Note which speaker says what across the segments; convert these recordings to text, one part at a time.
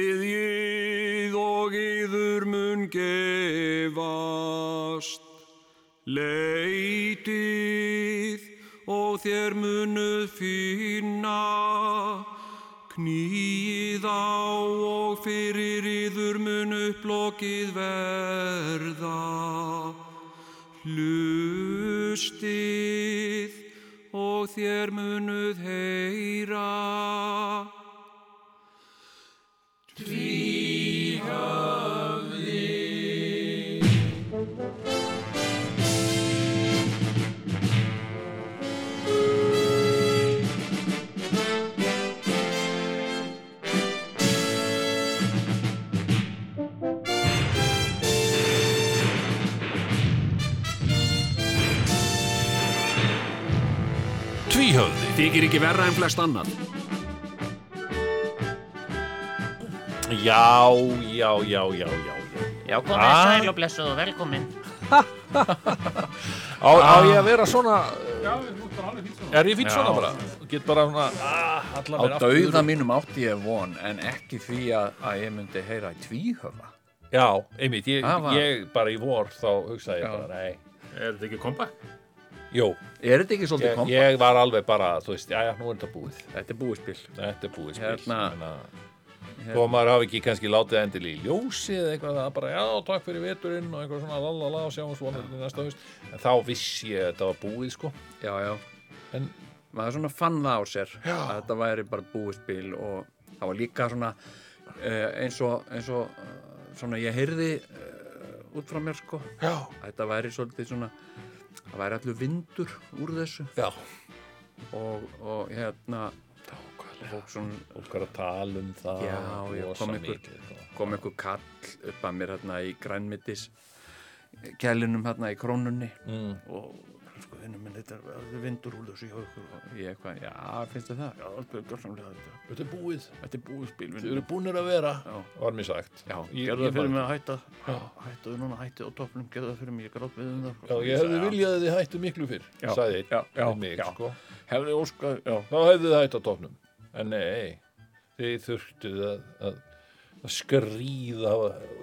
Speaker 1: Býðið og yður mun gefast, leitið og þér munuð finna, knýið á og fyrir yður mun upplokið verða, hlustið og þér munuð heyra.
Speaker 2: Tvíhöfði
Speaker 1: Þykir ekki verra en flest annar.
Speaker 2: Já, já, já, já, já
Speaker 3: Já, komið
Speaker 2: Ah.
Speaker 3: sæl og blessuð og velkomin.
Speaker 2: Á, á ég að vera svona Já, er ég fýtt svona bara Get bara svona
Speaker 4: Ah,
Speaker 5: Á dauða mínum átti ég von en ekki því að, að ég myndi heyra í tvíhöfa.
Speaker 2: Já, einmitt, ég,
Speaker 5: Það var-
Speaker 2: ég bara í vor þá hugsaði ég
Speaker 5: Já.
Speaker 2: bara, nei
Speaker 4: Er þetta ekki kompakt?
Speaker 2: Jú,
Speaker 5: Er þetta ekki svolítið
Speaker 2: ég,
Speaker 5: kompa?
Speaker 2: ég var alveg bara, þú veist, já, já, nú er þetta búið
Speaker 5: Þetta er búið spil.
Speaker 2: Þetta er búið spil
Speaker 5: Hérna.
Speaker 2: Menna, Þó að maður hafi ekki kannski látið endil í ljósi eða eitthvað það bara, já, takk fyrir veturinn og eitthvað svona lalala og sjáum svona næsta haust en þá vissi ég að þetta var búið, sko
Speaker 5: Já, já.
Speaker 2: En-
Speaker 5: maður svona fann það á sér að þetta væri bara búið spil og það var líka svona uh, eins og, eins og uh, svona ég heyrði uh, út frá mér sko já. að þetta væri svolítið svona það væri allur vindur úr þessu
Speaker 2: Já,
Speaker 5: og, og hérna og svona
Speaker 2: og hvað er að tala um það
Speaker 5: Já, já,
Speaker 2: rosa
Speaker 5: kom ykkur-
Speaker 2: mikið, sko.
Speaker 5: kom einhver kall upp að mér hérna í grænmitis kælinum hérna í krónunni mm. og sko vinnum minn þetta er alveg vindur úr þessu hjá ykkur og ég eitthvað, já finnst þið það? Já, alveg gjörsamlega þetta,
Speaker 2: Þetta er búið,
Speaker 5: þetta er búið spil
Speaker 2: þau eru búinir að vera
Speaker 5: Já.
Speaker 2: var mér sagt
Speaker 5: Já,
Speaker 2: Ég-
Speaker 5: gerðu
Speaker 2: ég
Speaker 5: það fyrir
Speaker 2: bara-
Speaker 5: mig að hætta hættaðu núna, hættið á toppnum, gerðu það fyrir mig ég grátt við um það
Speaker 2: Já, ég hefði viljað að þið hættu miklu fyrr
Speaker 5: Já,
Speaker 2: sagði einn
Speaker 5: já, já,
Speaker 2: við mig,
Speaker 5: já.
Speaker 2: sko
Speaker 5: hefði óskað, já,
Speaker 2: þá hefði það hætt á topnum en nei, þið þurftuð að, að, að skrýða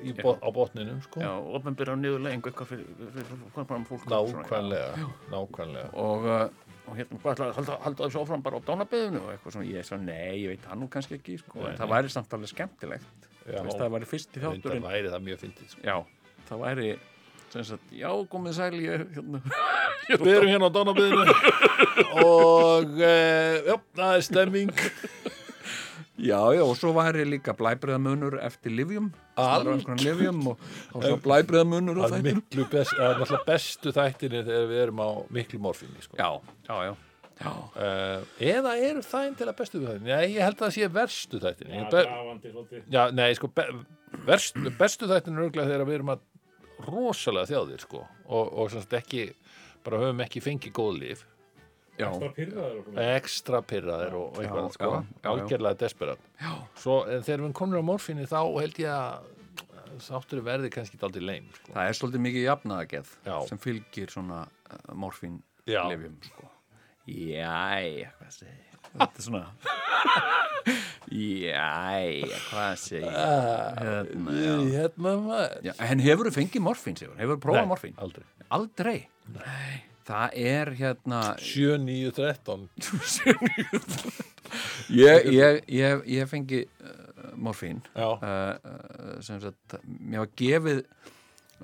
Speaker 2: í bot, á botninum sko
Speaker 5: já ofnbyrja á niðurleggingu eitthvað fyrir, fyrir, fyrir, fyrir, fyrir, fyrir fólk
Speaker 2: nákvæmlega, nákvæmlega
Speaker 5: og, uh, og hérna, hvað ætlaði að halda, halda þessu áfram bara á dánabeðinu og eitthvað svona, ég svo, nei, ég veit það nú kannski ekki, sko, en það væri samt alveg skemmtilegt
Speaker 2: Já.
Speaker 5: þú veist, það væri fyrst í
Speaker 2: þetta
Speaker 5: þátturinn
Speaker 2: væri það mjög fyndið sko.
Speaker 5: já, það væri sem sagt, já, komið sæl ég, hérna, ég er
Speaker 2: við
Speaker 5: út
Speaker 2: erum hérna á dánabyðinu og uh, já, það er stemming
Speaker 5: á- já, já, og svo væri líka blæbriðamunur eftir livjum
Speaker 2: Alg-
Speaker 5: livjum og, og svo blæbriðamunur
Speaker 2: það er miklu best, það er náttúrulega bestu þættinir þegar við erum á miklu morfinni sko.
Speaker 5: já, já, já
Speaker 2: Eh, eða eru þæn til að bestu þættinni nei, ég held að það sé verstu þættinni
Speaker 4: Já,
Speaker 2: Ég
Speaker 4: það
Speaker 2: be-
Speaker 4: var vandi svolítið.
Speaker 2: Já, nei, sko, be verst, bestu þættin er auðvitað þegar við erum að rosalega þjáðir, sko, og, og sem sagt ekki, bara höfum ekki fengið góð líf,
Speaker 5: já,
Speaker 4: Það pyrraður okkur.
Speaker 2: ekstra pyrraðir og, og eitthvað,
Speaker 5: já,
Speaker 2: sko,
Speaker 5: já, já.
Speaker 2: algjörlega desperat. Já. Svo en þegar við komum á morfinni þá held ég að sáttur verði kannski daldið leim, sko.
Speaker 5: það er svolítið mikið jafnaðageð
Speaker 2: Já.
Speaker 5: sem fylgir svona uh, morfín
Speaker 2: Já.
Speaker 5: livjum, sko Jæja, hvað segi ég? Þetta er svona Jæja, hvað segi ég? Hérna, já.
Speaker 2: Hérna maður.
Speaker 5: já En hefur þú fengið morfín, Sigur? Hefur þú prófað morfín?
Speaker 2: Aldrei.
Speaker 5: Aldrei? Nei Það er hérna
Speaker 2: 7, 9, 13.
Speaker 5: Ég, ég, ég, ég fengi uh, morfín
Speaker 2: Já.
Speaker 5: uh, uh, sem sagt, mér var gefið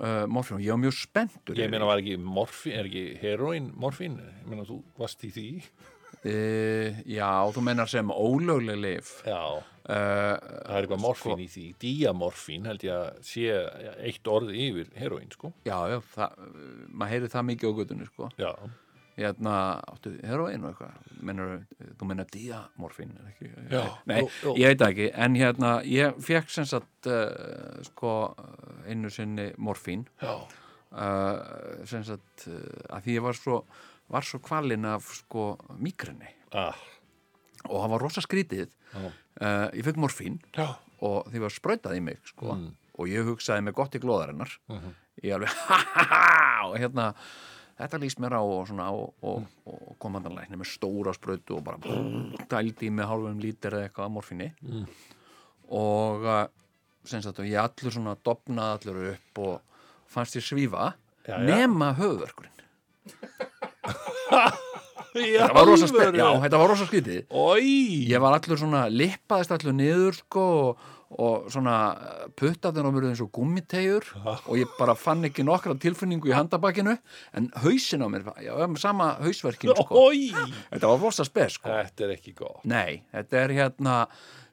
Speaker 5: uh, morfín og ég var mjög spenntur
Speaker 2: Ég meina var ekki morfín, er ekki heroín morfín? Ég meina þú varst í því?
Speaker 5: uh, Já, þú meinar sem ólögleg lif
Speaker 2: Já.
Speaker 5: uh,
Speaker 2: Það er eitthvað morfín í því, díamorfín held ég að sé eitt orð yfir heroín, sko.
Speaker 5: Já, já, það, maður heyri það mikið á göttunni, sko.
Speaker 2: Já.
Speaker 5: Hérna, áttu, heroin og eitthvað, menur, þú menna diamorfín, er ekki?
Speaker 2: Já,
Speaker 5: Nei,
Speaker 2: jú, jú.
Speaker 5: ég veit það ekki, en hérna, ég fekk sem sagt, uh, sko, einu sinni morfín,
Speaker 2: Já.
Speaker 5: uh, sem sagt, uh, að því ég var svo, var svo kvalinn af, sko, migrini
Speaker 2: Ah.
Speaker 5: og það var rosa skrítið.
Speaker 2: Já.
Speaker 5: Uh, ég fekk morfín
Speaker 2: Já.
Speaker 5: og því var sprautað í mig sko.
Speaker 2: Mm.
Speaker 5: og ég hugsaði mig gott í glóðarinnar
Speaker 2: Mhm.
Speaker 5: ég alveg og hérna, þetta líst mér á og, svona, og, og, og komandanlækni
Speaker 2: Mm.
Speaker 5: með stóra sprautu og bara dældi í mig hálfum lítir eða eitthvað af morfinni og, sem sagt og ég allur svona dopnaði allur upp og fannst ég svífa
Speaker 2: Já, já.
Speaker 5: nema höfverkurinn
Speaker 2: Já,
Speaker 5: þetta var rosa, spe- já, þetta var rosa skrítið
Speaker 2: Ói,
Speaker 5: ég var allur svona, lippaðist allur niður sko og, og svona eh, puttafnir á mér eins og gummitegjur og ég bara fann ekki nokkra tilfinningu í handabakinu en hausin á mér, já, sama hausverkin sko,
Speaker 2: ói
Speaker 5: þetta var rosa spes sko
Speaker 2: Þetta er ekki gott
Speaker 5: Nei, þetta er hérna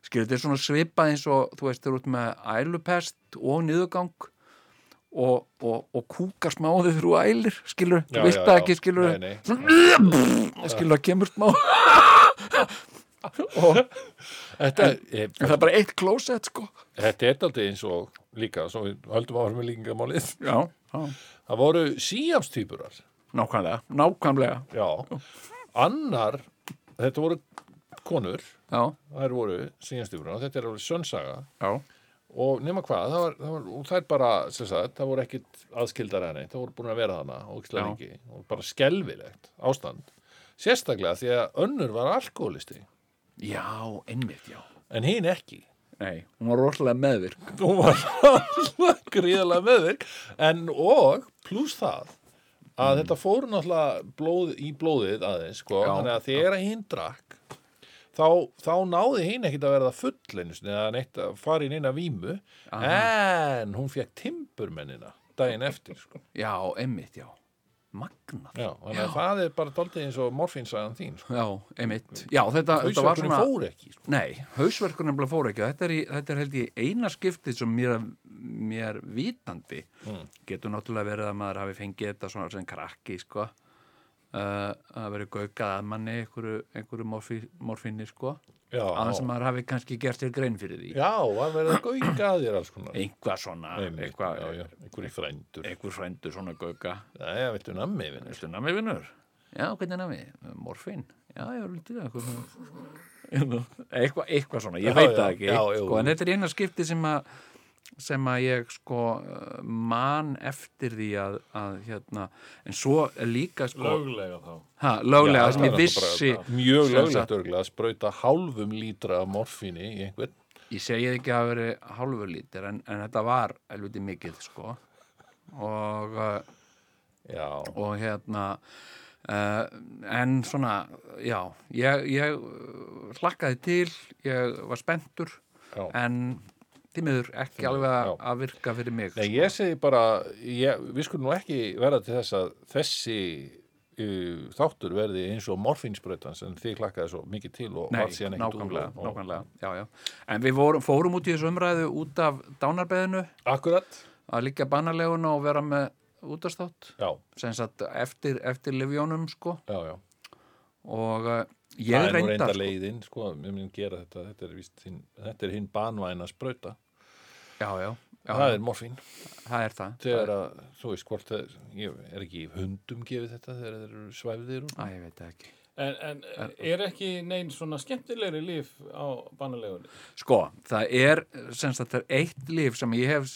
Speaker 5: skilur, þetta er svona svipað eins og þú veist, þau eru út með ælupest og niðurgang og, og, og kúkar smáði þrú ælir skilur,
Speaker 2: Já,
Speaker 5: þú veist
Speaker 2: já,
Speaker 5: það
Speaker 2: já.
Speaker 5: ekki Hm? skilur
Speaker 2: Nei, nei.
Speaker 5: Svona, skilur, það kemur smá og
Speaker 2: Þetta, en,
Speaker 5: það er bara eitt klósett sko
Speaker 2: þetta er aldrei eins og líka Svo við höldum áfram með líkingamálið
Speaker 5: Já, já,
Speaker 2: Það voru síamstýpurar
Speaker 5: nákvæmlega nákvæmlega,
Speaker 2: Já Annar, þetta voru konur
Speaker 5: já,
Speaker 2: Þær voru síamstýpurar Þetta er alveg sönnsaga
Speaker 5: já
Speaker 2: og nema hvað, það var, það var, og það er bara sem sagt, það voru ekkit aðskildar enni það voru búin að vera þarna og
Speaker 5: Já.
Speaker 2: lengi og bara skelfilegt ástand sérstaklega því að önnur var alkoholisti
Speaker 5: Já, einmitt, já
Speaker 2: en hinn ekki
Speaker 5: Nei, hún var rosalega meðvirk
Speaker 2: hún var alveg gríðarlega meðvirk en og pluss það að þetta fór náttúrulega blóð, í blóðið aðeins sko,
Speaker 5: Mm. Já.
Speaker 2: þannig að þegar hinn drakk þá, þá náði hinn ekkit að verða full einu sinni eða neitt að fara í neina vímu en hún fekk timburmennina daginn eftir sko.
Speaker 5: Já, einmitt, já Magnað
Speaker 2: Já, þannig að það er bara daldið eins og morfinsagan þín sko.
Speaker 5: Já, einmitt, já, þetta, þetta var
Speaker 2: Hausverkurinn
Speaker 5: svona
Speaker 2: fór ekki sko.
Speaker 5: Nei, hausverkur nefnilega fór ekki og þetta er, í, þetta er held ég eina skiptið sem mér, mér vitandi getur náttúrulega verið að maður hafi fengið þetta svona sem krakki sko uh, að verið gaukað að manni einhverju, einhverju morfí, morfínni sko
Speaker 2: Já,
Speaker 5: aðeins sem maður hafi kannski gert sér grein fyrir því
Speaker 2: já, það verið að gauka að þér alls konar
Speaker 5: einhvað svona
Speaker 2: Einmitt,
Speaker 5: eitthvað,
Speaker 2: já, já, einhverjir frændur
Speaker 5: einhver frændur svona gauka
Speaker 2: Jæja, viltu nammi, vinur?
Speaker 5: Viltu nami vinnur? Já, hvernig er nami? Morfin? Já, ég var lítið eitthvað svona Hérna, eitthvað, eitthvað svona, ég
Speaker 2: Já,
Speaker 5: veit
Speaker 2: já,
Speaker 5: það ekki
Speaker 2: já, jú.
Speaker 5: sko, en þetta er eina skipti sem að sem að ég sko eh, man eftir því að, að hérna, en svo er líka sko,
Speaker 4: Löglega þá.
Speaker 5: ha, löglega
Speaker 2: Já,
Speaker 5: sem ég
Speaker 2: það er náttúrulega
Speaker 5: vissi
Speaker 2: Mjög
Speaker 5: sem
Speaker 2: löglegt
Speaker 5: sagt-
Speaker 2: örgulega að sprauta hálfum lítra af morfíni í einhvern
Speaker 5: ég segi ekki að veri hálfur lítir en, en þetta var helviti mikið sko og uh,
Speaker 2: Já,
Speaker 5: og hérna uh, en svona, já ég, ég eh, hlakkaði til ég var spenntur
Speaker 2: já.
Speaker 5: en tímiður ekki alveg að,
Speaker 2: já.
Speaker 5: að virka fyrir mig
Speaker 2: Nei, ég segi bara ég, við skulum nú ekki verða til þess að þessi uh, þáttur verði eins og morfínsbrautan sem þið klakkaði svo mikið til og
Speaker 5: Nei,
Speaker 2: var síðan ekkert
Speaker 5: nákvæmlega,
Speaker 2: úr og- og-
Speaker 5: nákvæmlega já, já. en við vorum, fórum út í þessu umræðu út af dánarbeðinu
Speaker 2: Akkurat,
Speaker 5: að liggja banalegun og vera með útastátt
Speaker 2: já,
Speaker 5: sem sagt eftir, eftir livjónum sko
Speaker 2: já, já
Speaker 5: og uh, ég
Speaker 2: Það er nú
Speaker 5: reyndar
Speaker 2: reynda
Speaker 5: sko,
Speaker 2: leiðin, sko, við munum gera þetta þetta er, víst, hinn, þetta er hinn banvæna sprauta
Speaker 5: já, já, já,
Speaker 2: það er morfín
Speaker 5: það er það
Speaker 2: þegar að, þú veist hvort það, ég er ekki hundum gefið þetta þegar þeir eru svæfðir og
Speaker 5: Æ, ég veit það ekki
Speaker 4: En, en er ekki neinn svona skemmtilegri líf á banalegunni?
Speaker 5: Sko, það er sem sagt það er eitt líf sem ég hef uh,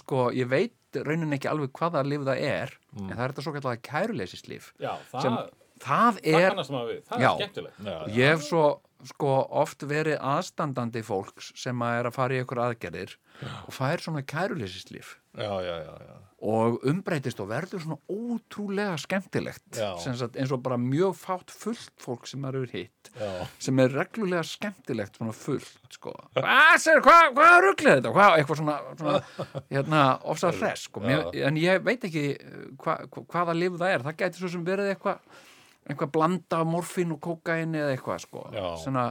Speaker 5: sko, ég veit raunin ekki alveg hvaða líf það er, en það er þetta svo kallega kæruleysislíf
Speaker 4: Já, það,
Speaker 5: sem það
Speaker 4: Mm. það
Speaker 5: er,
Speaker 4: kannast maður við. Það
Speaker 5: Já.
Speaker 4: er skemmtilegt.
Speaker 2: Já,
Speaker 5: ég hef svo sko oft verið aðstandandi fólks sem að er að fara í ykkur aðgerðir og fær svona kæruleysislíf
Speaker 2: já, já, já, já.
Speaker 5: og umbreytist og verður svona ótrúlega skemmtilegt
Speaker 2: Já.
Speaker 5: sem sagt eins og bara mjög fátt fullt fólk sem maður er hitt
Speaker 2: Já.
Speaker 5: sem er reglulega skemmtilegt svona fullt sko. hvað sér, hvað, hvað rugglir þetta hvað, eitthvað svona, svona hérna, ofsa hress sko. Mér, en ég veit ekki eh, hva, hva- hvaða lif það er það gæti svo sem verið eitthvað eitthvað blanda af morfín og kókain eða eitthvað sko.
Speaker 2: Já.
Speaker 5: svona,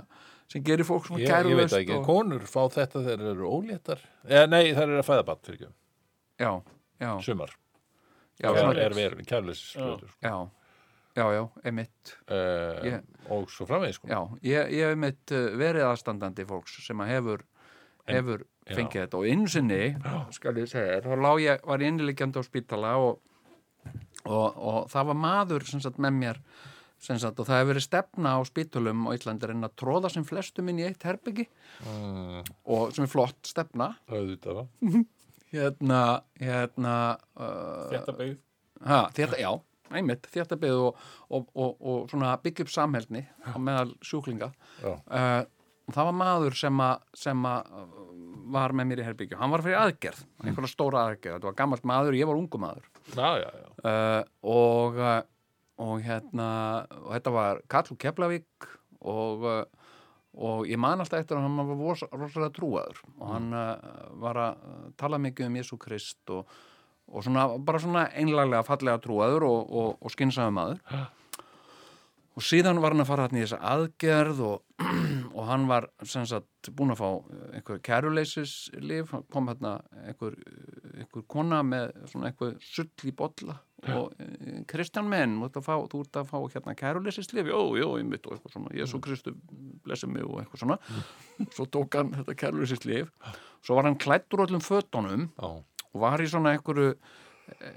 Speaker 5: sem gerir fólk svona
Speaker 2: Ég, ég veit
Speaker 5: kærulaust
Speaker 2: það ekki,
Speaker 5: og,
Speaker 2: konur fá þetta þegar þeir eru óléttar eða nei, þær eru að fæða batt fyrir ekki
Speaker 5: já, já,
Speaker 2: sumar,
Speaker 5: já,
Speaker 2: það
Speaker 5: svona,
Speaker 2: er verið kærleis sprautur
Speaker 5: já, já, já, emitt
Speaker 2: uh,
Speaker 5: Ég-
Speaker 2: og svo framvegis sko.
Speaker 5: Já, ég, ég hef mitt uh, verið aðstandandi fólks sem að hefur, hefur fengið þetta og einu sinni, skal ég segja, þér, þá lá ég, var ég innilegjandi á spítala og, og, og það var maður sem sagt með mér sem sagt og það hefur verið stefna á spítulum og Íslandir en að tróða sem flestum inn í eitt herbyggi og sem er flott stefna
Speaker 2: auðvitað va?
Speaker 5: hérna, hérna uh,
Speaker 4: Þetta byggð.
Speaker 5: Ha, þétta, já, einmitt, þéttabið og, og, og, og svona byggja upp samheldni á meðal sjúklinga
Speaker 2: Já.
Speaker 5: uh, það var maður sem að sem að uh, var með mér í herbyggju, hann var fyrir aðgerð einhverja stóra aðgerð, þetta var gammalt maður ég var ungu maður
Speaker 2: já, já, já.
Speaker 5: uh, og, uh, og hérna og þetta var Kall og Keflavík og, uh, og ég man alltaf eftir að hann var vos- rosalega trúaður og hann uh, var að uh, tala mikið um Jésu Krist og, og svona, bara svona einlaglega fallega trúaður og, og, og skynsæðum maður og síðan var hann að fara hann í þessa aðgerð og, og hann var sem sagt búin að fá einhver kæruleysislif, hann kom hérna einhver, einhver kona með svona einhver sull í bolla og eh, Kristján menn, þú ert að fá, þú ert að fá hérna kæruleysislif, jó, jó, einmitt og eitthvað svona, Jésu Kristu blessi mig og eitthvað svona, svo tók hann þetta kæruleysislif, svo var hann klættur öllum fötunum
Speaker 2: Já.
Speaker 5: og var í svona einhverju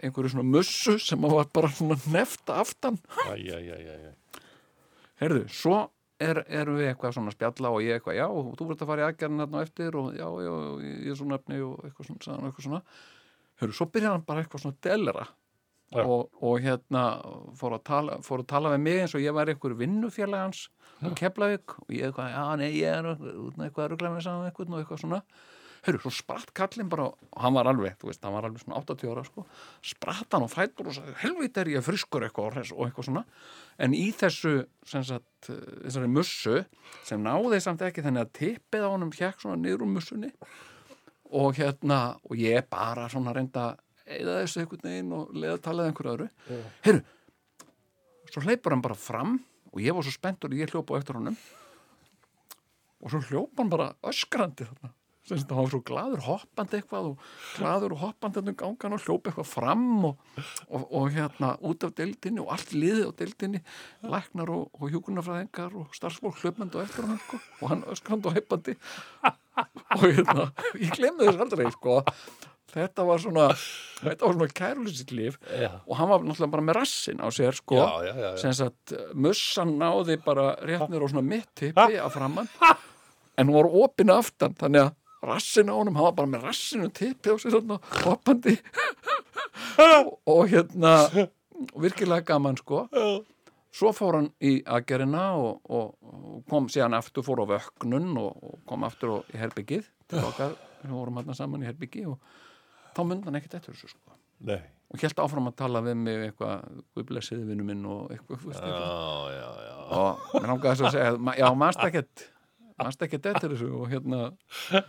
Speaker 5: einhverju svona mussu sem að var bara svona nefta aftan
Speaker 2: Æ, æ, æ, æ, æ.
Speaker 5: Herðu, svo er, erum við eitthvað svona að spjalla og ég eitthvað, já, og þú verður að fara í aðgerðin hérna á eftir og já, já, já, ég er svona efni og eitthvað svona, sagði hann eitthvað svona. Herðu, svo byrjar hann bara eitthvað svona að delera
Speaker 2: Já.
Speaker 5: og, og hérna fór að, tala, fór að tala við mig eins og ég var eitthvað vinnufélag hans og Keflavík og ég eitthvað, já, nei, ég er út með eitthvað að rugla með saman eitthvað og eitthvað svona. Herru, svo spratt kallinn bara, og hann var alveg, þú veist, hann var alveg svona 80 ára, sko, spratt hann á fætur og sagði, helvita er ég friskur eitthvað og hress- og eitthvað svona, en í þessu, sem sagt, eh, þessari mussu, sem náði samt ekki þannig að tippið á honum hjekk svona niður úr mussunni og hérna, og ég bara svona reynda eða þessu einhvern veginn og leiða talaði einhverju öðru. Herru, svo hleypur hann bara fram og ég var svo spenntur og ég hljópa á eftir honum og svo hljópa hann bara öskrandi þarna sem þetta var svo glaður hoppandi eitthvað og glaður og hoppandi þarna um gangan og hljópa eitthvað fram og, og, og hérna út af deildinni og allt liðið á deildinni læknar og, og hjúkunarfræðingar og starfsfólk hljópandi á eftir hann sko, og hann öskrandi og heppandi og hérna, ég glemði þess aldrei sko, þetta var svona þetta var svona kærulisitt líf
Speaker 2: Já.
Speaker 5: og hann var náttúrulega bara með rassin á sér sko
Speaker 2: Já, já, já, já.
Speaker 5: sem sagt, mussan náði bara réttnir á svona mitt tippi að framann en hún var opin aftan þannig að rassin á honum, hann var bara með rassinu tippi á sér svona hoppandi og, og hérna og virkilega gaman sko svo fór hann í aðgerina og, og, og kom síðan aftur fór á vöknun og, og kom aftur og, í herbyggið til okkar, við vorum hann saman í herbyggi og þá mundi hann ekkert eftir þessu sko
Speaker 2: Nei.
Speaker 5: og held áfram að tala við mig eitthvað, við blessiði vinnu minn og eitthvað, þú veist,
Speaker 2: Já,
Speaker 5: eitthvað.
Speaker 2: já, já.
Speaker 5: og mér langaði þess að segja ma- já, mannst ekkert mannst ekkert eftir þessu og hérna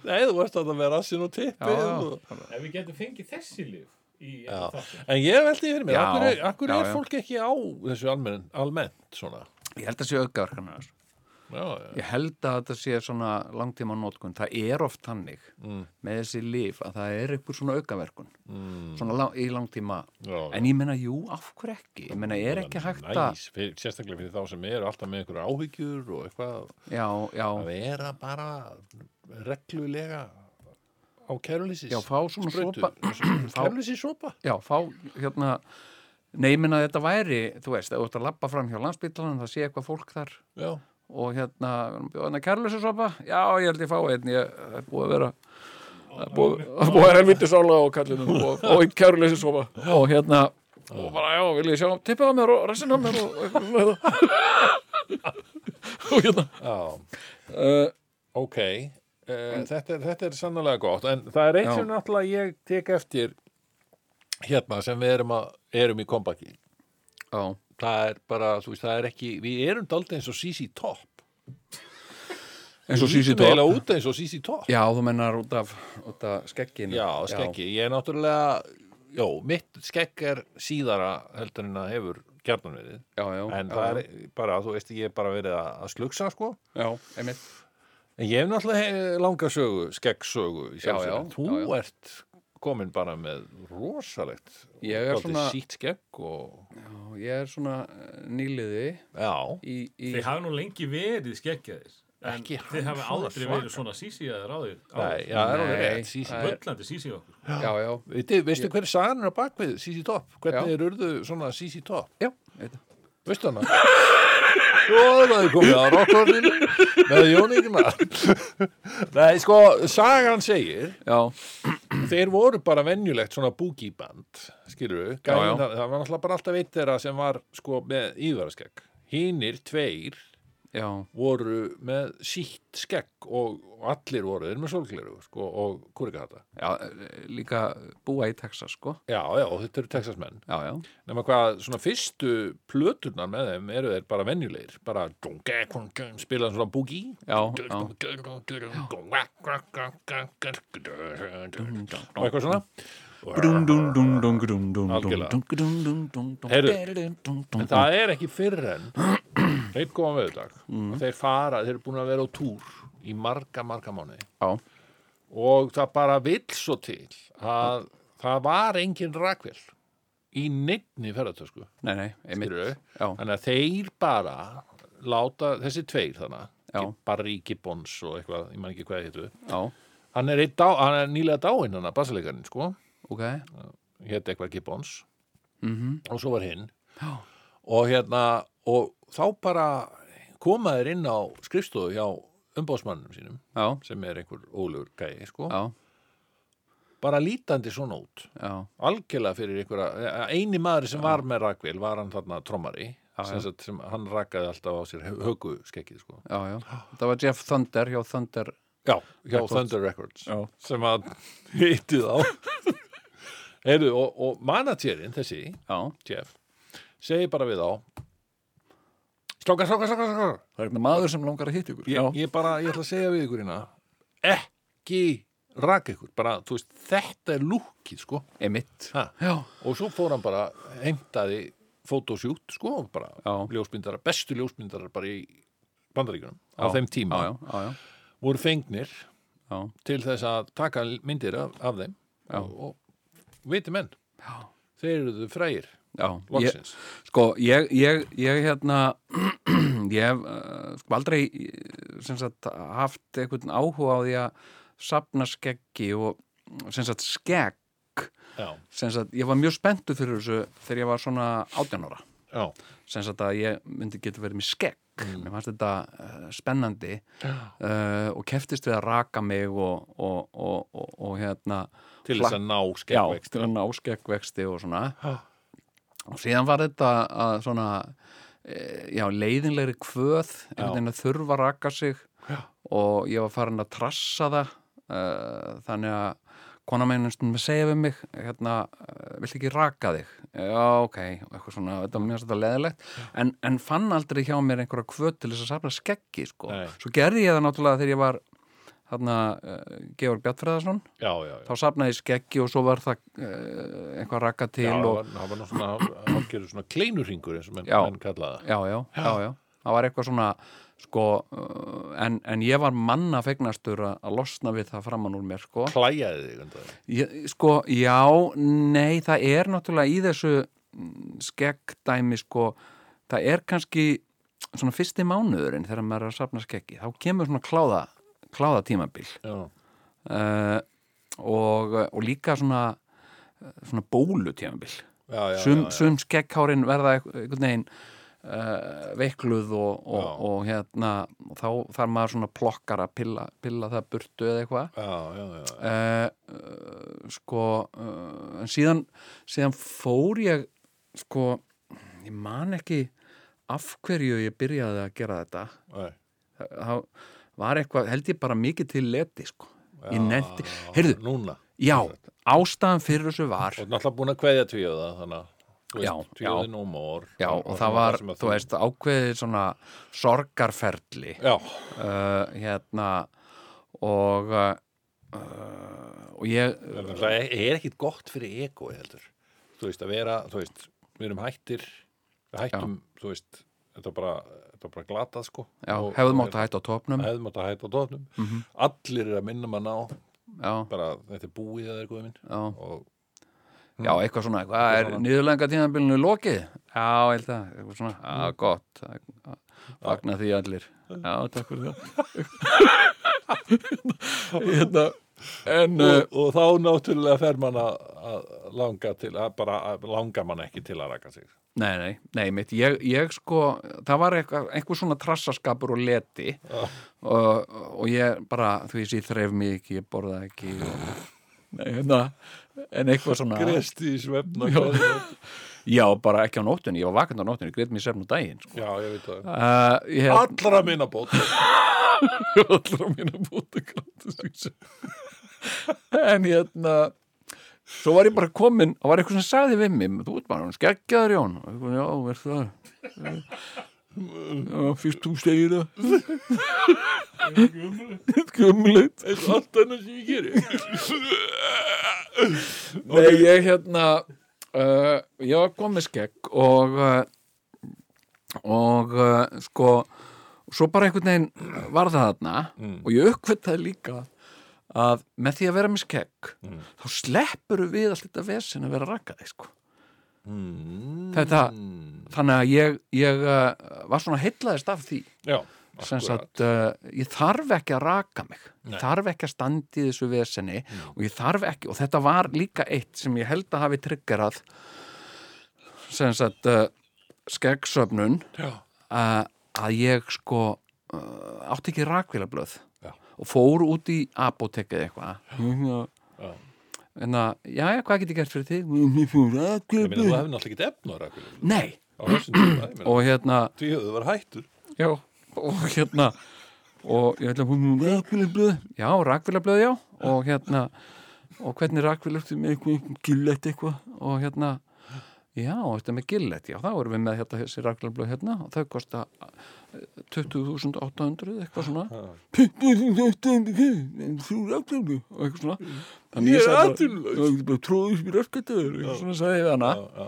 Speaker 2: Nei, þú varst að það með rassin og tippi.
Speaker 5: já,
Speaker 2: og-
Speaker 5: já,
Speaker 4: Ef við getum fengið þessi líf í
Speaker 2: Já.
Speaker 4: þáttum.
Speaker 2: En ég veldi fyrir mér,
Speaker 5: Já.
Speaker 2: akkur er, akkur
Speaker 5: Já,
Speaker 2: er
Speaker 5: já.
Speaker 2: fólk ekki á þessu almennt, almennt svona?
Speaker 5: ég held að sé aukaverkana þessu
Speaker 2: Já, já.
Speaker 5: ég held að þetta sé svona langtíma nótkun það er oft hannig
Speaker 2: Mm.
Speaker 5: með þessi líf að það er einhver svona aukaverkun
Speaker 2: Mm.
Speaker 5: svona lang, í langtíma
Speaker 2: já, já.
Speaker 5: en ég menna, jú, af hverju ekki ég menna, er ekki hægt að
Speaker 2: Næs, fyrir, sérstaklega fyrir þá sem eru alltaf með einhverja áhyggjur og eitthvað
Speaker 5: já, já,
Speaker 2: að vera bara reglulega á kærulísis
Speaker 5: já, fá svona sopa fá-
Speaker 2: Kærulísis sopa
Speaker 5: já, fá hérna neymin að þetta væri, þú veist, ef þú ert að labba fram hjá landsbytlanum, það sé eitthvað fólk þar
Speaker 2: Já,
Speaker 5: og hérna, hérna kærlössusopa já, ég held ég fá einn, ég það er búið að vera það er búið það er búið að vera helviti sála og kallinu og, og einn kærlössusopa og hérna, og bara já, vil ég sjá um tippið á mér og ressin á mér og eitthvað og hérna
Speaker 2: já,
Speaker 5: uh,
Speaker 2: ok Uh, þetta, er- þetta er sannlega gott en það er eitt
Speaker 5: Já.
Speaker 2: sem náttúrulega ég tek eftir hérna sem við erum, að, erum í kompaki
Speaker 5: já,
Speaker 2: það er bara, þú veist, það er ekki við erum daldið eins og Sisi Top
Speaker 5: eins og
Speaker 2: Við
Speaker 5: sísi
Speaker 2: lítum eiginlega út eins og Sisi Top
Speaker 5: já, þú mennar út af, út af skegginu
Speaker 2: já, skeggi, ég er náttúrulega já, mitt skegg er síðara heldur en það hefur gjarnan verið
Speaker 5: já, já,
Speaker 2: en
Speaker 5: já,
Speaker 2: það er bara, þú veist, ég er bara verið að, að slugsa sko,
Speaker 5: já, einmitt
Speaker 2: en ég hef náttúrulega he- langa sögu, skeggsögu í
Speaker 5: Já, já,
Speaker 2: sjálfsögum, þú
Speaker 5: já, já.
Speaker 2: ert komin bara með rosalegt
Speaker 5: Ég er
Speaker 2: dálítið
Speaker 5: svona-
Speaker 2: sítt skegg og,
Speaker 5: Já, ég er svona eh, nýliði
Speaker 2: já,
Speaker 5: í, í
Speaker 4: Þið hafa nú lengi verið skeggjaðir. En
Speaker 2: Ekki
Speaker 4: þið hafa
Speaker 2: svona
Speaker 4: aldrei
Speaker 2: svaka.
Speaker 4: verið svona sísíjaðir á því.
Speaker 2: nei, já, það er alveg
Speaker 5: Nei,
Speaker 2: rétt Sisi
Speaker 5: það er-
Speaker 4: Völlandi sísí okkur.
Speaker 5: já, já,
Speaker 2: Veitu, veistu hver er sagan á bakvið Sisi Top?
Speaker 5: Já.
Speaker 2: Hvernig er urðu svona Sisi Top?
Speaker 5: já, veit það.
Speaker 2: Veistu hana? Jó, það er komið á rockordinu með Jón Ingmar. Nei, sko, sagan segir,
Speaker 5: já,
Speaker 2: þeir voru bara venjulegt svona búgiband, skilur við,
Speaker 5: Já, já.
Speaker 2: það var náttúrulega bara alltaf eitt þeirra sem var sko með yfirskegg. Hínir tveir
Speaker 5: já,
Speaker 2: voru með sítt skegg og og allir voru þeir með sólgleru sko, og kurikahata.
Speaker 5: já, eh, líka búa í Texas, sko.
Speaker 2: Já, já, og þetta eru texasmenn.
Speaker 5: Já, já,
Speaker 2: Nefna hvað, svona fyrstu plöturnar með þeim eru þeir bara venjulegir. Bara spilaðan svona boogie.
Speaker 5: já, já.
Speaker 2: og eitthvað svona
Speaker 5: Dum, dum, dum, dum, dum, dum,
Speaker 2: Algjörlega.
Speaker 5: dum, dum, dum, dum, dum,
Speaker 2: Heyrðu,
Speaker 5: dum, dum, dum,
Speaker 2: en það er ekki fyrr en þeir koma með þetta mm. þeir fara, þeir eru búin að vera á túr í marga, marga mánuði
Speaker 5: Já,
Speaker 2: og það bara vill svo til að það var engin rakvél í neittni ferðartösku
Speaker 5: nei, nei, einmitt.
Speaker 2: Skilurðu?
Speaker 5: Já,
Speaker 2: þannig að þeir bara láta þessi tveir
Speaker 5: Já.
Speaker 2: þannig Barry Gibbons og eitthvað, ég man ekki hvað hétu
Speaker 5: já,
Speaker 2: hann er, einn dá, hann er nýlega dáinn hann að basalegarinn sko
Speaker 5: ok,
Speaker 2: hétt eitthvað Gibbons
Speaker 5: mhm,
Speaker 2: og svo var hinn
Speaker 5: Já.
Speaker 2: og hérna og þá bara koma þeir inn á skrifstofu hjá umbóðsmannum sínum
Speaker 5: já,
Speaker 2: sem er einhver ólegur gæi sko.
Speaker 5: já,
Speaker 2: bara lítandi svona út
Speaker 5: já,
Speaker 2: algjörlega fyrir einhverja e, eini maður sem var með rakvél var hann þarna trommari
Speaker 5: Já,
Speaker 2: sem,
Speaker 5: já.
Speaker 2: sagt, sem hann rakaði alltaf á sér högu skekkið sko.
Speaker 5: já, já. Það var Jeff Thunder, hjá Thunder,
Speaker 2: já, hjá Thunder Records
Speaker 5: Já.
Speaker 2: sem að hitti þá Heyrðu, og, og managerinn þessi
Speaker 5: já.
Speaker 2: Jeff segi bara við þá Strákar, strákar, strákar, strákar
Speaker 5: Það er einhvern maður sem langar að hitta ykkur. Já,
Speaker 2: Ég bara, ég ætla að segja við ykkur hérna ekki raka ykkur bara, þú veist, þetta er lúkið sko
Speaker 5: einmitt.
Speaker 2: ha.
Speaker 5: Já,
Speaker 2: og svo fór hann bara heimtaði fótósjút sko, og bara
Speaker 5: Já.
Speaker 2: ljósmyndara, bestu ljósmyndara bara í bandaríkjunum á
Speaker 5: Já.
Speaker 2: þeim tíma,
Speaker 5: já, já, já, já,
Speaker 2: voru fengnir
Speaker 5: já,
Speaker 2: til þess að taka myndir af, af þeim
Speaker 5: Já.
Speaker 2: og, og viti menn
Speaker 5: já.
Speaker 2: þeir eruðu frægir,
Speaker 5: Já, ég,
Speaker 2: loksins
Speaker 5: sko, ég, ég, ég hérna, ég hef uh, sko aldrei eh, sem sagt haft einhvern áhuga á því að safna skeggi og sem sagt skegg,
Speaker 2: Já,
Speaker 5: sem sagt, ég var mjög spenntu fyrir þessu þegar ég var svona 18 ára,
Speaker 2: já,
Speaker 5: sem sagt að ég myndi geta verið með skegg,
Speaker 2: Mm.
Speaker 5: mér fannst þetta uh, spennandi uh, og keftist við að raka mig og, og, og, og, og hérna
Speaker 2: til
Speaker 5: flak-
Speaker 2: þess að
Speaker 5: Já,
Speaker 2: ná skekkvexti
Speaker 5: til að ná skeggvexti og svona
Speaker 2: Já.
Speaker 5: og síðan var þetta að svona e, já, leiðinlegri kvöð einhvern veginn að þurfa að raka sig já. og ég var farin að trassa það uh, þannig að kona meginn stundum að segja við mig hérna, uh, vill ekki raka þig já, ok, og eitthvað svona, þetta var mjög svolítið leðilegt en, en fann aldrei hjá mér einhverja kvöð til þess að safna skeggi, sko
Speaker 2: Nei.
Speaker 5: svo gerði ég það náttúrulega þegar ég var hérna, uh, Georg Bjartfræðarsson
Speaker 2: já, já, já.
Speaker 5: þá safnaði ég skeggi og svo var það uh, eitthvað rakka til
Speaker 2: Já,
Speaker 5: og
Speaker 2: það var nú svona, hann gerur svona kleinurringur eins og menn,
Speaker 5: Já.
Speaker 2: menn kallaða.
Speaker 5: já, já, já, já, það var eitthvað svona sko, uh, en, en ég var manna fegnastur að að losna við það framan úr mér, sko
Speaker 2: Klæjaði þig undan það.
Speaker 5: ég, sko, já, nei það er náttúrulega í þessu mm, skeggdæmi, sko það er kannski svona fyrsti mánuðurinn þegar maður er að safna skeggi þá kemur svona kláða, kláða tímabil
Speaker 2: Já,
Speaker 5: uh, og, og líka svona eh, svona bólu tímabil
Speaker 2: já, já.
Speaker 5: sum,
Speaker 2: já, já.
Speaker 5: sum skekkhárin verða einhver- einhvern veginn uh, veikluð og, og,
Speaker 2: Já.
Speaker 5: og hérna og þá þarf maður svona plokkar að pilla, pilla það burtu eða eitthvað
Speaker 2: Já, já, já.
Speaker 5: uh, uh, sko uh, en síðan, síðan fór ég sko ég man ekki af hverju ég byrjaði að gera þetta
Speaker 2: Nei.
Speaker 5: það það var eitthvað, held ég bara mikið til leti sko,
Speaker 2: Já,
Speaker 5: ég nefndi heyrðu,
Speaker 2: Núna.
Speaker 5: já, ástæðan fyrir þessu var
Speaker 2: Og náttúrulega búin að kveðja tvíuða, þannig að, þú
Speaker 5: Já,
Speaker 2: veist,
Speaker 5: já.
Speaker 2: tvíuði no more.
Speaker 5: Já, og, það
Speaker 2: um svona
Speaker 5: var,
Speaker 2: sem að
Speaker 5: þú veist, ákveðið svona sorgarferli
Speaker 2: Já,
Speaker 5: uh, hérna og uh, og ég
Speaker 2: en það er- er ekkit gott fyrir egoi heldur. Þú veist, að vera, þú veist, við erum hættir, við hættum, þú veist, þetta er bara, þetta er bara glatað, sko.
Speaker 5: já,
Speaker 2: Og-
Speaker 5: hefðu
Speaker 2: og-
Speaker 5: mátt að hætta Mhm. á topnum
Speaker 2: Hefðum átt að hætta á dófnum. Allir eru að minna mann á,
Speaker 5: já,
Speaker 2: bara, þetta er búið að það er góðið minn.
Speaker 5: já,
Speaker 2: Og
Speaker 5: já, Mm. eitthvað svona eitthvað, er niðurlega tíðanbílinu lokið já, ég held að, eitthvað svona, Mm. já, gott að- að fagna því allir já, takk fyrir það hérna en uh,
Speaker 2: og, og þá náttúrulega fer mann að að langa til að bara að langa mann ekki til að raka sig
Speaker 5: Nei, nei, nei, mitt, ég, ég sko, það var eitthvað, einhver svona trassaskapur og leti og, og ég bara, þú veist, ég þreif mig ekki, ég borða ekki og, nei, hérna, en eitthvað svona,
Speaker 2: gresti í svefna
Speaker 5: Já. Já, bara ekki á nóttunni, ég var vakant á nóttunni, greit mér sérn á daginn sko.
Speaker 2: Já, ég veit það.
Speaker 5: uh, Ég hef
Speaker 2: Allra minna bótt.
Speaker 5: allra mína bóta gratis en hérna svo var ég bara komin og var eitthvað sem sagði við mig þú ert bara, hún skeggjaður Jón og eitthvað, já, verð það já, fyrst þú segir það gömulegt
Speaker 2: Eins og allt annars sem ég gerir.
Speaker 5: nei, ég hérna uh, ég var komin skegg og uh, og uh, sko svo bara einhvern veginn var það þarna og ég uppkvitaði líka að með því að vera með skegg þá sleppur við allt þetta vesen að vera rakkaði sko. þetta þannig að ég, ég uh, var svona heitlaðist af því
Speaker 2: Já,
Speaker 5: sem
Speaker 2: akkurat.
Speaker 5: sagt, uh, ég þarf ekki að raka mig Nei. þarf ekki að standi í þessu veseni og ég þarf ekki, og þetta var líka eitt sem ég held að hafi tryggerað sem sagt uh, skeggsöfnun uh,
Speaker 2: Já.
Speaker 5: að ég sko uh, átti ekki rakvélablöð
Speaker 2: Já.
Speaker 5: og fór út í apotekið eitthvað
Speaker 2: Já.
Speaker 5: en að, já, já, hvað get ég gert fyrir þig? Mér fór
Speaker 2: Ég meina, þú
Speaker 5: rakvélablöð
Speaker 2: hefði náttúrulega ekki efn á rækulegum.
Speaker 5: Nei,
Speaker 2: Á þessum tíma, ég meina.
Speaker 5: og hérna
Speaker 2: Því höfðu verið hættur.
Speaker 5: Já, og hérna og ég ætla að hún rakvélablöð já, rakvélablöð, já og hérna, og hvernig rakvélablöð með eitthvað, eitthvað gillett eitthvað og hérna, já, þetta með gillett já, þá erum við með hérna þessi rakvélablöð hérna og þau kosta eh, 20.800 eitthvað svona 20.800 þrjú rakvélablöð og eitthvað svona þannig
Speaker 2: Ég er
Speaker 5: sagði bara-
Speaker 2: atvinnulaus.
Speaker 5: Já, ég bara tróði upp í raskataður eitthvað svona sagði ég við hana
Speaker 2: Já, já.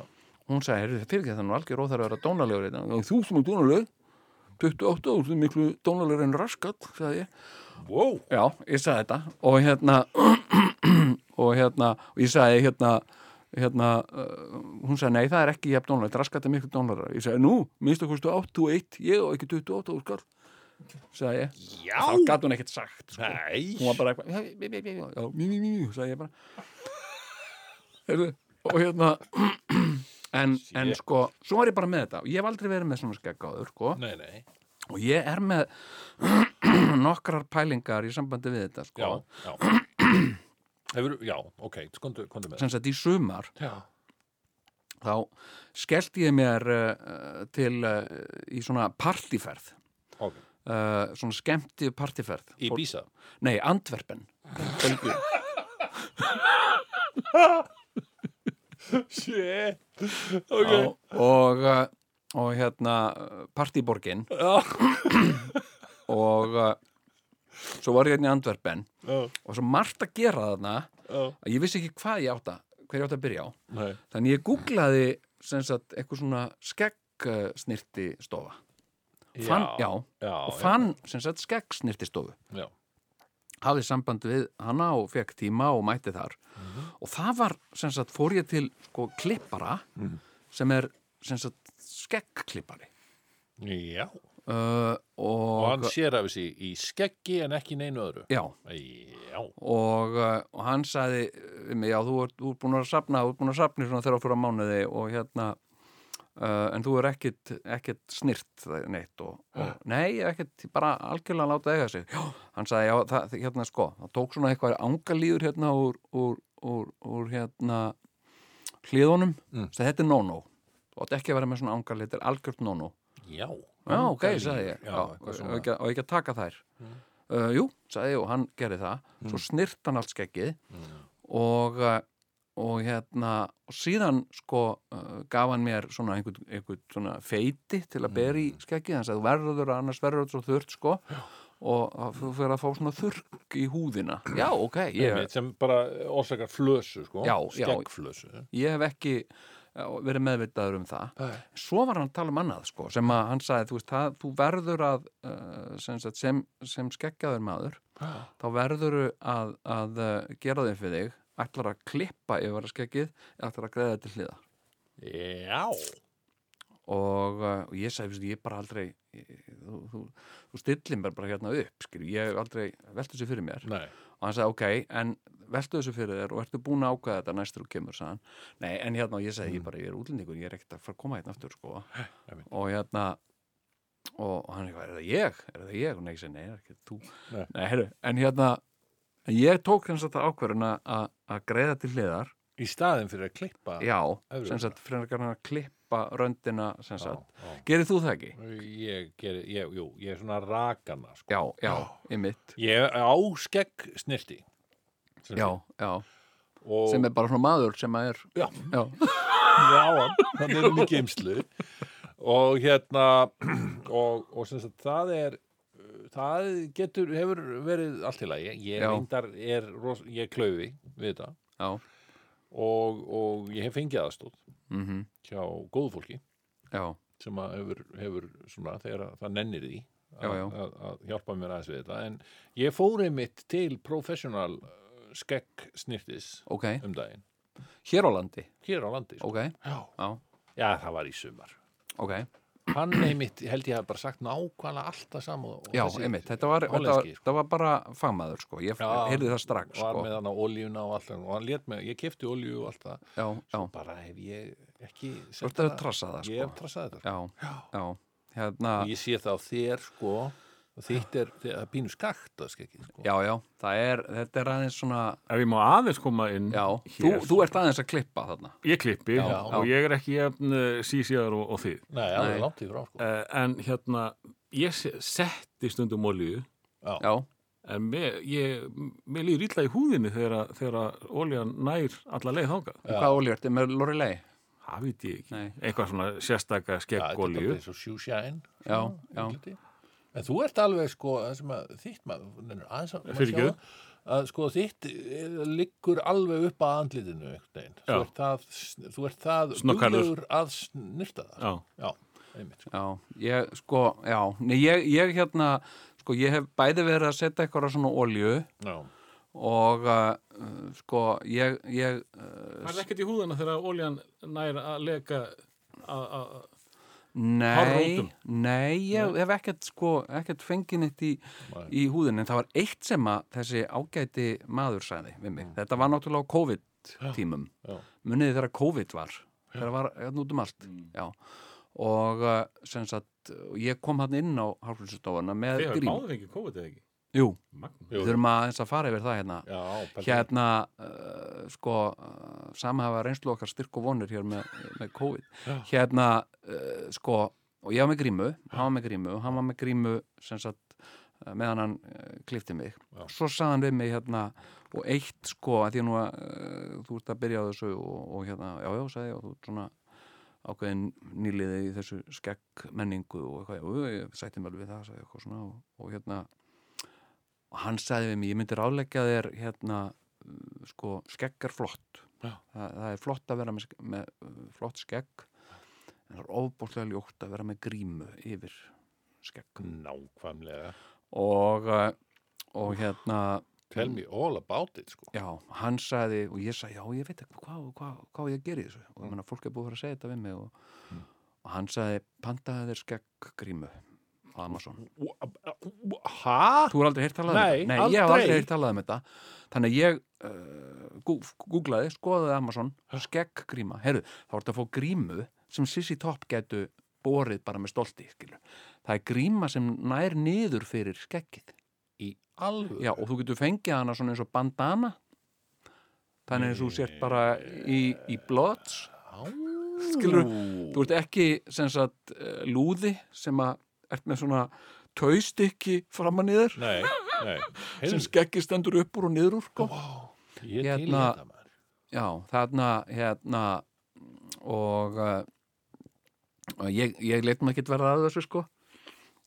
Speaker 5: hún sagði, heyrðu, það fyrir ekki það er nú algjör óþar að vera dónalegur hérna." í dag þú sem er dónalegur 28 ár, þú er miklu dónalegur en raskat sagði ég,
Speaker 2: Wow.
Speaker 5: já, ég sagði þetta og hérna og hérna, og ég sagði hérna hérna, uh, hún sagði nei, það er ekki jafn dónalegt, raskat er miklu dónalegur ég sagði, nú, minnst okkur stu 81 ég og ekki 28 ár skall sagði ég,
Speaker 2: Já.
Speaker 5: þá gat hún ekkert sagt sko.
Speaker 2: Nei.
Speaker 5: hún var bara eitthvað já, mjú, mjú, mjú, sagði ég bara Heyrðu, og hérna en, en sko, svo var ég bara með þetta og ég hef aldrei verið með svona skeggáður sko.
Speaker 2: Nei, nei.
Speaker 5: og ég er með nokkrar pælingar í sambandi við þetta
Speaker 2: Já,
Speaker 5: sko.
Speaker 2: já. Hefur, já, ok, kontu, kontu með.
Speaker 5: sem sagt í sumar
Speaker 2: Já.
Speaker 5: þá skellti ég mér uh, til uh, í svona partíferð
Speaker 2: Ok.
Speaker 5: uh, svona skemmti partíferð
Speaker 2: Í Bísa.
Speaker 5: nei, Antverpen Belgíu
Speaker 2: Shit.
Speaker 5: Já, og, uh, og hérna partíborgin og uh, svo var ég hérna í Andverpen
Speaker 2: Já.
Speaker 5: og svo margt að gera þarna
Speaker 2: Já.
Speaker 5: að ég vissi ekki hvað ég átta hver ég átta að byrja á
Speaker 2: Nei.
Speaker 5: þannig ég googlaði sem sagt eitthvað svona skeggsnirti stofa fann, já,
Speaker 2: Já,
Speaker 5: og fann sem sagt skeggsnirti stofu
Speaker 2: Já.
Speaker 5: hafði samband við hana og fekk tíma og mætti þar
Speaker 2: Mhm.
Speaker 5: og það var, sem sagt, fór ég til sko klippara
Speaker 2: Mhm.
Speaker 5: sem er, sem sagt, skeggklippari
Speaker 2: Já.
Speaker 5: uh, og,
Speaker 2: Og hann sér af þessi í skeggi en ekki neinu öðru.
Speaker 5: já,
Speaker 2: Já.
Speaker 5: og, uh, og hann sagði við mig, já, þú ert, þú ert búin að sapna þú ert búin að sapna í svona þegar á fyrir mánuði og hérna Uh, en þú er ekkit, ekkit snirt neitt og, og nei, ég er ekkit bara algjörlega að láta eiga sig já. hann sagði, já, það, hérna sko það tók svona eitthvað angalíður hérna úr, úr, úr, úr hérna hliðunum mm. þetta er no-no, þú átt ekki að vera með svona angalíð þetta er algjört no-no
Speaker 2: Já.
Speaker 5: Já, ok, sagði ég.
Speaker 2: Um Já,
Speaker 5: Já, og,
Speaker 2: eitthvað
Speaker 5: og,
Speaker 2: svona. Mm.
Speaker 5: ekki, að- og ekki að taka þær. Uh, jú, sagði ég og hann gerði það. Svo snirt hann allt skeggið
Speaker 2: Mm.
Speaker 5: og, uh, og hérna, og síðan sko uh, gaf hann mér svona einhvern, einhvern svona feiti til að bera í
Speaker 2: Mm.
Speaker 5: skeggið. Hann sagði "Þú verður að annars verður þetta svo þurrt sko og að þú fyrir að fá svona þurrk í húðina. Já, ok, ég,
Speaker 2: Einmitt, sem bara orsakar flösu, sko.
Speaker 5: Já, já.
Speaker 2: Skeggflösu.
Speaker 5: ég hef ekki uh, verið meðvitaður um það. svo var hann að tala um annað sko, sem að hann sagði, þú veist, það, þú verður að uh, sem, sagt, sem, sem skeggjaður maður
Speaker 2: Já.
Speaker 5: þá verður að, að uh, gera þeim fyrir þig ætlar að klippa yfir að skeggið ætlar að greiða til hliða
Speaker 2: Já.
Speaker 5: og, uh, og ég sagði, "Veistu, ég bara aldrei ég, þú, þú, þú stillir mér bara hérna upp skil, ég hef aldrei veltu þessu fyrir mér
Speaker 2: Nei.
Speaker 5: og hann sagði, ok, en veltu þessu fyrir þér og ertu búin að ákvæða þetta næstur og kemur sagði hann, nei, en hérna, og ég sagði, ég bara ég er útlendingur, ég er ekkert að fara að koma hérna aftur sko.
Speaker 2: Mm. einmitt.
Speaker 5: og hérna og, og hann eitthvað, er það ég? er það ég? og nei, ég segi, nei, það er ekki þú
Speaker 2: Nei.
Speaker 5: nei, heru, en hérna, en ég tók hans að það ákvörðuna að að greiða til hliðar
Speaker 2: í staðin fyrir að klippa
Speaker 5: já,
Speaker 2: öfru
Speaker 5: sem sagt, frekar hann að klippa röndina, sem
Speaker 2: Já, Mm.
Speaker 5: sagt
Speaker 2: já.
Speaker 5: gerir þú það ekki?
Speaker 2: ég geri, ég, jú, ég er svona rakana sko.
Speaker 5: Já, já, ymmit
Speaker 2: ég er áskegg snirti sem
Speaker 5: já,
Speaker 2: sagt.
Speaker 5: já,
Speaker 2: og
Speaker 5: sem er bara svona maður sem að er
Speaker 2: Já.
Speaker 5: já,
Speaker 2: Já, hann, hann er í geimslu og hérna og, og sem sagt það er uh, það getur, hefur verið allt í lagi, ég
Speaker 5: Já.
Speaker 2: reyndar er ros, ég er klaufi við þetta
Speaker 5: já,
Speaker 2: og, og ég hef fengið aðstóð
Speaker 5: mhm
Speaker 2: hjá góðu fólki
Speaker 5: já,
Speaker 2: sem að hefur, hefur svona þegar að það nennir því að,
Speaker 5: Já, já.
Speaker 2: Að, að hjálpa mér aðeins við þetta en ég fór einmitt til professional skekk snirtis
Speaker 5: ok,
Speaker 2: um daginn,
Speaker 5: hér á landi
Speaker 2: hér á landi sko.
Speaker 5: ok,
Speaker 2: já.
Speaker 5: já,
Speaker 2: já, það var í sumar
Speaker 5: ok
Speaker 2: hann einmitt, held ég hef bara sagt nákvæmlega alltaf saman og
Speaker 5: Já,
Speaker 2: þessi
Speaker 5: einmitt, þetta var, þetta, var,
Speaker 2: hollenski, sko.
Speaker 5: þetta var bara fagmaður, sko, ég já,
Speaker 2: Já,
Speaker 5: heyrði það strax,
Speaker 2: var
Speaker 5: sko
Speaker 2: með hann á oljuna og allt það, og hann lét með, ég kefti olju og allt það
Speaker 5: Já, já,
Speaker 2: bara hef ég ekki
Speaker 5: þú
Speaker 2: sett
Speaker 5: ert að trassa það,
Speaker 2: ég hef
Speaker 5: sko
Speaker 2: trassað þetta sko.
Speaker 5: Já, já, hérna
Speaker 2: og ég sé það á þér sko og þitt er, þið- það er pínu skakt að skekki sko.
Speaker 5: Já, já, það er, þetta er aðeins svona
Speaker 4: Ef ég má aðeins koma inn
Speaker 5: Já, þú,
Speaker 4: hér,
Speaker 5: þú ert aðeins að klippa þarna
Speaker 4: ég klippi og ég er ekki jafn uh, sísíðar og, og þið.
Speaker 2: nei, alveg langt í frá sko.
Speaker 4: Uh, en hérna, ég se- setti stundum olíu
Speaker 5: Já,
Speaker 4: en mér, ég, mér líður illa í húðinni þegar, að- þegar að olían nær alla leið þangað.
Speaker 5: já. hvað olíu ertu með Lorelei?
Speaker 4: Það veit ég ekki.
Speaker 5: Nei.
Speaker 4: Eitthvað svona sérstaka
Speaker 2: Já,
Speaker 4: skegg
Speaker 2: þetta er bara
Speaker 4: olíu.
Speaker 2: eins og shoe shine
Speaker 5: Já,
Speaker 2: svona,
Speaker 5: já.
Speaker 2: útliti. en þú ert alveg sko það sem að þitt maður nennir aðeins að- maður
Speaker 4: Fyrir
Speaker 2: sjá
Speaker 4: ekki.
Speaker 2: það, að sko þitt eh, liggur alveg upp að andlitinu einhvern veginn. þú
Speaker 4: Já.
Speaker 2: ert það, sn- þú ert það
Speaker 4: Snögghærður.
Speaker 2: duglegur að snirta það
Speaker 4: Já.
Speaker 2: já einmitt sko.
Speaker 5: Já, ég, sko, já, nei, ég, ég hérna, sko, ég hef bæði verið að setja eitthvað á svona olíu
Speaker 2: já.
Speaker 5: og, uh, sko, ég, ég, uh,
Speaker 4: Það er ekkert í húðina þegar olían nær að leka að... að-
Speaker 5: Nei,
Speaker 4: Hárrótum?
Speaker 5: nei, ég hef ekkert sko, ekkert fengið neitt í, í húðin en það var eitt sem að þessi ágæti maður sagði við mig. Þetta var náttúrulega á COVID-tímum.
Speaker 2: já.
Speaker 5: Muniði þegar COVID var. Þegar var hérna út um allt. Já. Og uh, sem sagt, og ég kom hann inn á hárflýsustofana með
Speaker 4: Þið hefur
Speaker 5: grím.
Speaker 4: báðið fengið COVID eða ekki?
Speaker 5: Jú,
Speaker 4: Magnum.
Speaker 5: við þurfum að, að fara yfir það hérna.
Speaker 2: já, pældi-
Speaker 5: Hérna, uh, sko, uh, samhafa reynslu okkar styrk og vonir hér með, með COVID hérna uh, sko og ég var með grímu, hann var með grímu og hann var með grímu sem sagt eh, meðan hann uh, klifti mig
Speaker 2: Já.
Speaker 5: svo sað hann við mig hérna og eitt sko að því að nú að uh, þú ert að byrja á þessu og, og hérna já já sagði ég og þú ert svona ákveðin nýliði í þessu skekk menningu og eitthvað, já, já, ég sætti mig alveg við það sagði ég eitthvað svona og, og hérna og hann sagði við mig, ég myndi ráleggja þér hérna, uh, sko, skegg er flott
Speaker 2: Já.
Speaker 5: Þa, það er flott að vera með, ske- með uh, flott skegg en það er ofbúrslega ljótt að vera með grímu yfir skegg
Speaker 2: Mm. nákvæmlega
Speaker 5: og, uh, og hérna
Speaker 2: tell me all about it sko
Speaker 5: já, hann sagði og ég sagði, já, ég veit ekki hvað hva, hva ég geri í þessu
Speaker 2: Mm.
Speaker 5: og ég meina, fólk er búið að fara að segja þetta við mig og, og hann sagði, pantaði þér skegg grímu á Amazon
Speaker 2: hæ?
Speaker 5: Þú er aldrei heyrt talað um
Speaker 2: Nei,
Speaker 5: þetta? Nei, ég hef
Speaker 2: aldrei.
Speaker 5: aldrei heyrt talað um þetta. Þannig að ég uh, gú- googlaði, skoðaði Amazon, skegg gríma. Herru, þá ertu að fá grímu sem Sissi Topp getu borið bara með stolti, skilur. Það er gríma sem nær niður fyrir skeggið.
Speaker 2: í alveg
Speaker 5: Já, og þú getur fengið hana svona eins og bandana. Þannig eins og þú sért bara í, í blots. Skilur, þú ert ekki sem sagt eh, lúði sem að ert með svona taustykki framan í þér
Speaker 2: nei, nei
Speaker 5: sem
Speaker 2: Heyrðu,
Speaker 5: skeggi stendur upp úr og niður úr sko.
Speaker 2: ég til í
Speaker 5: hérna-
Speaker 2: þetta maður
Speaker 5: Já, þarna hérna og uh, og ég, ég leitum ekki verða að þessu sko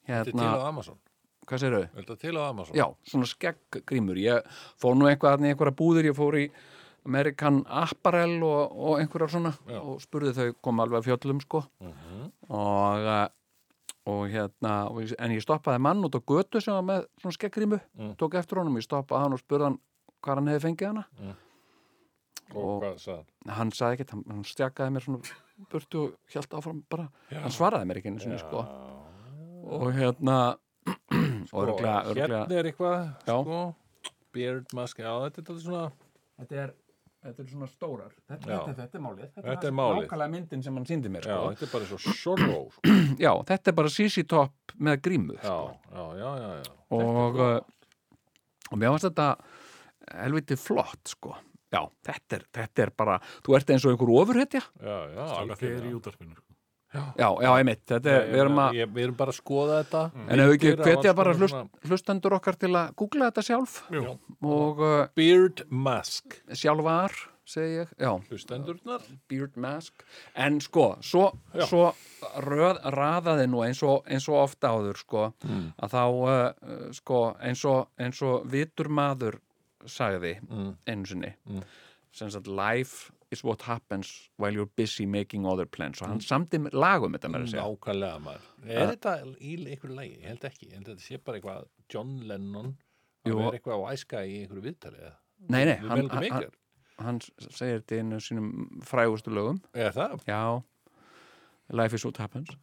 Speaker 2: þetta er til
Speaker 5: hérna,
Speaker 2: á Amazon
Speaker 5: hvað segir þau?
Speaker 2: þetta er til á Amazon
Speaker 5: Já, svona skegggrímur ég fór nú eitthvað þarna í einhverja búðir ég fór í American Apparel og, og einhverjar svona
Speaker 2: Já. Mhm.
Speaker 5: og spurði þau kom alveg að fjöllum sko og uh, og hérna, og ég- en ég stoppaði mann út á götu sem var með svona skeggrímu
Speaker 2: Mm.
Speaker 5: tók eftir honum, ég stoppaði hann og spurði hann hvað hann hefði fengið hana
Speaker 2: Mm. og hvað sagði hann?
Speaker 5: hann sagði ekkert, hann, hann stjakaði mér svona burtu og hjælt áfram bara hann svaraði mér ekki einu sinni sko og hérna og örglega,
Speaker 2: Og
Speaker 5: örglega
Speaker 2: Sko, Hérna er eitthvað,
Speaker 5: Já.
Speaker 2: sko, beard mask, já, þetta er þetta svona,
Speaker 5: þetta, er, þetta er svona stórar þetta,
Speaker 2: Já.
Speaker 5: þetta er málið þetta,
Speaker 2: Þetta er málið.
Speaker 5: nákvæmlega myndin sem hann síndi mér
Speaker 2: já,
Speaker 5: sko.
Speaker 2: þetta er bara svo sorrow, sko.
Speaker 5: já. þetta er bara sisi topp með grímu eh, sko.
Speaker 2: Já, já, já, já, já.
Speaker 5: og, og mér varst þetta helviti flott sko. já, já, þetta er, þetta er bara þú ert eins og einhver ofurhetja
Speaker 2: já, já,
Speaker 4: Alveg þegar í
Speaker 2: algjörlega.
Speaker 4: útarpinu. sko.
Speaker 5: já, já, einmitt, þetta er,
Speaker 2: Ég
Speaker 5: við erum
Speaker 2: meina,
Speaker 5: að
Speaker 2: ég- Við erum bara að Mm. skoða þetta
Speaker 5: en hefur ekki
Speaker 2: Myndir af
Speaker 5: hvetja
Speaker 2: alls
Speaker 5: bara
Speaker 2: konar
Speaker 5: hlust,
Speaker 2: svona-
Speaker 5: hlustendur okkar til að googla þetta sjálf
Speaker 4: Jú.
Speaker 5: og uh,
Speaker 2: Beard mask
Speaker 5: sjálfar segi ég, já,
Speaker 2: Hlustendurnar
Speaker 5: beard mask en sko, svo,
Speaker 2: Já.
Speaker 5: svo röð, raðaði nú eins og, eins og ofta áður sko, að þá uh, uh, sko, eins og, eins og vitur maður sagði einu sinni sem sagt life is what happens while you're busy making other plans og hann samdi lagum þetta með að segja
Speaker 2: Nákvæmlega maður Er þetta í einhverju lagi? Ég held ekki, ég held að þetta sé bara eitthvað John Lennon
Speaker 5: Jú.
Speaker 2: að vera eitthvað á æska í einhverju viðtali eða?
Speaker 5: nei, nei,
Speaker 2: Við
Speaker 5: hann,
Speaker 2: meldum
Speaker 5: hann, hann,
Speaker 2: ykkur.
Speaker 5: hann segir þetta í einu sínum frægustu lögum
Speaker 2: Er það?
Speaker 5: já, life is what happens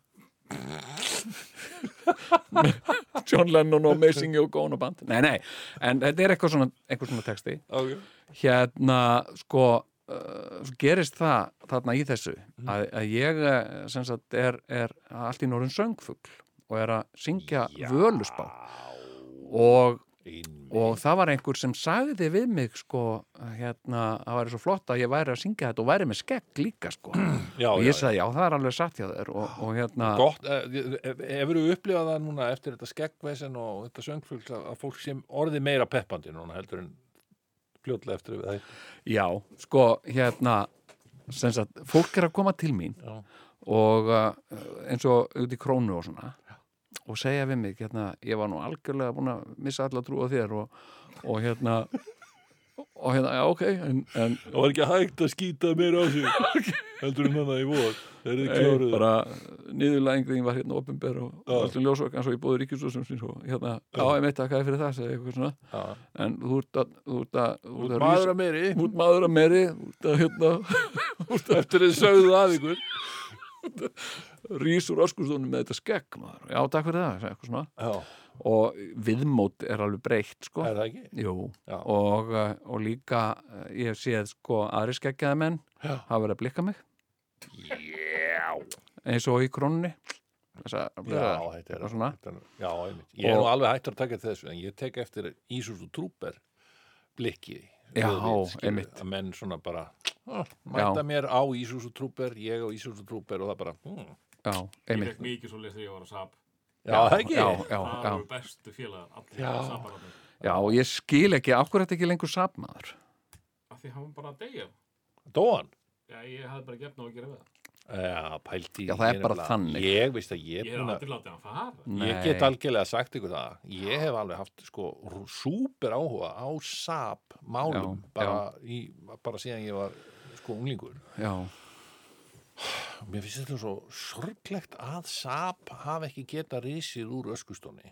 Speaker 5: John Lennon og Amazing Yoko Ono band nei, nei, en þetta er eitthvað svona, eitthvað svona texti
Speaker 2: Okay.
Speaker 5: hérna, sko uh, svo gerist það þarna í þessu að, að ég eh, sem sagt er, er allt í norðin söngfugl og er að syngja völusbá og og það var einhver sem sagði við mig sko, hérna, það væri svo flott að ég væri að syngja þetta og væri með skegg líka sko.
Speaker 2: Já,
Speaker 5: og
Speaker 2: já,
Speaker 5: ég sagði já, það er alveg satt hjá þér og, og hérna,
Speaker 2: Gott, eh, hefur þú upplifað það núna eftir þetta skeggvesen og þetta söngfugl að að fólk sem orðið meira peppandi núna heldur en fljótlega eftir við það
Speaker 5: já, sko hérna, sem sagt fólk er að koma til mín
Speaker 2: Já.
Speaker 5: og uh, eins og út í krónu og svona og segja við mig, hérna, ég var nú algjörlega búin að missa alla trú á þér og, og hérna og hérna, já, ok, en, en
Speaker 2: Það var ekki hægt að skýta meira á sig heldur en þannig í vor Það er þið
Speaker 5: Nei, bara niðurlæðingin var hérna opinber og
Speaker 2: Já.
Speaker 5: allir ljósvögg eins og ég búið ríkjusvössum og hérna, já, ég meitt að hvað er fyrir það segja eitthvað svona,
Speaker 2: Já.
Speaker 5: en þú ert að þú ert að, þú ert að
Speaker 2: Maður
Speaker 5: rísa-
Speaker 2: að meiri
Speaker 5: þú ert maður að meiri þú ert að hérna,
Speaker 2: eftir þið sögðu að ykkur
Speaker 5: rís úr öskustónum með þetta skegg maður, já, takk fyrir það, segja eitthvað svona
Speaker 2: Já,
Speaker 5: og viðmót er alveg breytt, sko
Speaker 2: er það ekki?
Speaker 5: Jú,
Speaker 2: Já.
Speaker 5: og, eh, og líka eh, ég hef séð sko aðri skeggjaða menn
Speaker 2: Já.
Speaker 5: hafa verið að blikka mig Já eins og í krónni Já,
Speaker 2: Já, þetta er
Speaker 5: og svona.
Speaker 2: þetta er- Já, einmitt. Ég er
Speaker 5: Og-
Speaker 2: nú alveg hættur að taka eftir þessu en ég tek eftir Ísus og Trúber blikki.
Speaker 5: Já,
Speaker 2: Auðvitað, skilur,
Speaker 5: einmitt.
Speaker 2: Að menn svona bara ah, mæta mér á Ísus og Trúber, ég á Ísus og Trúber og það bara, hmm.
Speaker 5: Já,
Speaker 4: Ég
Speaker 5: einmitt
Speaker 4: fekk mikið svo leið þegar ég var að sap.
Speaker 2: Já, það ekki?
Speaker 5: Já, já,
Speaker 4: Það
Speaker 5: já,
Speaker 4: eru bestu félagar, allir sapararnir.
Speaker 5: já, og ég skil ekki, af hverju þetta ekki lengur sapmaður
Speaker 4: Af Því hafa bara að deyja.
Speaker 2: Dóan?
Speaker 4: Já, ég hafði bara gefna á að gera við það.
Speaker 2: Já, pældi.
Speaker 5: Já, það er
Speaker 2: ég
Speaker 5: bara
Speaker 2: nefnilega-
Speaker 5: þannig.
Speaker 2: Ég veist að ég,
Speaker 4: Ég
Speaker 2: ég,
Speaker 4: hef
Speaker 2: búna,
Speaker 4: aldrei látið hann fara.
Speaker 2: ég get algjörlega sagt ykkur það. Ég hef alveg haft sko rú- súper áhuga á sap málum
Speaker 5: Já,
Speaker 2: bara, í, bara síðan ég var sko unglingur.
Speaker 5: Já,
Speaker 2: Mér finnst þetta svo sorglegt að SAP hafi ekki geta risið úr öskustóni.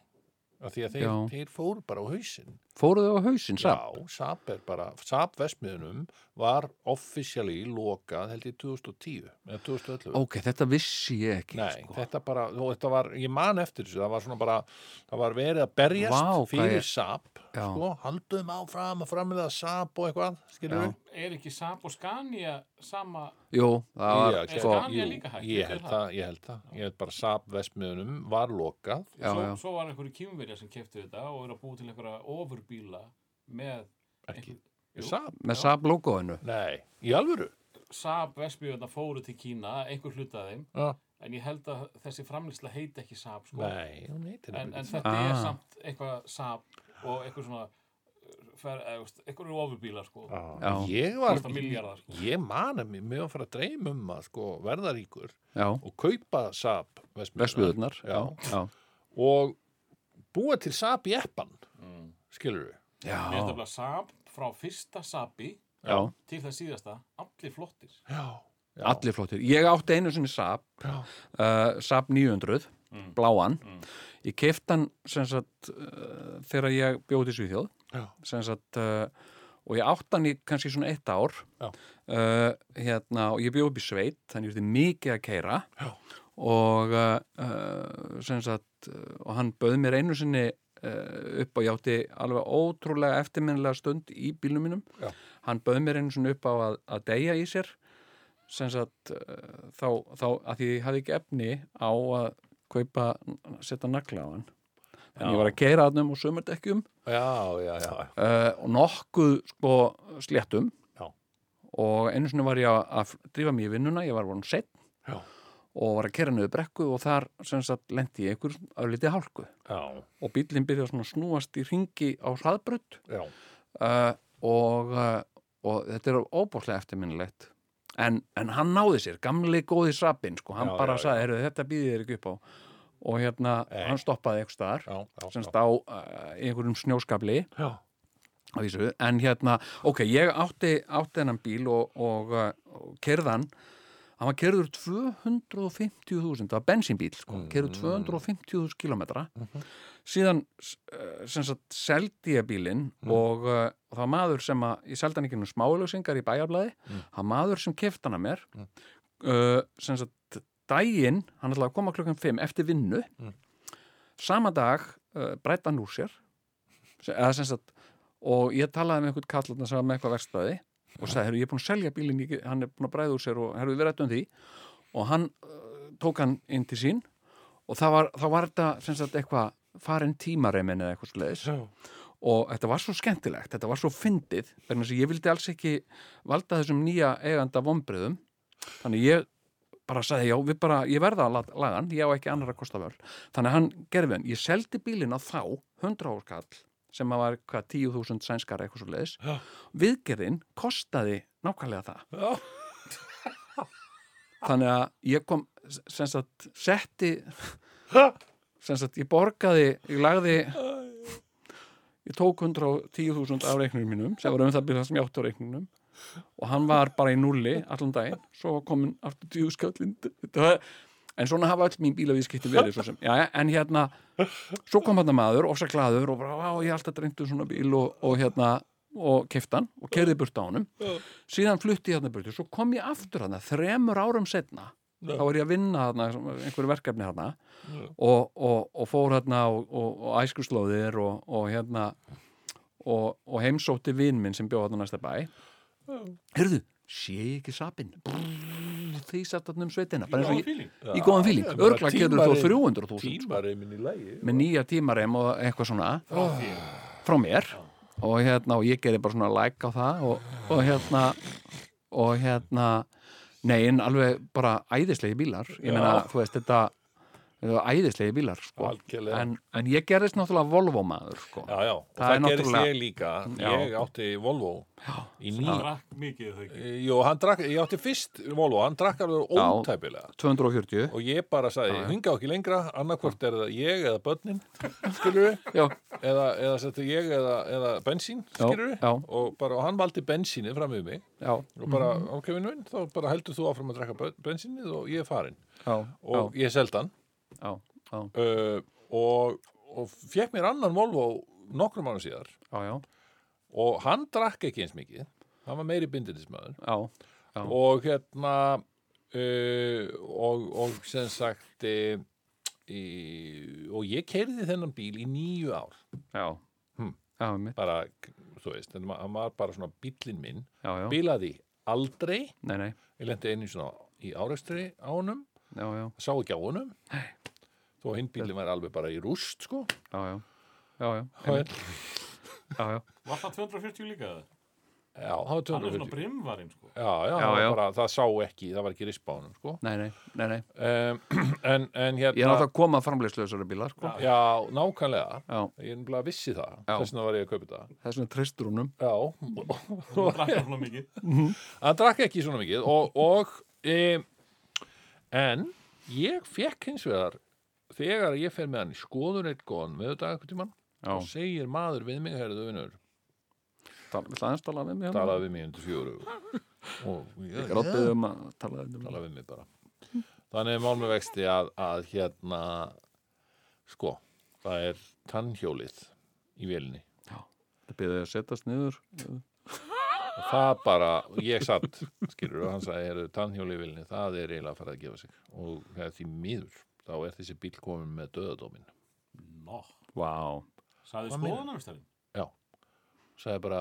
Speaker 2: Af því að þeir,
Speaker 5: Já.
Speaker 2: þeir fóru bara á hausinn.
Speaker 5: fóruðu á hausinn sap?
Speaker 2: Já, SAP er bara, SAP Vestmiðunum var offisjali lokað held ég 2010 eða 2011.
Speaker 5: Ok, þetta vissi ég ekki
Speaker 2: Nei,
Speaker 5: sko.
Speaker 2: þetta bara, og þetta var, ég man eftir þessu, það var svona bara, það var verið að berjast
Speaker 5: Vá, hvað
Speaker 2: fyrir
Speaker 5: ég-
Speaker 2: ég... SAP,
Speaker 5: Já.
Speaker 2: sko, haldum áfram að framlega SAP og eitthvað, skiljum
Speaker 5: Já.
Speaker 2: við?
Speaker 4: Er ekki sap og skania sama...
Speaker 5: Jú, það var
Speaker 2: Já,
Speaker 5: sko,
Speaker 4: Skania
Speaker 2: jú,
Speaker 4: líka hætt,
Speaker 2: ég
Speaker 4: getur
Speaker 2: held
Speaker 4: það?
Speaker 2: það, ég held það, ég held bara SAP Vestmiðunum var lokað
Speaker 5: Já,
Speaker 4: svo,
Speaker 5: já.
Speaker 4: svo var einhverju kýmverja sem kefti þetta og er að búi til einhverja ofurbíla með
Speaker 2: Ekki.
Speaker 4: einhver- Jú.
Speaker 2: SAP?
Speaker 5: með sap logoinu
Speaker 2: Nei, í alvöru?
Speaker 4: Saab Vestbjörna fóru til Kína, einhver hluta af þeim
Speaker 2: Já.
Speaker 4: en ég held að þessi framlýsla heiti ekki Saab sko.
Speaker 2: Nei, hún heitir
Speaker 4: en, en
Speaker 2: nefnilega
Speaker 4: þetta
Speaker 5: Ah.
Speaker 4: er samt eitthvað Saab og eitthvað svona uh, fer, eða, þú veist, eitthvað eru ofurbílar sko.
Speaker 2: Já.
Speaker 5: Já.
Speaker 2: Ég var,
Speaker 4: Kosta milljarðar, sko.
Speaker 2: ég man að mér, mér var að fara að dreyma um að sko verða ríkur
Speaker 5: Já,
Speaker 2: og kaupa Saab
Speaker 5: vesmiðurnar Já,
Speaker 2: Já.
Speaker 5: já,
Speaker 2: og búa til Saab jeppan,
Speaker 4: Mm.
Speaker 2: skilur við.
Speaker 4: Mér er
Speaker 5: já,
Speaker 4: þetta Saab frá fyrsta Saabi
Speaker 5: já.
Speaker 4: til það síðasta, allir flottir
Speaker 2: Já. Já.
Speaker 5: Allir flottir. Ég átti einu sinni Saab, uh, Saab 900, bláan. Ég keft hann sem sagt uh, þegar ég bjóði Svíþjóð
Speaker 2: Já.
Speaker 5: sem sagt uh, og ég átti hann í kannski svona eitt ár
Speaker 2: Já.
Speaker 5: uh, hérna og ég bjóði upp í sveit þannig ég þurfti mikið að keira
Speaker 2: Já.
Speaker 5: og uh, uh, sem sagt uh, og hann bauð mér einu sinni uh, upp og ég átti alveg ótrúlega eftirminnilega stund í bílnum mínum
Speaker 2: Já.
Speaker 5: hann bauð mér einu sinni upp á að, að deyja í sér sem sagt uh, þá, þá að því ég hafði ekki efni á að kaupa setja nagla á hann en ég var að keira hann um og sömurdekkjum
Speaker 2: Já, já, já.
Speaker 5: uh, og nokkuð sko sléttum
Speaker 2: Já.
Speaker 5: og einu sinni var ég að- að drífa mér í vinnuna, ég var vonum sett
Speaker 2: Já.
Speaker 5: og var að kera niður brekku og þar sem sagt lendi ég einhver örlítið hálku
Speaker 2: já,
Speaker 5: og bíllinn byrjaði svona að snúast í ringi á hraðbrödd
Speaker 2: já,
Speaker 5: uh, og, uh, og þetta er óbúslega eftirminnilegt en, en hann náði sér, gamli góði sapin sko, hann
Speaker 2: Já,
Speaker 5: bara
Speaker 2: já,
Speaker 5: sagði, heyrðu, þetta býði þér ekki upp á og hérna,
Speaker 2: Nei.
Speaker 5: hann stoppaði eitthvað staðar
Speaker 2: já, já,
Speaker 5: sem
Speaker 2: já.
Speaker 5: stá uh, í einhverjum snjóskabli
Speaker 2: Já,
Speaker 5: á vísu, en hérna, ok, ég átti átti hennan bíl og, og, uh, og kerðan, hann var kerður 250.000, það var bensínbíl sko, mm. Mhm. kerður 250.000 kilometra síðan s- eh, sem sagt, seldi ég bílinn og uh, það var maður sem að, ég seldi hann ekki nú smálösingar í bæjarblæði, það var maður sem kefti hann að mér mm. sem sagt, daginn, hann ætlaði að koma klukkan 5 eftir vinnu
Speaker 2: Mm.
Speaker 5: sama dag uh, breyta hann úr sér sem, eða sem sagt og ég talaði með einhvern kallarna sem var með eitthvað verstaði og sagði, herru, ég er búin að selja bílinn ég, hann er búin að bræða úr sér og herru, við rættum því og hann uh, tók hann inn til sín og það var, þá var þetta sem sagt eitthvað farin tímareimin eða eitthvað svoleiðis
Speaker 2: já,
Speaker 5: og þetta var svo skemmtilegt, þetta var svo fyndið vegna þess að ég vildi alls ekki valda þessum nýja eiganda vombriðum þannig ég bara sagði já, við bara, ég verða að lat- laga hann ég á ekki annar að kosta vörl þannig að hann gerði hann, ég seldi bílinn á þá 100 áskall sem að var hvað 10.000 sænskara eitthvað svo leiðis
Speaker 2: Já.
Speaker 5: viðgerðin kostaði nákvæmlega það
Speaker 2: já,
Speaker 5: þannig að ég kom s- sem sagt, setti
Speaker 2: Ha?
Speaker 5: sem sagt, ég borgaði ég lagði ég tók 110.000 af reiknum mínum sem var um það byrjað sem ég átti á reiknum og hann var bara í nulli allan daginn, svo var komin aftur 20 skallin þetta var En svona hafa öll mín bílavískipti verið svo sem. Já, en hérna, svo kom hann maður, ofsa glaður og bara, á, ég er alltaf dreymdu svona bíl og, og hérna, og kefti hann og kerði burt á honum. Síðan flutti ég hérna burtu, svo kom ég aftur hérna, þremur árum setna,
Speaker 2: Já.
Speaker 5: þá var ég að vinna hérna, einhverju verkefni hérna og, og, og fór hérna og, og, og æskuslóðir og, og hérna, og, og heimsótti vin minn sem bjóð hérna næsta bæ. Herðu, sé ég ekki sapinn? Því satt hérna um sveitina, bara eins og ég
Speaker 2: já.
Speaker 5: í góðan fíling. Örgla gerður þú 300.000 sko,
Speaker 2: Tímareimin í lægi
Speaker 5: með nýja tímareim og eitthvað svona frá mér og hérna og ég gerði bara svona like á það og, og hérna og hérna nei en alveg bara æðislegi bílar ég meina þú veist þetta þetta var æðislegi bílar sko
Speaker 2: Algjörlega.
Speaker 5: en, en ég gerðist náttúrulega Volvo maður sko
Speaker 2: Já, já, og
Speaker 5: Það
Speaker 2: það,
Speaker 5: er
Speaker 2: gerist
Speaker 5: náttúrulega-
Speaker 2: ég líka
Speaker 5: Já.
Speaker 2: Ég átti Volvo já, í ný
Speaker 4: drakk mikið þau ekki.
Speaker 2: Jó, hann drakk, ég átti fyrst Volvo, hann drakk alveg
Speaker 5: Já.
Speaker 2: ótæpilega
Speaker 5: 240
Speaker 2: og ég bara sagði, hingað ekki lengra annarkvort er það ég eða börnin skilur við,
Speaker 5: já,
Speaker 2: eða, eða settu ég eða, eða bensín,
Speaker 5: Já,
Speaker 2: skilur við
Speaker 5: já. Mhm.
Speaker 2: og bara, og hann valdi bensínið fram við mig
Speaker 5: já,
Speaker 2: og bara, ok, vinn minn, þá bara heldur þú áfram að drakka bö- bensínið og ég er farin
Speaker 5: já,
Speaker 2: og
Speaker 5: já,
Speaker 2: ég seldi hann
Speaker 5: já, já,
Speaker 2: uh, og, og fekk mér annan Volvo nokkrum ánum síðar
Speaker 5: já, já,
Speaker 2: og hann drakk ekki eins mikið hann var meiri bindindismöður
Speaker 5: já, Já.
Speaker 2: og hérna uh, og, og sem sagt uh, í, og ég keiriði þennan bíl í nýju ár
Speaker 5: já,
Speaker 2: Hmm.
Speaker 5: já, einmitt,
Speaker 2: bara, þú veist, en hann var bara svona bílinn minn,
Speaker 5: já, já,
Speaker 2: bílaði aldrei
Speaker 5: nei, nei,
Speaker 2: ég lendi einu svona í árekstri ánum
Speaker 5: já, já,
Speaker 2: sá ekki á honum þó að hinn bílinn væri alveg bara í rúst sko
Speaker 5: já, já, já, já,
Speaker 2: já,
Speaker 5: já, já.
Speaker 4: Var það 240 líka það?
Speaker 2: það var
Speaker 4: Hann er svona
Speaker 2: 240
Speaker 4: brimvarinn sko.
Speaker 2: já, já,
Speaker 5: Já,
Speaker 2: já, já.
Speaker 5: já.
Speaker 2: Bara, það sá ekki, það var ekki rispa á honum sko
Speaker 5: Nei, nei, nei, nei.
Speaker 2: um, en, en hérna
Speaker 5: Ég er náttúrulega að koma að framleiðslu þessari bílar, sko. Já,
Speaker 2: Já, nákvæmlega.
Speaker 5: já.
Speaker 2: Ég er nefnilega vissi það.
Speaker 5: Já.
Speaker 2: Þess vegna var ég að kaupa það.
Speaker 5: það er svona tristrúnum.
Speaker 2: Já.
Speaker 4: Hann drakk hann svona mikið.
Speaker 2: Hann drakk ekki svona mikið og, og e, en ég fekk hins vegar þegar ég fer með hann í skoðun eitt góðan með þetta eitthvað tímann
Speaker 5: Já,
Speaker 2: og segir maður við mig, herðu vinnur,
Speaker 5: Tal- vill aðeins tala við mig?
Speaker 2: talaði við mig undir fjóru og ég
Speaker 5: hérna. Ég ráttið um að tala við mig.
Speaker 2: tala við mig bara. Þannig er mál með vexti að, að hérna sko, það er tannhjólið í velinni
Speaker 5: Það byrði að setjast niður.
Speaker 2: og það bara, ég satt skilur og hann sagði, er tannhjóli vilni það er eiginlega að fara að gefa sig og það er því miður, þá er þessi bíl komin með döðadómin,
Speaker 4: Nó.
Speaker 5: Vá.
Speaker 4: Saði
Speaker 2: Hvað meinar?
Speaker 4: skoðanarvistarinn.
Speaker 2: sagði bara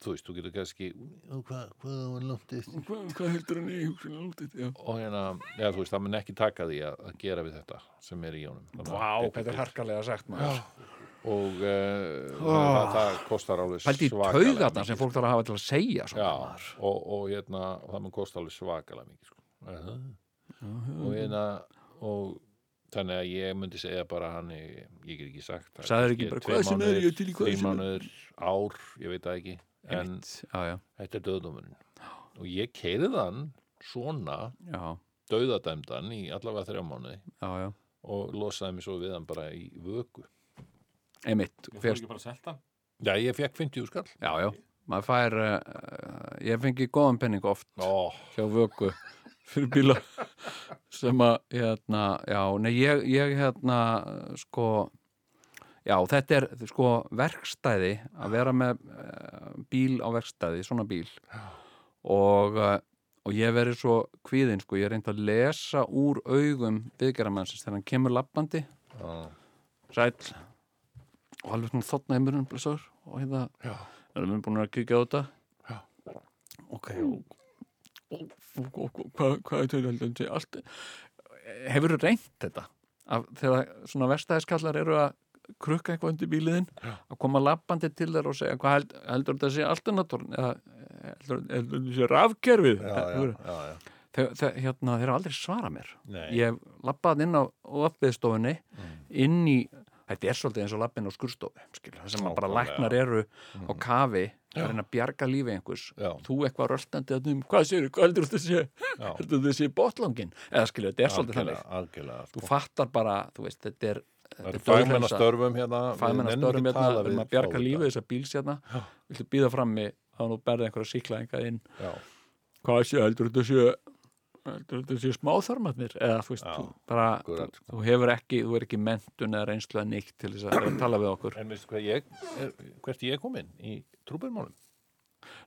Speaker 2: þú veist, þú getur kannski og hvað, hvað var lóttið
Speaker 5: Hva, hvað heldur hann í hugsunum lútið? Já.
Speaker 2: og hérna, já þú veist, það mun ekki taka því að, að gera við þetta sem er í honum Þannig að-
Speaker 5: harkalega sagt, maður.
Speaker 2: og, og uh, það, það kostar alveg
Speaker 5: Pældi í
Speaker 2: svakalega
Speaker 5: taugarnar
Speaker 2: mikið.
Speaker 5: sem fólk þarf að hafa til að segja svona
Speaker 2: Já,
Speaker 5: maður.
Speaker 2: og, og hérna, og það mun kosta alveg svakalega mikið sko. og hérna og þannig að ég myndi segja bara hann, ég, ég get ekki sagt það
Speaker 5: Sagðirðu ekki
Speaker 2: Ég-
Speaker 5: bara,
Speaker 2: tveir
Speaker 5: hvað sem er,
Speaker 2: mánuðir,
Speaker 5: ég er til í hvað
Speaker 2: þrír
Speaker 5: sem er.
Speaker 2: mánuðir, ár, ég veit það ekki en
Speaker 5: Einmitt. já, já,
Speaker 2: þetta er döðdómurinn og ég keirði hann svona
Speaker 5: já,
Speaker 2: döðadæmdan í allavega þrjá mánuði
Speaker 5: já, já.
Speaker 2: og losaði mig svo við hann bara í vöku
Speaker 5: Einmitt,
Speaker 4: Ég fór
Speaker 5: fyrst,
Speaker 4: ekki bara að selta.
Speaker 2: Já, ég fekk 50 skall
Speaker 5: já, já maður fær, uh, ég fengi góðan penning oft
Speaker 2: Ó,
Speaker 5: hjá vöku fyrir bíla sem að, hérna, já, nei, ég, ég hérna, sko já, þetta er, sko, verkstæði að vera með uh, bíl á verkstæði, svona bíl og, uh, og ég verið svo kvíðinn, sko, ég reyndi að lesa úr augum viðgerðamannsins þegar hann kemur lappandi
Speaker 2: Já.
Speaker 5: sæll og alveg svona þotna heimurinn blessaður og hérna,
Speaker 2: Já.
Speaker 5: erum við búin að kíkja á þetta já. ok og, og, og, og hvað, hvað er tölvöldandi allt hefur þú reynt þetta að þegar svona verstaðiskallar eru að krukka eitthvað undir bíliðin já. að koma lappandi til þær og segja hvað held, heldur þetta sé alternatorn eða heldur heldur þetta sé rafkerfið
Speaker 2: já, já, já, já.
Speaker 5: þeir, þeir, hérna, þeir eru aldrei svara mér
Speaker 2: Nei. Mm.
Speaker 5: ég lappaði inn á uppiðstofunni inn í, þetta er svolítið eins og lappin á skurstofu, skil, það sem bara
Speaker 2: Nákvæmlega. Mm.
Speaker 5: læknar eru á kafi að reyna að bjarga lífi einhvers
Speaker 2: Já.
Speaker 5: þú eitthvað röltandi að um, hvað séu, hvað heldur þetta sé
Speaker 2: Já.
Speaker 5: heldur þetta sé botlangin eða skilja, þetta er svolítið
Speaker 2: Algjörlega,
Speaker 5: þannig
Speaker 2: algjörlega sko.
Speaker 5: þú fattar bara, þú veist, þetta er
Speaker 2: Það
Speaker 5: þetta
Speaker 2: eru
Speaker 5: er
Speaker 2: fagmenn að
Speaker 5: dauðhreinsa-
Speaker 2: störfum hérna við
Speaker 5: fagmenn að
Speaker 2: nennum
Speaker 5: störum
Speaker 2: ekki
Speaker 5: hérna,
Speaker 2: tala
Speaker 5: við erum að
Speaker 2: við
Speaker 5: bjarga
Speaker 2: fólk.
Speaker 5: lífi þessar bíls hérna, viltu býða frammi að nú berði einhverja síklaðinga inn
Speaker 2: Já,
Speaker 5: hvað sé, heldur þetta sé heldur þetta sé smáþarmarnir eða þú veist,
Speaker 2: Já,
Speaker 5: þú, bara,
Speaker 2: akkurat,
Speaker 5: þú, þú hefur ekki þú er ekki mentun eða reynslu að nýtt til þess að reyna að tala við okkur.
Speaker 2: en veistu hvað ég er, hvert ég kom inn í trúbjörnmálum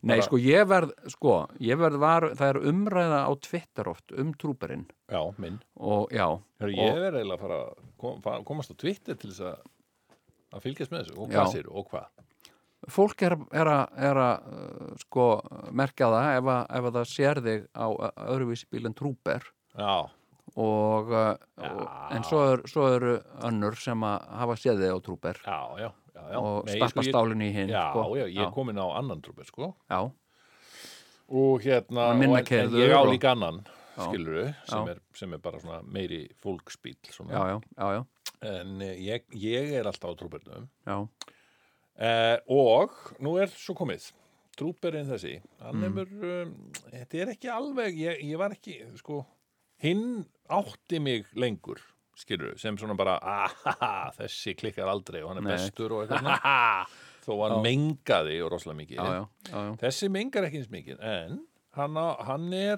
Speaker 5: Nei, sko, ég verð, sko, ég verð var, það er umræða á Twitter oft um trúberinn
Speaker 2: Já, minn
Speaker 5: og já, og,
Speaker 2: Hörru, Ég er eiginlega að fara að kom, fara- komast á Twitter til þess að að fylgjast með þessu
Speaker 5: Já.
Speaker 2: og hvað sér og hvað
Speaker 5: fólk er, er að, er að uh, sko, merkja það ef að, ef að það sér þig á ö- öðruvísi bíl en trúber
Speaker 2: Já,
Speaker 5: og, uh, og en svo, er, svo eru önnur sem að hafa séð þig á trúber
Speaker 2: já, já, já, já.
Speaker 5: og
Speaker 2: Nei,
Speaker 5: stappa
Speaker 2: sko, ég-
Speaker 5: stálinu í hinn
Speaker 2: Já,
Speaker 5: sko.
Speaker 2: já, ég er komin á annan trúbjörn sko
Speaker 5: já,
Speaker 2: og hérna
Speaker 5: Svona minna
Speaker 2: og en, en
Speaker 5: keyrður
Speaker 2: ég á
Speaker 5: og-
Speaker 2: líka annan skiluru sem
Speaker 5: Já.
Speaker 2: er, sem er bara svona meiri fólksbíl svona.
Speaker 5: já, já, já, já.
Speaker 2: en eh, ég, ég er alltaf á trúbjörnum
Speaker 5: Já,
Speaker 2: Eh, og nú er svo komið trúperinn þessi hann
Speaker 5: Mm.
Speaker 2: hefur, um, þetta er ekki alveg ég, ég var ekki, sko hinn átti mig lengur skilur, sem svona bara ahaha, þessi klikkar aldrei og hann er
Speaker 5: Nei.
Speaker 2: bestur og eitthvað svona. þó hann mengaði og rosalega mikið
Speaker 5: já, já, já, já.
Speaker 2: þessi mengar ekki eins mikið en hann, á, hann er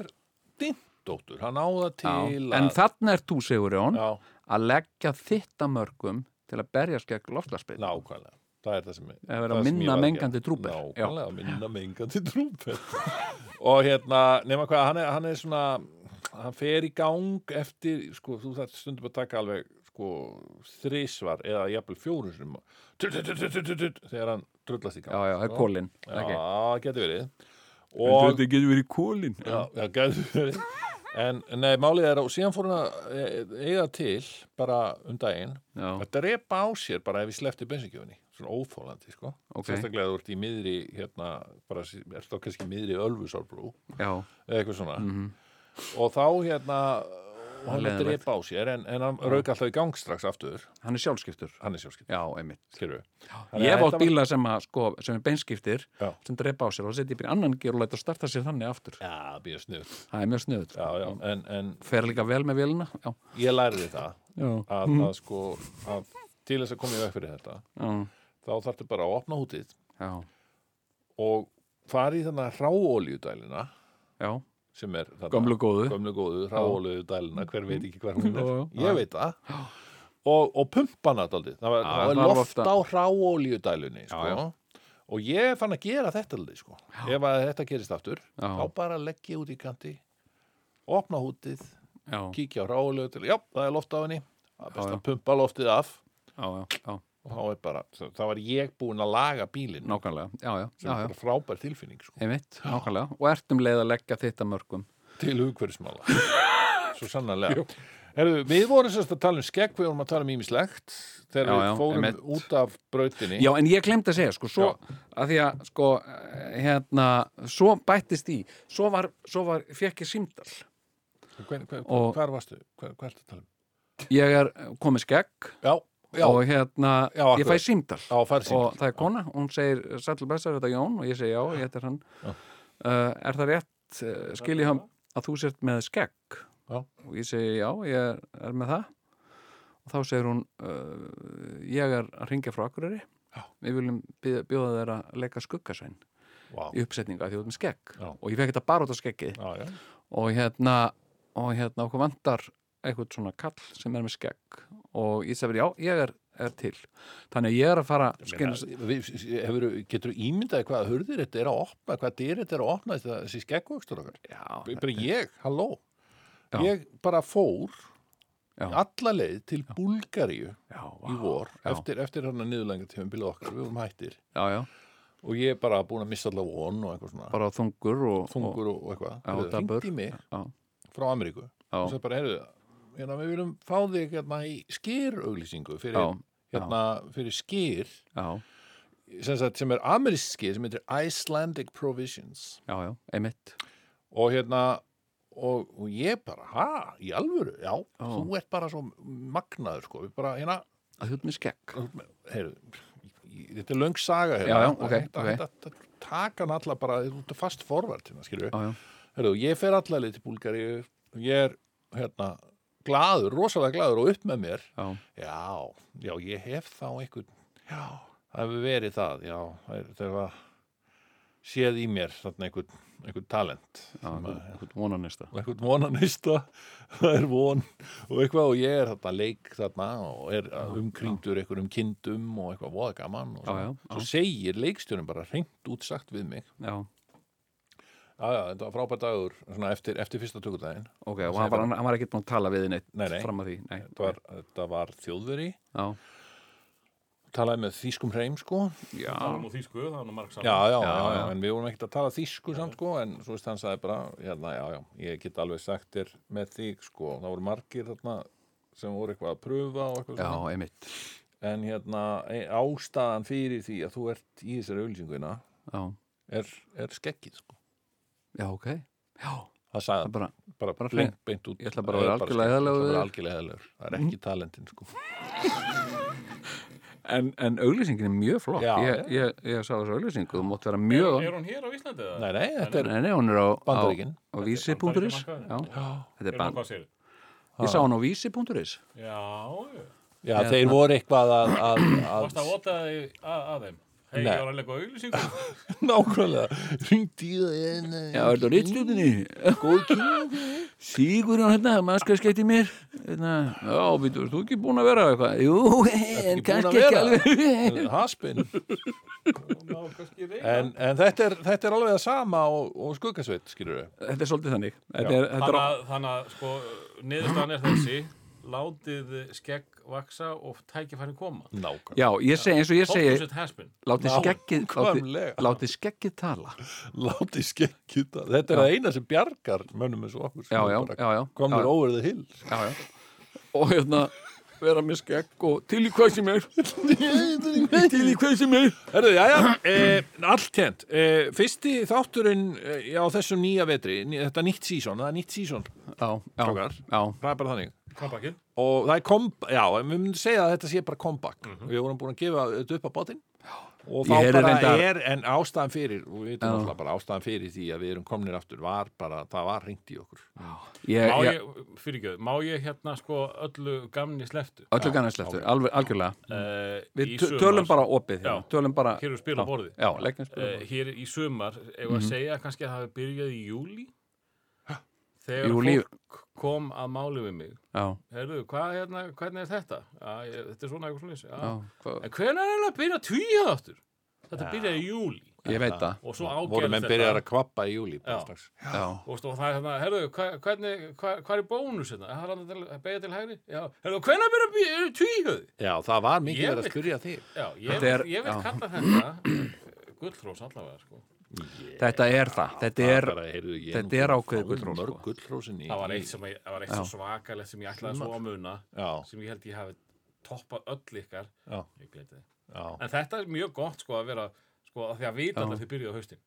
Speaker 2: dindóttur, hann á það til
Speaker 5: En
Speaker 2: að
Speaker 5: þarna er þú, Sigurjón,
Speaker 2: já,
Speaker 5: að leggja þitt að mörgum til að berjast gegn lofslagsbreyt.
Speaker 2: nákvæmlega það er það sem
Speaker 5: Eða vera
Speaker 2: það sem
Speaker 5: minna
Speaker 2: ég var að
Speaker 5: mengandi
Speaker 2: gera.
Speaker 5: trúber.
Speaker 2: nákvæmlega, minna mengandi trúber og hérna, nema hvað hann er, hann er svona, hann fer í gang eftir, sko, þú þarft stundum að taka alveg, sko, þrisvar eða jafnvel fjórum sinum þegar hann drullast í gang
Speaker 5: Já, já, það er
Speaker 2: sko.
Speaker 5: kólin.
Speaker 2: já, getur verið
Speaker 5: Og... Þetta getur verið kólin. Já,
Speaker 2: Já, já gæðu verið. En nei, málið er að og síðan fór hún að e- eiga til bara um daginn
Speaker 5: Já.
Speaker 2: að drepa á sér bara ef ég slefti bensinkjöfunni, svona óþólandi, sko.
Speaker 5: Ok.
Speaker 2: Sérstaklega þú ert í miðri, hérna, bara, er þá kannski í miðri Ölfusárbrú,
Speaker 5: já,
Speaker 2: eða eitthvað svona.
Speaker 5: Mhm.
Speaker 2: Og þá, hérna, og hann er að
Speaker 5: Leiðinlegt.
Speaker 2: drepa á sér, en, en hann rauk alltaf í gang strax aftur,
Speaker 5: hann er sjálfskiptur.
Speaker 2: hann er sjálfskipt,
Speaker 5: Já, einmitt.
Speaker 2: skilur við.
Speaker 5: Ég hef átt bíla sem, að, sko, sem er beinskiptir,
Speaker 2: Já.
Speaker 5: sem drepa á sér og setja í bíl annan gír og læta að starta sér þannig aftur.
Speaker 2: Já, býða snuð.
Speaker 5: Það er mjög sniðut.
Speaker 2: Já, já, en, en
Speaker 5: Fer líka vel með vélina. Já,
Speaker 2: ég læriði það
Speaker 5: já,
Speaker 2: að, að sko, að til þess að koma í veg fyrir þetta,
Speaker 5: já.
Speaker 2: þá þarftu bara að opna hútið
Speaker 5: Já,
Speaker 2: og fara í þannig ráolíudælina
Speaker 5: já.
Speaker 2: sem er þarna,
Speaker 5: Gömlu góðu.
Speaker 2: gömlu góðu ráolíudælina, hver veit ekki hver hún
Speaker 5: Já,
Speaker 2: er
Speaker 5: já.
Speaker 2: ég veit það og, og pumpana daldi, það var,
Speaker 5: Já,
Speaker 2: það
Speaker 5: það
Speaker 2: var
Speaker 5: var
Speaker 2: loft
Speaker 5: oft
Speaker 2: á
Speaker 5: að-
Speaker 2: ráolíudælunni sko.
Speaker 5: Já,
Speaker 2: og ég fann að gera þetta daldi, sko. ef að þetta gerist aftur
Speaker 5: Já.
Speaker 2: þá bara legg ég út í kanti opna hútið,
Speaker 5: Já,
Speaker 2: kíkja á ráolíudæluna já, það er loft á henni það er best
Speaker 5: Já, já.
Speaker 2: að pumpa loftið af
Speaker 5: já, já, já,
Speaker 2: og þá er bara, þá var ég búin að laga bílinn
Speaker 5: nákvæmlega. Já, já,
Speaker 2: sem
Speaker 5: já, já.
Speaker 2: er bara frábær tilfinning sko.
Speaker 5: Einmitt, um nákvæmlega. Og ertum leið að leggja þitt að mörgum.
Speaker 2: til hugverðismála svo sannarlega Herru, við vorum sérst að tala um skegg, við vorum að tala um ímislegt þegar
Speaker 5: Já,
Speaker 2: við
Speaker 5: já,
Speaker 2: fórum
Speaker 5: einmitt.
Speaker 2: út af brautinni.
Speaker 5: Já, en ég glemt að segja, sko, svo að því að, sko, eh, hérna svo bættist í, svo var, svo var fekk ég símdal.
Speaker 2: Hver, hver,
Speaker 5: Og-
Speaker 2: hvar varstu? Hver, hver ertu að tala um?
Speaker 5: Ég er komið skegg
Speaker 2: Já, já,
Speaker 5: og hérna,
Speaker 2: Já,
Speaker 5: ég
Speaker 2: akkurat.
Speaker 5: fæ símdal
Speaker 2: já, farið síndal.
Speaker 5: og það er kona, hún segir Sætlu Bessar, þetta er Jón og ég segi já, ég heitir hann uh, Er það rétt, uh, skilji hann að þú sért með skegg
Speaker 2: Já.
Speaker 5: og ég segi já, ég er, er með það og þá segir hún uh, ég er að ringja frá Akureyri
Speaker 2: Já.
Speaker 5: við viljum bjóða, bjóða þeir að leika skuggasvein
Speaker 2: Vá.
Speaker 5: í uppsetningu að því þú ert með skegg
Speaker 2: Já.
Speaker 5: og ég fekk þetta bara út á skeggið
Speaker 2: Já, já,
Speaker 5: og hérna, og hérna okkur vantar eitthvað svona kall sem er með skegg og ég segir já, ég er, er til þannig að ég er að fara
Speaker 2: Meina,
Speaker 5: skilur,
Speaker 2: við, hefur, getur þú ímyndað hvað hurðir þetta er að opna, hvað dyr þetta er að opna þetta- þessi skeggvöxtur okkar?
Speaker 5: Já,
Speaker 2: Bara ég, halló.
Speaker 5: Já.
Speaker 2: Ég bara fór
Speaker 5: Já.
Speaker 2: alla leið til Búlgaríu
Speaker 5: já,
Speaker 2: í vor
Speaker 5: Já.
Speaker 2: eftir, eftir hann að niðurlanga tíma bíla okkar, við vorum hættir
Speaker 5: já, já,
Speaker 2: og ég er bara búin að missa allavega von og eitthvað svona
Speaker 5: bara þungur og,
Speaker 2: þungur og, og eitthvað.
Speaker 5: Já,
Speaker 2: Heyrðu,
Speaker 5: dapur.
Speaker 2: hringdi í mig
Speaker 5: Já.
Speaker 2: frá Ameríku
Speaker 5: Já.
Speaker 2: og sagði bara, heyrðu, hérna, við viljum fá þig hérna í skýrauglýsingu fyrir,
Speaker 5: Já, já.
Speaker 2: hérna, fyrir skýr
Speaker 5: og já,
Speaker 2: sem, sagt, sem er amerísk skýr sem heitir Icelandic Provisions
Speaker 5: já, já, einmitt
Speaker 2: og hérna og, og ég bara, ha, í alvöru já, þú ert bara svo magnaður sko, við bara, hérna
Speaker 5: að þú ert með skekk
Speaker 2: heyrðu, ég- þetta er löng saga hérna,
Speaker 5: Já, já, ok,
Speaker 2: þetta,
Speaker 5: ok.
Speaker 2: þetta, þetta taka hann alla bara, þú ert fast forvart hérna, skilju
Speaker 5: já, já,
Speaker 2: Herðu, ég fer alla leið til Búlgari ég er hérna glaður, rosalega glaður og upp með mér
Speaker 5: já,
Speaker 2: já, já, ég hef þá einhvern já, það hefur verið það já, það er- það var séð í mér þarna einhvern, einhvern talent
Speaker 5: já, einhvern vonanista
Speaker 2: og einhvern vonanista það er von og eitthvað og ég er þarna leik þarna og er umkringdur einhverjum kindum og eitthvað voða gaman og
Speaker 5: Já,
Speaker 2: svona.
Speaker 5: já, já.
Speaker 2: svo segir leikstjörnum bara hreint út sagt við mig
Speaker 5: já,
Speaker 2: já, já, þetta var frábært dagur svona eftir, eftir fyrsta tökudaginn
Speaker 5: ok, og hann var, hann var ekki búin að tala við þið neitt
Speaker 2: Nei, nei.
Speaker 5: fram að því, nei,
Speaker 2: þetta var, þetta var þjóðveri
Speaker 5: já,
Speaker 2: talaði með þýskum hreim sko
Speaker 5: já,
Speaker 4: Nú því sko, það var nú marg
Speaker 2: já já, já,
Speaker 5: Já,
Speaker 2: já,
Speaker 5: já.
Speaker 2: en við vorum ekkert að tala þýsku samt sko, en svo veist hann sagði bara hérna, já, já, ég get alveg sagt þér með þig sko, það voru margir þarna sem voru eitthvað að pröfa og eitthvað
Speaker 5: já,
Speaker 2: svona.
Speaker 5: einmitt
Speaker 2: en hérna, e- ástæðan fyrir því að þú ert í þessari auðlýsinguna
Speaker 5: já,
Speaker 2: er, er skekkið sko
Speaker 5: já, ok, já,
Speaker 2: það
Speaker 5: það
Speaker 2: sagði
Speaker 5: bara
Speaker 2: hann bara,
Speaker 5: bara
Speaker 2: beint, beint út
Speaker 5: Ég ætla bara að
Speaker 2: Það
Speaker 5: vera
Speaker 2: er
Speaker 5: algjörlega
Speaker 2: skeggið,
Speaker 5: heiðarlegur Mhm. við þig.
Speaker 2: ég ætla bara algjörlega heiðalegur það er ekki talentin sko
Speaker 5: en, en auglýsingin er mjög flott
Speaker 2: Já,
Speaker 5: ég, ég, ég sá þessu auglýsingu, þú mátt vera mjög
Speaker 4: Er hún hér á Íslandi eða?
Speaker 2: nei, nei, þetta er
Speaker 5: nei, nei, hún er á, á,
Speaker 2: Bandaríkin.
Speaker 5: á vísi.is já,
Speaker 4: Bandaríkjamarkaðurinn.
Speaker 5: þetta er
Speaker 4: Er hún
Speaker 5: bann
Speaker 4: hvað sér?
Speaker 5: ég sá hún á vísi.is
Speaker 4: Já, já.
Speaker 2: já,
Speaker 5: Hérna-
Speaker 2: þeir voru eitthvað að, að, að
Speaker 4: Varst að vota þig að að þeim? Hei,
Speaker 2: Nei.
Speaker 4: ég var að leika á auglýsingu.
Speaker 2: Nákvæmlega, ringt í það eh,
Speaker 5: Já, er þetta rítstjórninni? Góð kynning Sigur hann hérna, mannskæðskeitt í mér hérna, Já, býttu, varst þú ekki búin að vera eitthvað? Jú, en kannski ekki alveg
Speaker 2: Haspin
Speaker 4: Ná, kannski reyna.
Speaker 2: En, en þetta, er, þetta er alveg það sama og, og skuggasveit, skilur við
Speaker 5: Þetta er svolítið þannig Þetta er, þetta er,
Speaker 4: Þannig að, þannig að, sko, niðurstaðan er þessi. Látið skegg vaksa og tækifæri koma.
Speaker 2: Nákvæmlega
Speaker 5: Já, ég segi eins og ég segi
Speaker 4: Fókusett haspin.
Speaker 5: Látið skeggið látið,
Speaker 2: Nákvæmlega.
Speaker 5: látið skeggið tala
Speaker 2: Láti skekkið það Þetta er það eina sem bjargar mönnum eins og okkur sem
Speaker 5: Já,
Speaker 2: er
Speaker 5: já,
Speaker 2: bara
Speaker 5: já, já,
Speaker 2: Komnir
Speaker 5: já.
Speaker 2: over the hill
Speaker 5: Já, já Og hérna vera með skegg og til í hvað sem er Til í hvað sem er
Speaker 2: Herðu, já, já, e, alltjent e, Fyrsti þátturinn e, á þessum nýja vetri ný- Þetta er nýtt sísón, það er nýtt sísón
Speaker 5: Já, já,
Speaker 2: Strákar.
Speaker 5: já,
Speaker 2: Það er bara þannig
Speaker 4: Kompakinn.
Speaker 2: og það er komp, já, en við myndum segja að þetta sé bara kompakk við vorum búin að gefa þetta upp á bátinn og
Speaker 5: Mhm.
Speaker 2: þá
Speaker 5: Ég heyrði
Speaker 2: bara
Speaker 5: reyndar-
Speaker 2: er en ástæðan fyrir, og við veitum alltaf bara ástæðan fyrir því að við erum komnir aftur var bara, það var ringt í okkur
Speaker 5: ég,
Speaker 4: Má
Speaker 5: ég,
Speaker 4: ég, fyrirgjöðu, má ég hérna, sko, öllu gamni sleftu?
Speaker 5: öllu gannarslættu, alveg, algjörlega
Speaker 4: Uh,
Speaker 5: Við tö- tölum bara opið hérna,
Speaker 4: Já.
Speaker 5: tölum bara
Speaker 4: Hér eru spil á borði.
Speaker 5: Já, Mhm. leggjum spil á
Speaker 4: uh,
Speaker 5: borðið.
Speaker 4: hér í sumar ef að segja kannski að það hafi byrjað í júli þegar
Speaker 5: Júlí-
Speaker 4: fólk kom að máli við mig
Speaker 5: Já,
Speaker 4: Heyrðu, hvað, hérna, hvernig er þetta? Að, ég, þetta er svona eitthvað slúnis
Speaker 5: já, hvað-
Speaker 4: En hvenær er það að byrja tvíja aftur? Þetta byrjaði í júli
Speaker 5: Ég veit það,
Speaker 4: og svo
Speaker 2: voru
Speaker 4: ágerð
Speaker 2: menn
Speaker 4: þetta
Speaker 2: byrjar að kvappa í júli bara
Speaker 4: Já.
Speaker 2: strax.
Speaker 5: já.
Speaker 4: og stóð það hérna, herðu, hva- hvernig, hvað hva er bónus hérna? Það er hann til- að beigja til hægri? Já, herðu, hvenær byrja að byrja tvíhjöðu?
Speaker 2: já, það var mikið
Speaker 4: Ég
Speaker 2: verið að
Speaker 4: veit-
Speaker 2: spyrja þig
Speaker 4: Já, ég,
Speaker 5: Þetta er-
Speaker 4: ég vil
Speaker 5: já.
Speaker 4: kalla þetta gullrós allavega, sko.
Speaker 5: þetta er það, þetta er þetta er ákveðið gullhrós,
Speaker 2: Mörg
Speaker 5: sko.
Speaker 2: gullhrósin í
Speaker 4: Það var eitt sem, ég, það var eitt svo svakalegt sem ég ætlaði svo að muna
Speaker 2: Já,
Speaker 4: sem ég held ég hafi toppað öll ykkar
Speaker 2: já,
Speaker 4: Ég gleymdi því.
Speaker 2: já,
Speaker 4: En þetta er mjög gott sko að vera sko að því að vita allir þið byrjuðu á haustin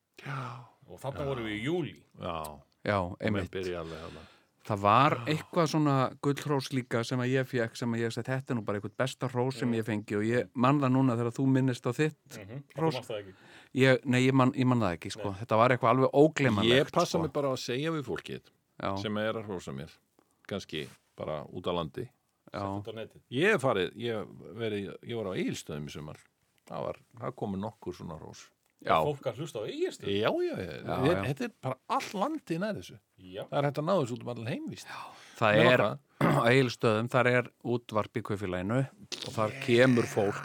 Speaker 4: og þarna vorum við í júli
Speaker 2: já
Speaker 5: já,
Speaker 2: Menn
Speaker 5: einmitt
Speaker 2: byrja alveg hana
Speaker 5: það var eitthvað svona gullhrós líka sem að ég fekk sem að ég sagði þetta er nú bara eitthvað besta hrós sem ég fengi og ég man það núna þegar þú minnist á þitt
Speaker 4: Þú
Speaker 5: hrós
Speaker 4: mást það ekki
Speaker 5: ég, nei, ég man, ég man það ekki sko. þetta var eitthvað alveg
Speaker 2: Ég
Speaker 5: óglemanlegt
Speaker 2: passa
Speaker 5: sko.
Speaker 2: mig bara á að segja við fólkið
Speaker 5: já,
Speaker 2: sem er að hrósa mér kannski bara út á landi
Speaker 5: já,
Speaker 4: Þetta á netið
Speaker 2: Ég hef farið, ég, hef verið, ég var á Egilstöðum í sumar það var, það komu nokkur svona hrós
Speaker 5: já,
Speaker 4: Fólk að hlusta á eigistu
Speaker 2: Já, já, já,
Speaker 5: Já, já.
Speaker 2: þetta er bara all landið nær þessu
Speaker 4: Já
Speaker 2: Það er hægt að ná þessu út um allan heimvist
Speaker 5: það
Speaker 2: Nema
Speaker 5: er
Speaker 2: hvað?
Speaker 5: á eilstöðum, þar er útvarp í kaufélaginu og þar kemur fólk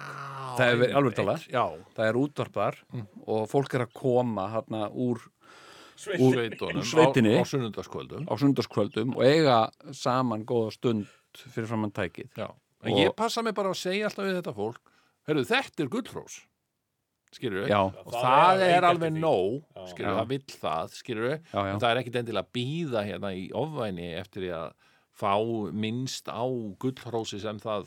Speaker 5: það er verið- alveg talað
Speaker 2: Já,
Speaker 5: það er útvarpar
Speaker 2: Mm.
Speaker 5: og fólk er að koma hérna úr
Speaker 4: Sveit
Speaker 2: sveitunum
Speaker 5: sveitinni.
Speaker 2: á, á sunnundaskvöldum
Speaker 5: á sundarskvöldum og eiga saman góða stund fyrir framann tækið
Speaker 2: Já, en
Speaker 5: Og-
Speaker 2: ég passa mig bara að segja alltaf við þetta fólk Herru, þetta er gullrós Skilur við?
Speaker 5: já,
Speaker 2: Og
Speaker 4: Það
Speaker 2: það,
Speaker 4: er að
Speaker 2: er
Speaker 4: leita
Speaker 2: alveg
Speaker 4: eftir því.
Speaker 2: nóg,
Speaker 4: Já.
Speaker 2: skilur
Speaker 5: Já.
Speaker 2: það vill það, skilur
Speaker 5: Já, já.
Speaker 2: En það er ekkit endilega að býða hérna í ofvæni eftir því að fá minnst á gullhrósi sem það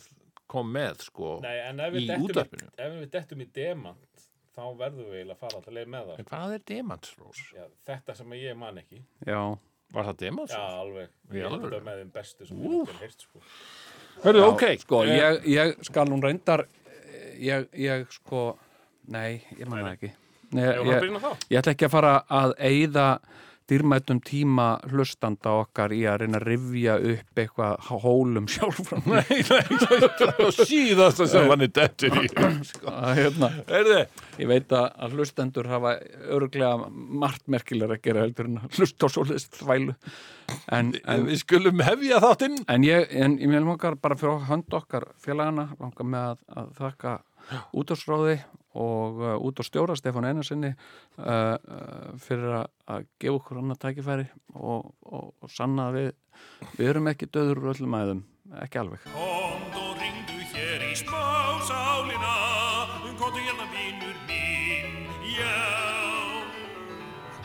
Speaker 2: kom með, sko.
Speaker 4: Nei, en ef
Speaker 2: Í
Speaker 4: við dettum
Speaker 2: útvarpinu.
Speaker 4: ef við dettum í demant þá verðum við eiginlega að fara alltaf leið með það
Speaker 2: En hvað er demantsrós?
Speaker 4: Já, þetta sem ég man ekki
Speaker 5: já,
Speaker 2: Var það
Speaker 4: Já,
Speaker 2: demantsrós?
Speaker 4: alveg
Speaker 2: Í
Speaker 4: Ég held
Speaker 2: alvöru?
Speaker 4: að með þeim bestu sem ég hef heirt sko
Speaker 2: Hörru, ok.
Speaker 5: sko,
Speaker 2: eh,
Speaker 5: ég, ég skal hún reyndar ég, ég sko nei, ég man það ekki nei,
Speaker 4: Ég var að
Speaker 5: ég,
Speaker 4: byrja á þá
Speaker 5: ég ætla ekki að fara að eyða dýrmætum tíma hlustanda okkar í að reyna að rifja upp eitthvað hólum sjálfram
Speaker 2: Nei, nei, sko. það er síðasta sem hann er dettur í.
Speaker 5: að hérna
Speaker 2: Herðu,
Speaker 5: Ég veit að- að hlustendur hafa örglega margt merkilegur að gera heldur en að hlusta á svoleiðist þvælu en, en,
Speaker 2: við skulum hefja þáttinn.
Speaker 5: en ég, en ég langar bara fyrir hönd okkar félagana, langar með að, að þakka útásráði og uh, út á stjóra Stefán Einarsinni uh, uh, fyrir að, að gefa okkur annað tækifæri og, og, og sanna að við, við erum ekki döður úr öllum æðum, ekki alveg
Speaker 6: Komd og ringdu hér í spásálina Komdu hérna vinur minn, já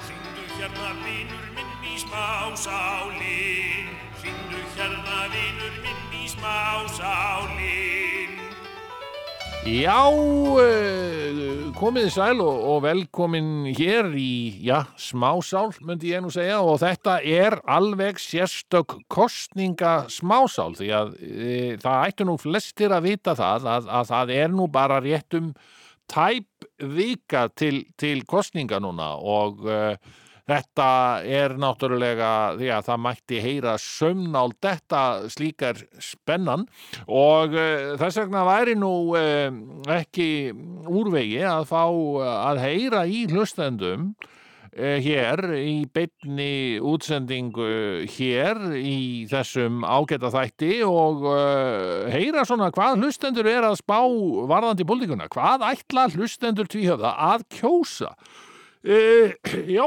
Speaker 6: Ringdu hérna vinur minn í spásálin Ringdu hérna vinur minn í spásálin
Speaker 2: Já, eh, komið þið sæl og, og velkomin hér í, já, smásál, myndi ég nú segja, og þetta er alveg sérstök kostninga smásál, því að e, það ættu nú flestir að vita það, að, að það er nú bara réttum tæp vika til, til kostninga núna og e, þetta er náttúrulega, því að það mætti heyra sömnál þetta slíkar spennan og uh, þess vegna væri nú uh, ekki úrvegi að fá eh, að heyra í hlustendum uh, hér í beinni útsendingu hér í þessum ágæta þætti og uh, heyra svona hvað hlustendur er að spá varðandi búldinguna, hvað ætla hlustendur tvíhöfða að kjósa uh, Já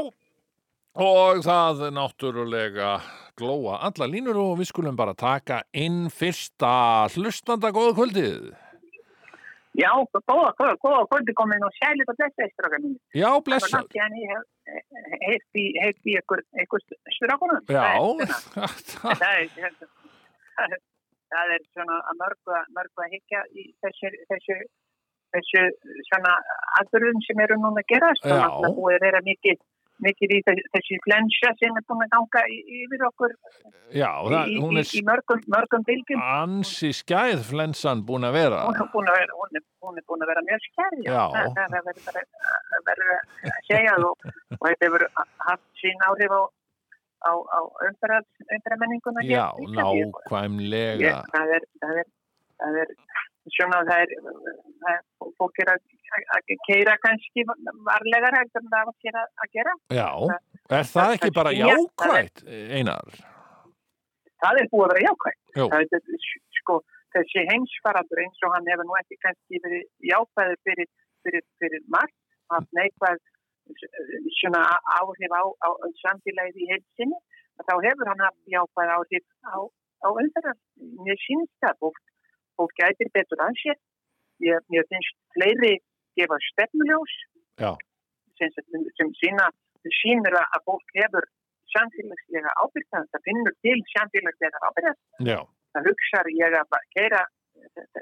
Speaker 2: og það náttúrulega glóa alla línur og við skulum bara taka inn fyrsta hlustanda góða kvöldið.
Speaker 7: Já, góða, góða, góða, kvöldi komin og sælir og blessa strákar mínu.
Speaker 2: Já,
Speaker 7: Það var
Speaker 2: blessa.
Speaker 7: langt í hann ég hef heilt í, heilt í ykkur, ykkur strákunum.
Speaker 2: Já,
Speaker 7: Það er,
Speaker 2: það-
Speaker 7: það er, það er, það er, það er svona að mörgu, að- mörgu að higgja í þessu, þessu, þessu svona aðbörðum sem eru núna að gerast.
Speaker 2: Já.
Speaker 7: Það er búið að vera mikið, mikið í þessu, þessu flensa sem er búin að ganga í- yfir okkur
Speaker 2: já, það,
Speaker 7: í,
Speaker 2: hún
Speaker 7: í,
Speaker 2: er
Speaker 7: í mörgum, mörgum bylgjum.
Speaker 2: ansi skæð flensan búin að
Speaker 7: Hún
Speaker 2: vera.
Speaker 7: er búin að vera, hún er, hún er búin að vera mjög skærja.
Speaker 2: Já.
Speaker 7: Það, það verður bara- það verður að segja og, og þetta hefur haft sín áhrif á, á, á umferðar, umferðarmenninguna.
Speaker 2: Já,
Speaker 7: Íslandi. Ég,
Speaker 2: nákvæmlega.
Speaker 7: það er, það er, það er, svona það er, það er fólk er að, að keira kannski varlegar heldur en það var sér að, að gera.
Speaker 2: Já, er það ekki bara
Speaker 7: Já, það er-
Speaker 2: jákvætt, Einar?
Speaker 7: Það er búið að vera jákvægt.
Speaker 2: Jú.
Speaker 7: Það er, sko, þessi heimsfaradur eins og hann hefur nú ekki kannski verið jákvæður fyrir, fyrir, fyrir margt, hann neikvæð eh, svona áhrif á, á samfélagið í heilsinni, að þá hefur hann haft jákvæð áhrif á, á umferðar. Mér finnst það, fólk, fólk gætir betur ansett. Ég, mér finnst fleiri gefa stefnuljós.
Speaker 2: Já.
Speaker 7: sem, sem, sem sína, sínir að fólk hefur samfélagslega ábyrgðan, það finnur til samfélagslega ábyrgðan,
Speaker 2: já,
Speaker 7: það hugsar ég að bara keira,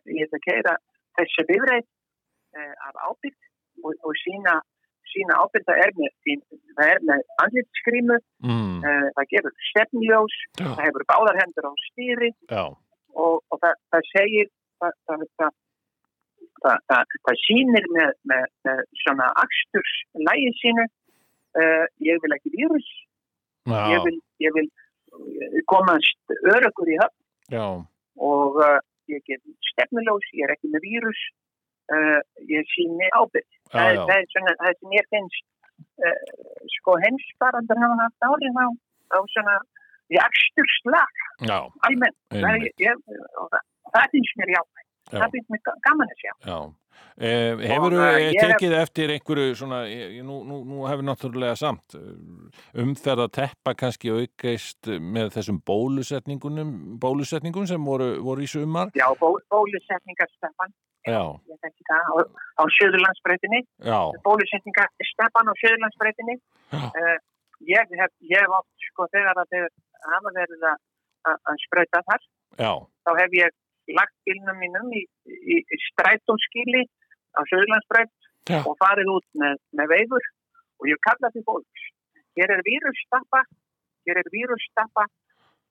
Speaker 7: ég ætla að keira þessi bifræð eh, af ábyrgð og, og sína, sína ábyrgð, það er með, sín- það er með andlitsskrímu,
Speaker 2: mm,
Speaker 7: eh, það gefur stefnljós,
Speaker 2: já,
Speaker 7: það hefur báðar hendur á stýri,
Speaker 2: já,
Speaker 7: og, og það, það segir það, það, það, það, það, það sýnir með, með, með svona aksturlægi sínu uh, ég vil ekki vírus
Speaker 2: já,
Speaker 7: ég vil, ég vil eh, komast öryggur í höfn
Speaker 2: já,
Speaker 7: og uh, ég get stefnuljós, ég er ekki með vírus uh, ég sýni ábyrg
Speaker 2: já,
Speaker 7: það, er-
Speaker 2: já,
Speaker 7: það er svona það sem ég finnst uh, sko heimsfarandur hafa haft árið á, á svona í aksturslag
Speaker 2: já,
Speaker 7: almennt það,
Speaker 2: einmitt,
Speaker 7: er- ég, og það, það finnst mér já
Speaker 2: já,
Speaker 7: það finnst mér ga- gaman að sjá.
Speaker 2: já. Eh, hefur
Speaker 7: Og, eh, ég-
Speaker 2: tekið eftir einhverju svona, eh, nú, nú, nú hefur náttúrulega samt eh, umferð að teppa kannski aukast með þessum bólusetningunum bólusetningum sem voru, voru í sumar
Speaker 7: Já, bó, bólusetningarstefan,
Speaker 2: já,
Speaker 7: ég þekki það, á, á Suðurlandsbreytinni,
Speaker 2: já,
Speaker 7: bólusetningarstefan á Suðurlandsbreytinni.
Speaker 2: Já.
Speaker 7: Uh, ég hef, ég hef oft, sko, þegar að þeir hafa verið að- að að sprauta þar,
Speaker 2: já,
Speaker 7: þá hef ég lagt bílnum mínum í, í, í strætónskýli á Suðurlandsbreyt
Speaker 2: Já.
Speaker 7: og farið út með, með veifur og ég kalla til fólks. Hér er vírusstappa, hér er vírusstappa,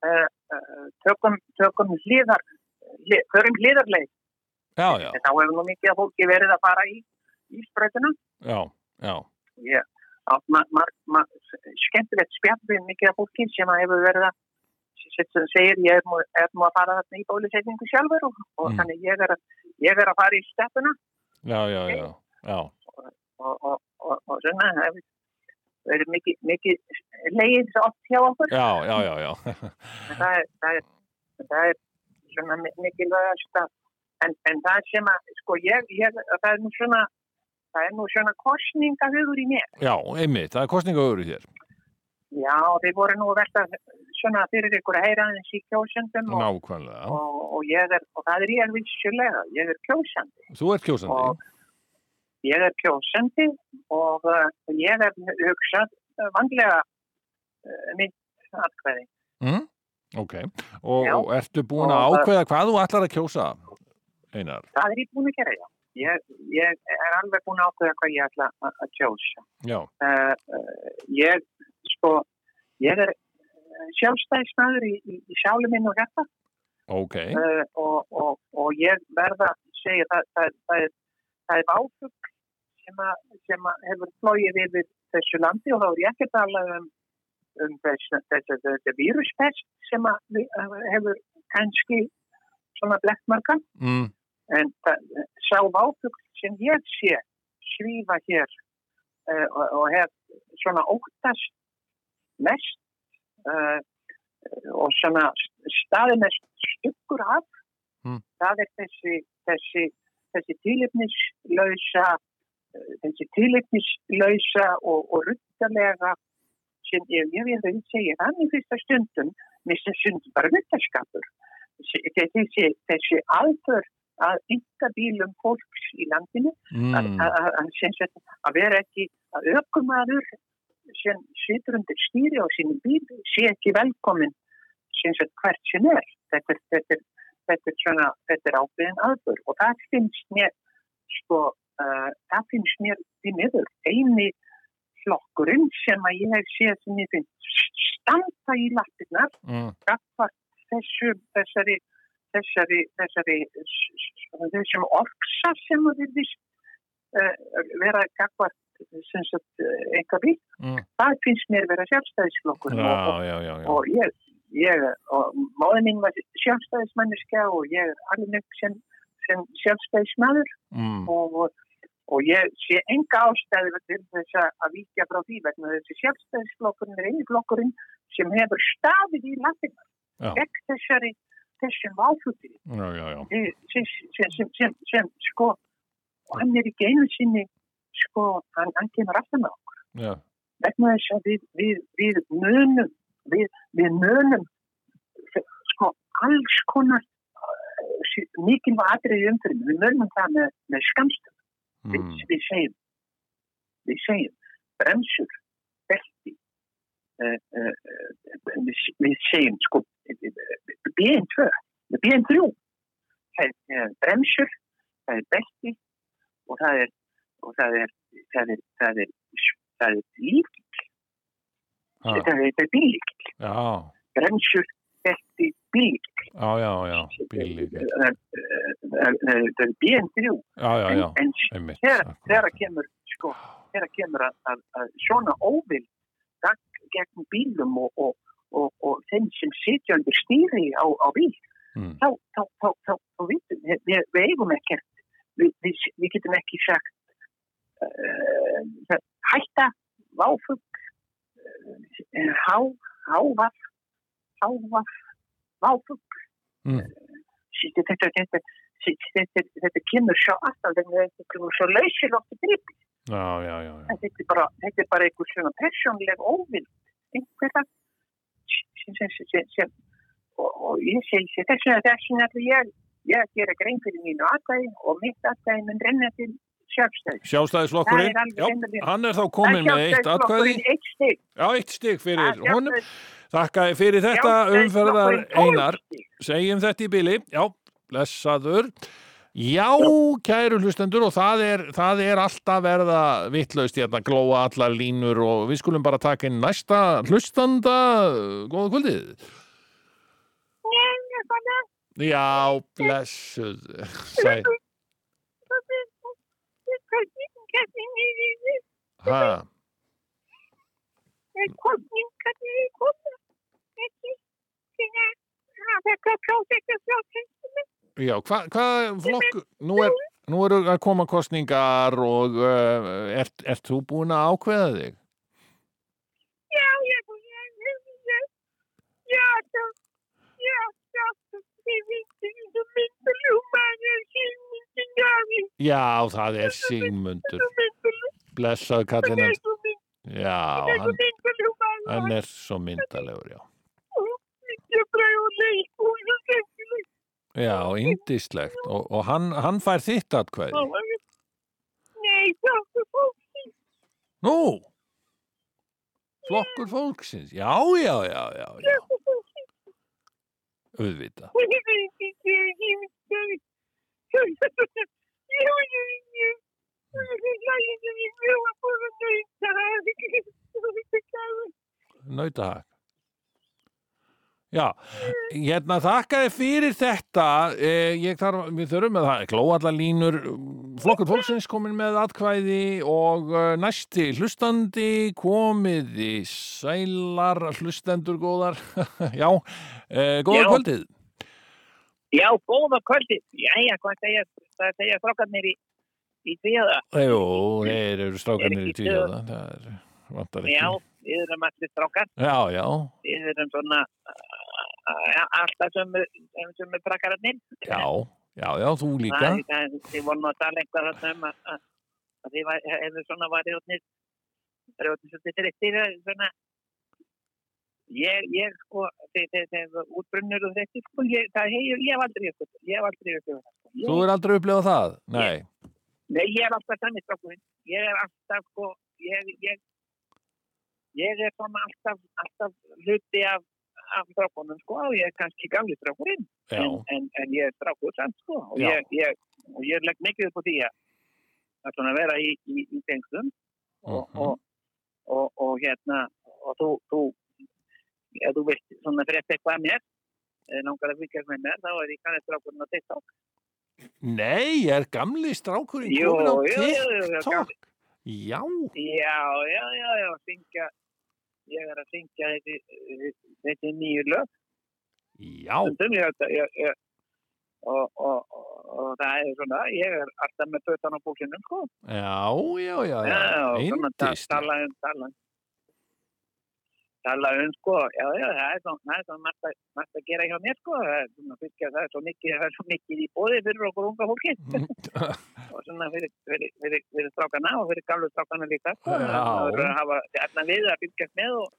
Speaker 7: uh, uh, tökum, tökum hliðar, hlið, förum hliðarleið.
Speaker 2: já, já,
Speaker 7: En þá hefur nú mikið að fólki verið að fara í, í spröytuna.
Speaker 2: já, já,
Speaker 7: Ég átt ma, ma, ma, skemmtilegt spjall við mikið að fólki sem að hefur verið að sem- sem segir ég er nú, er nú að fara þarna í bólusetningu sjálfur og, og
Speaker 2: Mm.
Speaker 7: þannig ég er, að- ég er að fara í steppuna
Speaker 2: já, já, já, já.
Speaker 7: og, og, og, og svona það hefur verið mikið, mikið leið oft hjá okkur
Speaker 2: Já, já, já, já.
Speaker 7: En það er, það er, það er svona mi- mikilvægast að en, en það sem að, sko, ég, ég, það er nú svona, það er nú svona kostningahugur í mér.
Speaker 2: Já, einmitt, það er kostningaöfur í þér.
Speaker 7: Já, þeir voru nú verðt að svona fyrir ykkur að heyra aðeins í kjósendum og,
Speaker 2: Nákvæmlega.
Speaker 7: og, og, ég er, og það er ég vissulega, ég er kjósandi.
Speaker 2: Þú ert kjósandi.
Speaker 7: og ég er kjósandi og uh, ég er hugsað uh, vandlega uh, mitt atkvæði.
Speaker 2: Mm? Ok. Og,
Speaker 7: Já.
Speaker 2: og ertu búin að
Speaker 7: Og-
Speaker 2: ákveða hvað þú ætlar að kjósa, Einar?
Speaker 7: Það er ég búin að gera, já. Ég, ég er alveg búin að ákveða hvað ég ætla að- að kjósa.
Speaker 2: Já,
Speaker 7: Uh, uh, ég, sko, ég er sjálfstæðismæður í, í, í sjálu minn og þetta
Speaker 2: ok.
Speaker 7: uh, og, og, og ég verða að segja það, það, það, er- það er áfugl sem, að, sem að hefur flóið yfir þessu landi og þá er ég ekki að tala um, um þess, þess, þess, þess víruspest sem að, við- að hefur kannski svona blekkmarka
Speaker 2: Mm.
Speaker 7: en það, sá váfugl sem ég sé svífa hér uh, og, og hef svona óttast mest uh, og svona staðinest stuggur af
Speaker 2: Mm.
Speaker 7: það er þessi þessi, þessi tílefnislausa eh, þessi tílefnislausa og, og ruttalega sem ég, ég vil að segja hann í fyrsta stundum mista sundum bara ruttaskapur þessi, þessi alför að ynga bílum fólks í landinu að,
Speaker 2: Mm.
Speaker 7: að, að, að, sem sagt, að vera ekki að ökumaður sem situr undir stýri á sínum bíl sé ekki velkomin sem sagt, hvert sem er þetta, er- þetta, er- þetta er svona þetta er ákveðin aðbör og það finnst mér sko, uh, það finnst mér því miður eini flokkurinn sem að ég hef séð sem ég finnst standa í lappirnar
Speaker 2: Mm.
Speaker 7: gafar þessu, þessari, þessari, þessari, s- s- þessum orksa sem að við vist uh, vera gafar sem sagt uh, einhver bíl,
Speaker 2: Mm.
Speaker 7: það finnst mér vera sjálfstæðisflokkur
Speaker 2: Já,
Speaker 7: og,
Speaker 2: já, já,
Speaker 7: og,
Speaker 2: já.
Speaker 7: og ég, ég og móðin mín var sjálfstæðismanniska og ég er alveg upp sem, sem sjálfstæðismæður
Speaker 2: Mm.
Speaker 7: og, og Og ég sé enga ástæði til þess að að víkja frá því vegna þessi sjálfstæðisflokkurinn er einu flokkurinn sem hefur staðið í landingar
Speaker 2: Já.
Speaker 7: gegn þessari, þessum váfugli
Speaker 2: Já, já, já.
Speaker 7: sem, sem, sem, sem, sem sko, og hann er ekki einu sinni, sko, hann, hann kemur aftan á okkur
Speaker 2: Já,
Speaker 7: vegna þess að við, við, við munum, við, við munum, sko, alls konar uh, mikilvæg atriði umfyrir, við munum það með, með skamst við,
Speaker 2: mm.
Speaker 7: við segjum við segjum bremsur, belti. Uh, uh, við, við segjum sko BN2, BN3, það er eh, bremsur, það er belti og það er, og það er, það er, það er, það er líkill,
Speaker 2: Ha,
Speaker 7: það er, það er bílikill,
Speaker 2: já,
Speaker 7: bremsur, belti, bílikill.
Speaker 2: já, já, já, bíli.
Speaker 7: Það er, eh, það er- það er BN3,
Speaker 2: Já, já,
Speaker 7: en,
Speaker 2: já,
Speaker 7: en
Speaker 2: einmitt.
Speaker 7: þegar
Speaker 2: akkurat.
Speaker 7: þegar að kemur sko, þegar að kemur að, að, að svona óvild gagn gegn bílum og, og, og, og þeim sem sitja undir stýri á, á bíl
Speaker 2: Mm.
Speaker 7: þá, þá, þá, þá, þá vitum við, við, við eigum ekkert við, við, við getum ekki sagt uh, það- hætta váfug uh, há, hávaf hávaf váfug
Speaker 2: Mm.
Speaker 7: þetta, Eh, þetta, þetta, þetta, þetta, þetta kemur svo alltaf þegar þetta kemur svo lausilótt í grip
Speaker 2: Já, já, já, já.
Speaker 7: En þetta er bara, þetta er bara einhver svona persónleg óvild einhverja sem, sem, sem, sem, sem og, og ég segi sér þess vegna þess vegna ætla ég, ég að gera grein fyrir mínu aðdæði og mitt aðdæði mun renna til sjálfstæði
Speaker 2: Sjálfstæðisflokkurinn,
Speaker 7: Það er alveg
Speaker 2: já,
Speaker 7: einnig.
Speaker 2: hann er þá komin með eitt atkvæði,
Speaker 7: eitt stig
Speaker 2: já, eitt stig
Speaker 7: Það
Speaker 2: fyrir
Speaker 7: er
Speaker 2: honum.
Speaker 7: sjálfstæðis-
Speaker 2: Þakkaði fyrir þetta umferðar
Speaker 7: Sjálfstæðisflokkurinn tólf
Speaker 2: einar.
Speaker 7: stig.
Speaker 2: Segjum þetta í bili, já, blessaður. Já, kæru hlustendur og það er, það er alltaf verða vittlaust hérna, glóa allar línur og við skulum bara taka inn næsta hlustanda, góða kvöldið. Já, blessuð, sæl, hæ, já, hvað hva flokk, nú, er, nú eru að koma kostningar og uh, ert, ert þú búin að ákveða þig? Já, það er Sigmundur, blessað kallinn hans, já, hann, hann er svo myndalegur, já. Já, indislegt og, og hann, hann fær þitt atkvæði. Nú, flokkur fólksins, já, já, já, já, já, auðvitað. nautahag Já, hérna þakkaði fyrir þetta eh, ég þarf, við þurfum að það glóallalínur, flokkur fólksins komin með atkvæði og eh, næsti hlustandi komiði sælar hlustendur góðar já, eh, góða
Speaker 7: Já.
Speaker 2: kvöldið
Speaker 7: Já, góða kvöldi. Jæja, hvað segja, hvað segja strókarnir í, í því að
Speaker 2: Jú, þeir eru strákanir
Speaker 7: Er
Speaker 2: í
Speaker 7: ekki
Speaker 2: tvíhjóða það er, vantar
Speaker 7: já,
Speaker 2: ekki
Speaker 7: við erum allir strókar,
Speaker 2: Já, já,
Speaker 7: við erum svona uh, ja, alltaf sömu, sömu strókarnir.
Speaker 2: já, já, já, þú
Speaker 7: Það
Speaker 2: líka
Speaker 7: er- það er- Þið voru nú að tala eitthvað þarna um að, að, að þið var- hefðu svona varið ótnir rjóðnir svolítið þreyttir eh, svona ég, ég sko þeir, þeir, þeir útbrunnur og þreyttir sko ég, það hefur, ég hef aldrei ykkur ég hef aldrei ykkur
Speaker 2: Þú
Speaker 7: ég,
Speaker 2: er aldrei upplifað það? Nei,
Speaker 7: nei, ég er alltaf þannig strákurinn ég er alltaf sko ég, ég, ég er svona alltaf, alltaf hluti af, af strákunum sko og ég er kannski gamli strákurinn
Speaker 2: já,
Speaker 7: en, en, en ég er strákur samt sko og
Speaker 2: Já.
Speaker 7: ég, ég, og ég legg mikið upp á því að að svona vera í, í, í tengslum og,
Speaker 2: Mhm.
Speaker 7: og, og, og hérna og þú, þú ef þú vilt svona frétt eitthvað af mér eh, langar að fylgjast með mér þá er ég kannið strákurinn á TikTok
Speaker 2: Nei, er gamli strákurinn
Speaker 7: Jú,
Speaker 2: komin á
Speaker 7: jú, jú, jú, jú,
Speaker 2: TikTok? Já,
Speaker 7: já, já, já, já, syngja ég er að syngja þessi, þessi- þessi nýju lög
Speaker 2: já,
Speaker 7: stundum ég, ég, ég, og, og, og, og það er svona ég er alltaf með tötan á búkinum sko
Speaker 2: já, já, já, já,
Speaker 7: Já, svona ta-
Speaker 2: indist.
Speaker 7: tala um, tala um. Tala um, sko, já, já, það er svona, það er svona margt, að, margt að gera hjá mér, sko, það er svona, fyrst það er svo mikið, það er svo mikið í bóði fyrir okkur unga fólki og svona fyrir, fyrir, fyrir, fyrir strákana og fyrir gamlu strákana líka, sko,
Speaker 2: Já.
Speaker 7: það verður að hafa allan við að fylgjast með og,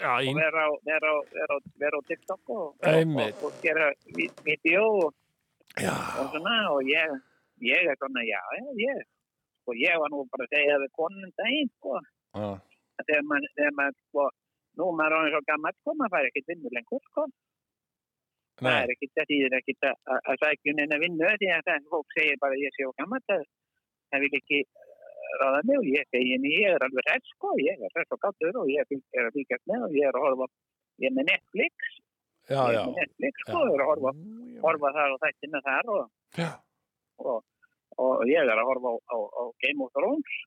Speaker 2: Já,
Speaker 7: og
Speaker 2: in-
Speaker 7: vera, á, vera, á, vera, á, vera á TikTok og, og,
Speaker 2: Einmitt.
Speaker 7: og, og gera vi- vídeó og,
Speaker 2: já,
Speaker 7: og svona og ég, ég er svona, já, já, ég, og ég var nú bara að segja það við konunum daginn, sko,
Speaker 2: já,
Speaker 7: þegar maður, þegar maður sko, nú er maður orðin svo gammal sko, maður fær ekkert vinnu lengur sko. Það
Speaker 2: nei,
Speaker 7: er ekkert, það þýðir ekkert að- að að sækja um neina vinnu því að það fólk segir bara að ég sé á gammal það, það vil ekki eh, ráða mig og ég segi henni, ég er alveg hrett sko, ég er hrett og gattur og ég fylg- er að fíkast með og ég er að horfa, ég er með Netflix,
Speaker 2: já,
Speaker 7: ég
Speaker 2: já.
Speaker 7: er með Netflix sko,
Speaker 2: Já.
Speaker 7: ég er að horfa,
Speaker 2: Já.
Speaker 7: horfa þar og þættina þar og,
Speaker 2: Já.
Speaker 7: og, og ég er að horfa á, á, á Game of Thrones,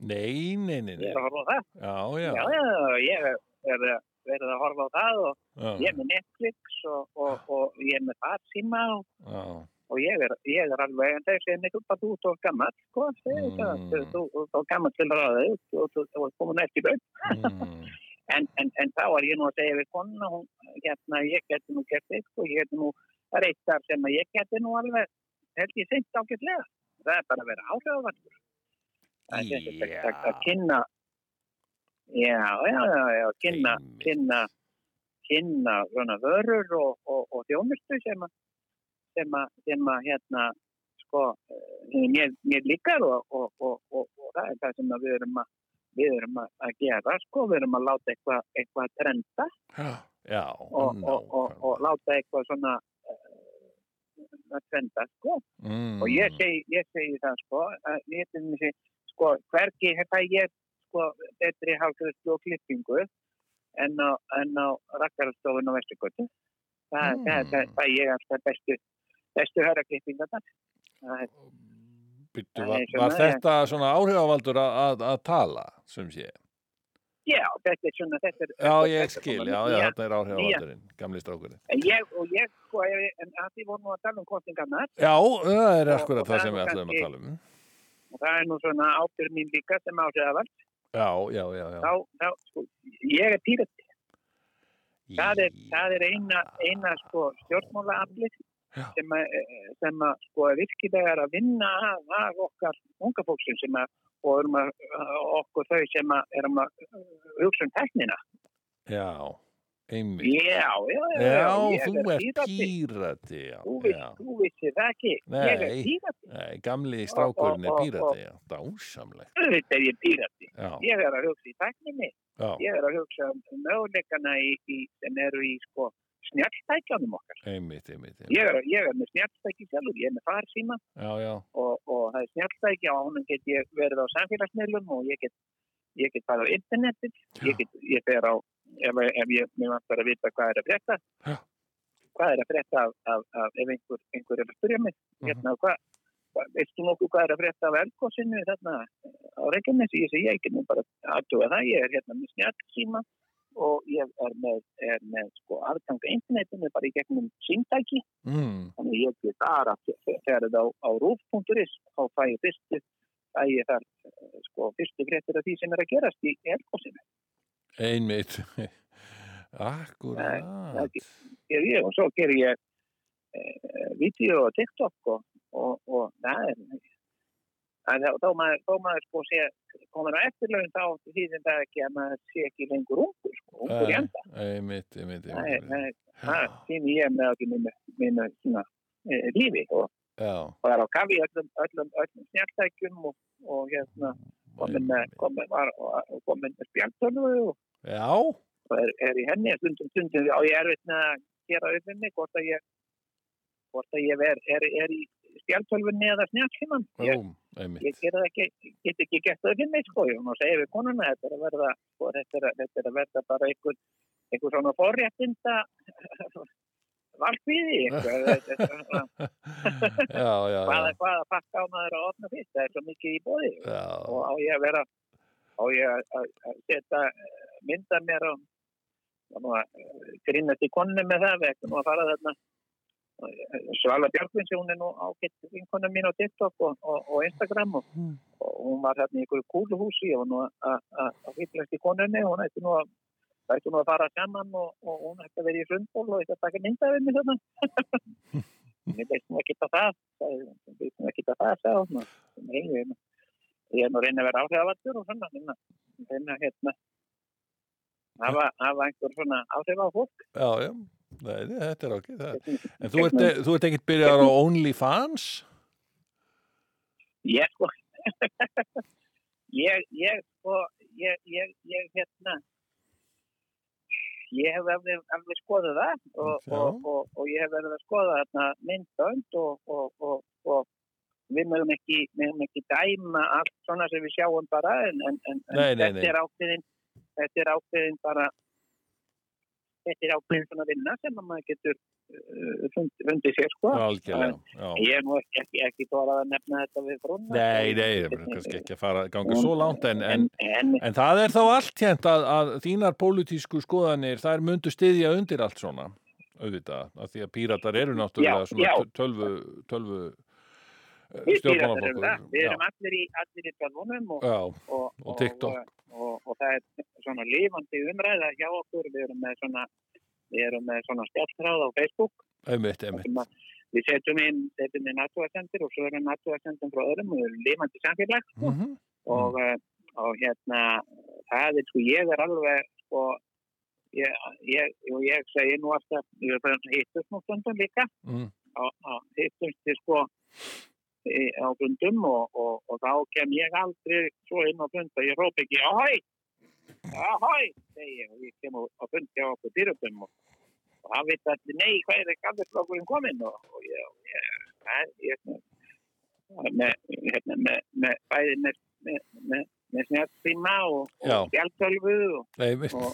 Speaker 2: Nei, nei, nei,
Speaker 7: ég
Speaker 2: nei.
Speaker 7: er að horfa á það,
Speaker 2: Já, já,
Speaker 7: já, já, ég er, er að- verið að horfa á það og
Speaker 2: já,
Speaker 7: ég er með Netflix og, og, og ég er með farsíma og,
Speaker 2: já,
Speaker 7: og ég, er, ég er alveg en þessi er mikilvægt að þú ert of gammal sko,
Speaker 2: Mm.
Speaker 7: mm. það, þú ert of gammal til ráða og þú þú- þú ert komin eftir börn
Speaker 2: mm,
Speaker 7: en, en, en þá er ég nú að segja við konuna hún, hérna, ég geti nú gert þig sko, ég geti nú það er eitt þar sem að ég geti nú alveg held ég seint ágætlega það er bara að vera áhrifavallur það er þetta
Speaker 2: Já.
Speaker 7: yeah. að kynna já, já, já, já kynna,
Speaker 2: Einmitt.
Speaker 7: kynna kynna svona vörur og, og, og þjónustu sem að sem að, sem að hérna sko, eh, mér, mér líkar og, og, og, og, og það er það sem að við erum að við erum að, að gera sko, við erum að láta eitthvað eitthva trenda
Speaker 2: já,
Speaker 7: og,
Speaker 2: Mm,
Speaker 7: og, og, og láta eitthvað svona eh, að trenda sko
Speaker 2: mm,
Speaker 7: og ég segi, ég segi það sko að ég til þessi sko hvergi þetta ég sko betri hálfgræðslu og klippingu en á, en á rakkarastofun á Vesturgötu það,
Speaker 2: Mm.
Speaker 7: mm. það, það, það ég alltaf bestu bestu hörraklippingarnar það er
Speaker 2: Bittu,
Speaker 7: Nei,
Speaker 2: var,
Speaker 7: svona
Speaker 2: var
Speaker 7: er-
Speaker 2: þetta svona áhrifavaldur að, að, að tala, sem sé?
Speaker 7: Já, þetta er svona, þetta er...
Speaker 2: Já, ég
Speaker 7: þetta er
Speaker 2: skil,
Speaker 7: svona
Speaker 2: já, já,
Speaker 7: nýja-
Speaker 2: þetta er áhrifavaldurinn, gamli strákurinn.
Speaker 7: En ég, og ég, sko, ég- en að því voru nú að tala um kostingarnar,
Speaker 2: Já, það er
Speaker 7: Og- og
Speaker 2: akkurat það
Speaker 7: það
Speaker 2: sem
Speaker 7: er
Speaker 2: við
Speaker 7: nú
Speaker 2: ætlum að
Speaker 7: kannski-
Speaker 2: tala um.
Speaker 7: og það er nú svona ábyrð mín líka sem áhrifavald,
Speaker 2: Já, já, já, já.
Speaker 7: þá, þá, sko, ég er pírati. Það er,
Speaker 2: Í-
Speaker 7: það er eina, eina, sko, stjórnmálaaflið
Speaker 2: Já.
Speaker 7: sem að, eh, sem að, sko, er virkilega er að vinna að, að okkar unga fólksum sem að, og erum að, að okkur þau sem að, erum að eh, hugsa um tæknina.
Speaker 2: Já, einmitt.
Speaker 7: Já, já, já,
Speaker 2: Já,
Speaker 7: ég
Speaker 2: þú
Speaker 7: er
Speaker 2: ert
Speaker 7: pírati.
Speaker 2: pírati, já,
Speaker 7: Þú
Speaker 2: já.
Speaker 7: veist, þú vissir það ekki. Ég er
Speaker 2: Nei.
Speaker 7: pírati.
Speaker 2: Nei, gamli strákurinn er
Speaker 7: og- og-
Speaker 2: pírati, já, dásamlegt.
Speaker 7: Þetta er ég pírati.
Speaker 2: Já,
Speaker 7: Ég er að hugsa í tækninni.
Speaker 2: já,
Speaker 7: Ég er að hugsa um möguleikana í, í, sem eru í sko, snjalltækjanum okkar.
Speaker 2: einmitt, einmitt, einmitt.
Speaker 7: Ég er, ég er með snjalltæki sjálfur, ég er með farsíma
Speaker 2: Já, já,
Speaker 7: og, og það er snjalltæki og honum get ég verið á samfélagsmiðlum og ég get, ég get farið á internetið, ég, get, ég fer á, ef, ef ég mér vantar að vita hvað er að breyta,
Speaker 2: Já.
Speaker 7: hvað er að breyta af, af, af ef einhver, einhver er að spyrja mig, hérna, hvað, hvað, veistu nokkuð hvað er að breyta af elgósinu þarna á Reykjanesi, ég segi ég ekki nú bara aðtuga það, ég er hérna með snjallsíma og ég er með, er með sko aðtanga internetinu bara í gegnum símtæki
Speaker 2: mm,
Speaker 7: þannig að ég get bara ferðið á, á rúf.is þá fæ ég fyrstu fæ ég þar eh, sko, fyrstu greitur af því sem er að gerast í elgósinu
Speaker 2: einmitt. Akkurat.
Speaker 7: ekki- ger ég og svo ger ég e, vídeo og TikTok og, og, og það er en þá, þá, maður, þá maður sko sé komur á eftirlaun þá því sem það ekki að maður sé ekki lengur ungur sko, ungur í
Speaker 2: Nei,
Speaker 7: enda
Speaker 2: Einmitt, einmitt,
Speaker 7: það er- það
Speaker 2: einmitt.
Speaker 7: er- það er tími ég með ekki minna, minna svona, e, lífi og
Speaker 2: Já,
Speaker 7: og er á kafi í öllum, öllum, öllum snjartækjum og, og hérna komin með,
Speaker 2: einmitt.
Speaker 7: komin, var, var- komin með spjaldtölu og,
Speaker 2: Já,
Speaker 7: og er, er í henni stundum stundum og ég er veit með að gera upp henni hvort að ég hvort að ég er, er, er í spjaldtölfunni eða snjartfíman ég,
Speaker 2: rúm, einmitt.
Speaker 7: ég gera það ekki, get ekki gert það fyrir mig sko ég og segja við konuna þetta er að verða sko, þetta, er, að- þetta er að verða bara einhver einhver svona forréttinda valkvíði einhver, þetta er svona
Speaker 2: já, já,
Speaker 7: hvaða,
Speaker 2: já.
Speaker 7: hvaða pakka á maður að opna fyrst, það er svo mikið í bóði
Speaker 2: Já,
Speaker 7: og á ég að vera á ég að- að að setja eh, mynda mér og og nú að eh, grínast í konu með það við ætlum nú að fara þarna Og, eh, Svala Björgvins, hún er nú ágætt vinkonu mín á TikTok og, og, og Instagram og, og hún var þarna í einhverju kúluhúsi og nú að- að- að að hyllast í konunni hún ætti nú að Það ætti nú að fara saman og, og hún ætti að vera í sundból og þetta taka myndaðið mér þarna. Mér veist nú ekki það það, sagði hún. Mér veist nú ekki það það, sagði hún. Hún heim, ég, ég er nú að reyna að vera áhrifavaldur og svona, hérna, hérna, hérna, hafa, hafa einhver svona áhrif á fólk.
Speaker 2: já, já. Nei, nei, þetta er okkur. En þú ert, eh, þú ert ekkert byrjar á OnlyFans?
Speaker 7: Ég sko, ég, ég sko, ég, ég, ég hérna ég hef alveg, alveg skoðað það og,
Speaker 2: Já.
Speaker 7: og, og, og ég hef verið að skoða þarna myndbönd og, og, og, og við mögum ekki, við mögum ekki dæma allt svona sem við sjáum bara en, en, en,
Speaker 2: Nei,
Speaker 7: en
Speaker 2: nei,
Speaker 7: þetta
Speaker 2: nei.
Speaker 7: er ákveðin þetta er ákveðin bara þetta er ákveðin svona vinna sem að maður getur uh, fund- fundið sér sko
Speaker 2: algjörlega. Já.
Speaker 7: ég er nú ekki, ekki, ekki þorað að nefna þetta við brúnna
Speaker 2: Nei, nei, það er kannski ekki að fara ganga svo langt en, en,
Speaker 7: en,
Speaker 2: en það er þá allt hérnt að, að þínar pólitísku skoðanir þær mundu styðja undir allt svona auðvitað, af því að píratar eru náttúrulega
Speaker 7: Já,
Speaker 2: svona
Speaker 7: já.
Speaker 2: töl- tölvu, tölvu eh,
Speaker 7: Við Píratar erum
Speaker 2: stjórnmálaflokkur
Speaker 7: það. Við erum
Speaker 2: Já,
Speaker 7: allir í, allir í tölvunum og,
Speaker 2: já,
Speaker 7: og,
Speaker 2: og TikTok.
Speaker 7: Og, og, og það er svona lifandi umræða hjá okkur. Við erum með svona, við erum með svona spjalltráð á Facebook.
Speaker 2: einmitt,
Speaker 7: þar
Speaker 2: einmitt
Speaker 7: sem að Við setjum inn, setjum inn aðtúasendir og svo erum aðtúasendir frá öðrum og við erum lifandi samfélag.
Speaker 2: mm
Speaker 7: Og, eh, og hérna, það er sko, ég er alveg sko, ég, ég, og ég segi nú alltaf, ég er bara hittust nú stundum líka
Speaker 2: mm,
Speaker 7: á- á- hittumst við sko í- á fundum og, og, og þá kem ég aldrei svo inn á fund að ég róp ekki ahoi, ahoi segi ég og ég kem á, á fund hjá okkur dýröpum og, og hann veit allir nei, hvað er ekki allir flokkurinn kominn og, og ég, og ég, ég, ég með, hérna, með, með bæði með, með, með, með snjálfstíma og,
Speaker 2: Já.
Speaker 7: og skjálfölvu og
Speaker 2: einmitt
Speaker 7: og,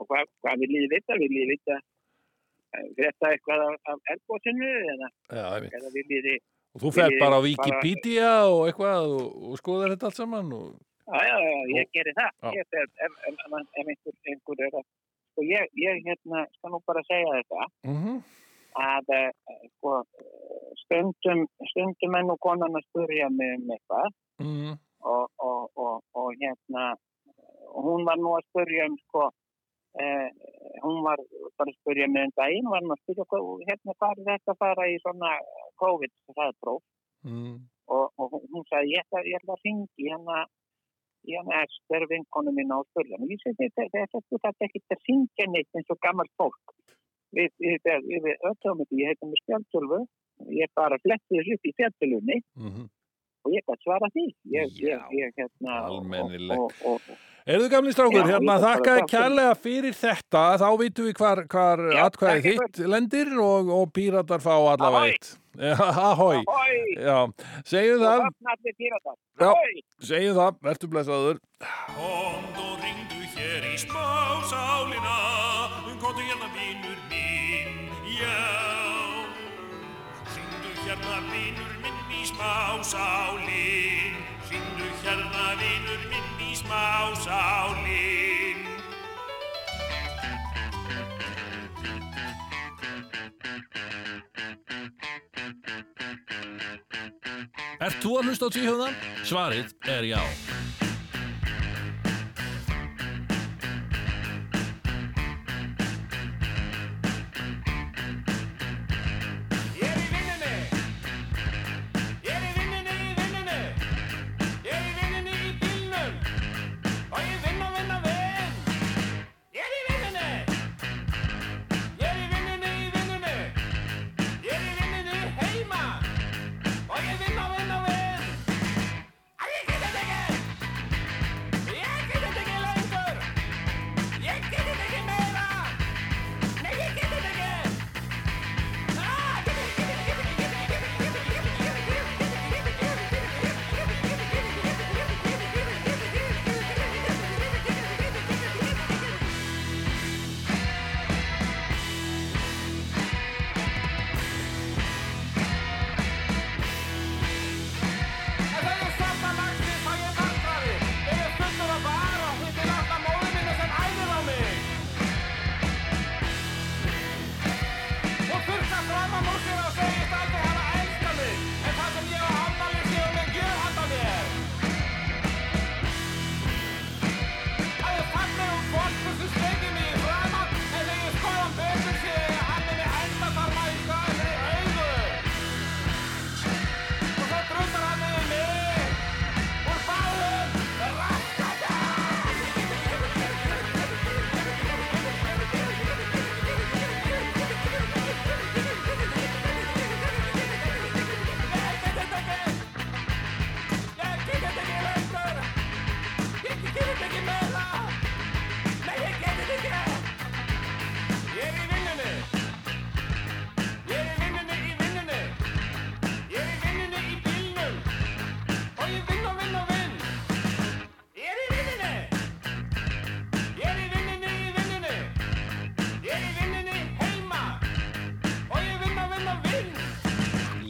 Speaker 7: og hvað, hvað vil ég vita? Vil ég vita eh, frétta eitthvað af, af eldbósinu eða,
Speaker 2: já, einmitt
Speaker 7: eða vil ég þið
Speaker 2: og þú fer
Speaker 7: Ég
Speaker 2: bara á
Speaker 7: bara-
Speaker 2: Wikipedia og eitthvað og, og skoðar þetta allt saman og,
Speaker 7: Já, já, já, ég geri það.
Speaker 2: Já.
Speaker 7: Ég, ef, ef, ef, ef einhver, einhver er að... Sko, ég, ég hérna, skal nú bara segja þetta,
Speaker 2: mm
Speaker 7: að eh, sko, eh, stundum, stundum enn og konan að spurja mig um eitthvað
Speaker 2: mm,
Speaker 7: og, og, og, og hérna, hún var nú að spurja um, sko, eh, hún var bara að spurja mig um daginn, var nú að spurja, hvað- hérna, hvað er þetta að fara í svona COVID-hraðpróf?
Speaker 2: mm,
Speaker 7: og, og hún- hún sagði ég ætla, ég ætla að ringi hérna í hana Ester vinkonu mína og spurða mig. Ég segi þetta þetta þú þarft ekki að ringja neitt eins og gammal fólk. Við, við, við, við, við öllum þetta, ég heita mig Spjaldtölfu, ég bara fletti þessu upp í fjalltölunni
Speaker 2: mm -hmm.
Speaker 7: og ég gætt svara því. Ég,
Speaker 2: Já,
Speaker 7: ég, ég, hérna, og-
Speaker 2: almennilegt.
Speaker 7: Og, og, og,
Speaker 2: Erðu gamli strákur,
Speaker 7: Já,
Speaker 2: hérna
Speaker 7: ég bara
Speaker 2: þakkaði
Speaker 7: þakka.
Speaker 2: kærlega fyrir þetta, þá vitum við hvar, hvar
Speaker 7: Já,
Speaker 2: atkvæðið
Speaker 7: takk ykkur.
Speaker 2: þitt lendir og, og píratar fá allavega
Speaker 7: Ahoj.
Speaker 2: eitt. Já, Ahoj,
Speaker 7: Ahoj.
Speaker 2: já, segjum
Speaker 7: og
Speaker 2: það,
Speaker 7: vatnallir píratar.
Speaker 2: Já.
Speaker 7: Ahoj!
Speaker 2: segjum það, verður blessaður.
Speaker 6: Komd og ringdu hér í spásálina Komdu hérna vinur minn, já Ringdu hérna vinur minn í spásálin Ringdu hérna vinur minn í spásálin
Speaker 1: Ert þú að hlusta á tvíhjóðan? Svarið er já.
Speaker 8: Ég er í vinnunni Ég er í vinnunni, í vinnunni Ég er í vinnunni í bílnum Og ég vinn og vinn og vinn Ég er í vinnunni Ég er í vinnunni, í vinnunni Ég er í vinnunni heima Og ég vinn og vinn og vinn Að ég geta þetta ekki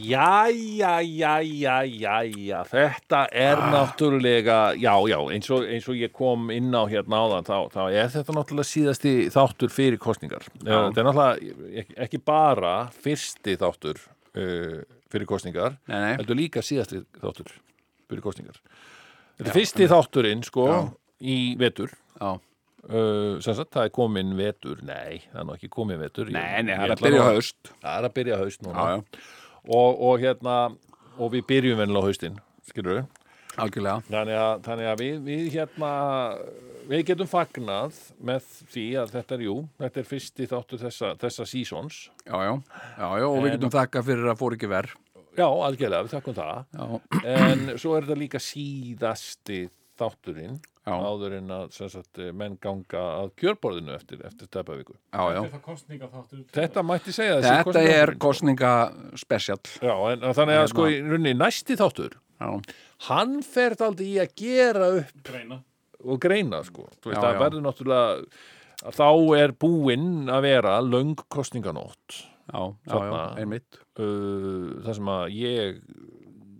Speaker 2: Jæja, jæja, jæja, þetta er
Speaker 5: Ah.
Speaker 2: náttúrulega, já, já, eins og, eins og ég kom inn á hérna áðan, þá, þá er þetta náttúrulega síðasti þáttur fyrir kostningar. Já. Þetta er náttúrulega ek- ekki bara fyrsti þáttur uh, fyrir kostningar,
Speaker 5: Nei, nei.
Speaker 2: heldur líka síðasti þáttur fyrir kostningar. Þetta er fyrsti þátturinn, sko, í vetur.
Speaker 5: Já.
Speaker 2: Uh, sem sagt, það er komin vetur nei, það er nú ekki komin vetur Ég-
Speaker 5: Nei, nei,
Speaker 2: ég
Speaker 5: það er að
Speaker 2: ætla
Speaker 5: byrja
Speaker 2: nú-
Speaker 5: haust.
Speaker 2: það er að byrja haust núna
Speaker 5: Já, já,
Speaker 2: og, og hérna og við byrjum vennilega á haustin skilur við
Speaker 5: algjörlega.
Speaker 2: þannig að, þannig að við, við hérna við getum fagnað með því að þetta er jú þetta er fyrsti þáttur þessa, þessa seasons
Speaker 5: Já, já, já, já, og við getum þakka fyrir að fór ekki verð.
Speaker 2: já, algjörlega, við þakkum það
Speaker 5: Já,
Speaker 2: en svo er þetta líka síðasti þátturinn
Speaker 5: Já.
Speaker 2: áður en að sem sagt, menn ganga að kjörborðinu eftir, eftir stepavíku
Speaker 5: já, já.
Speaker 4: Það kostninga þáttur
Speaker 2: þetta mætti segja þessi
Speaker 5: Þetta er Hérna-
Speaker 2: kosningaþátturinn.
Speaker 5: kostningaspecial.
Speaker 2: Já, en, en þannig að sko í runni næsti þáttur
Speaker 5: Já,
Speaker 2: hann fer daldi í að gera upp
Speaker 4: greina
Speaker 2: og greina sko. Þú
Speaker 5: Já,
Speaker 2: veist, það
Speaker 5: já.
Speaker 2: verður náttúrulega þá er búinn að vera löng kostninganótt
Speaker 5: já, já, já,
Speaker 2: Þarna-
Speaker 5: einmitt.
Speaker 2: uh, það sem að ég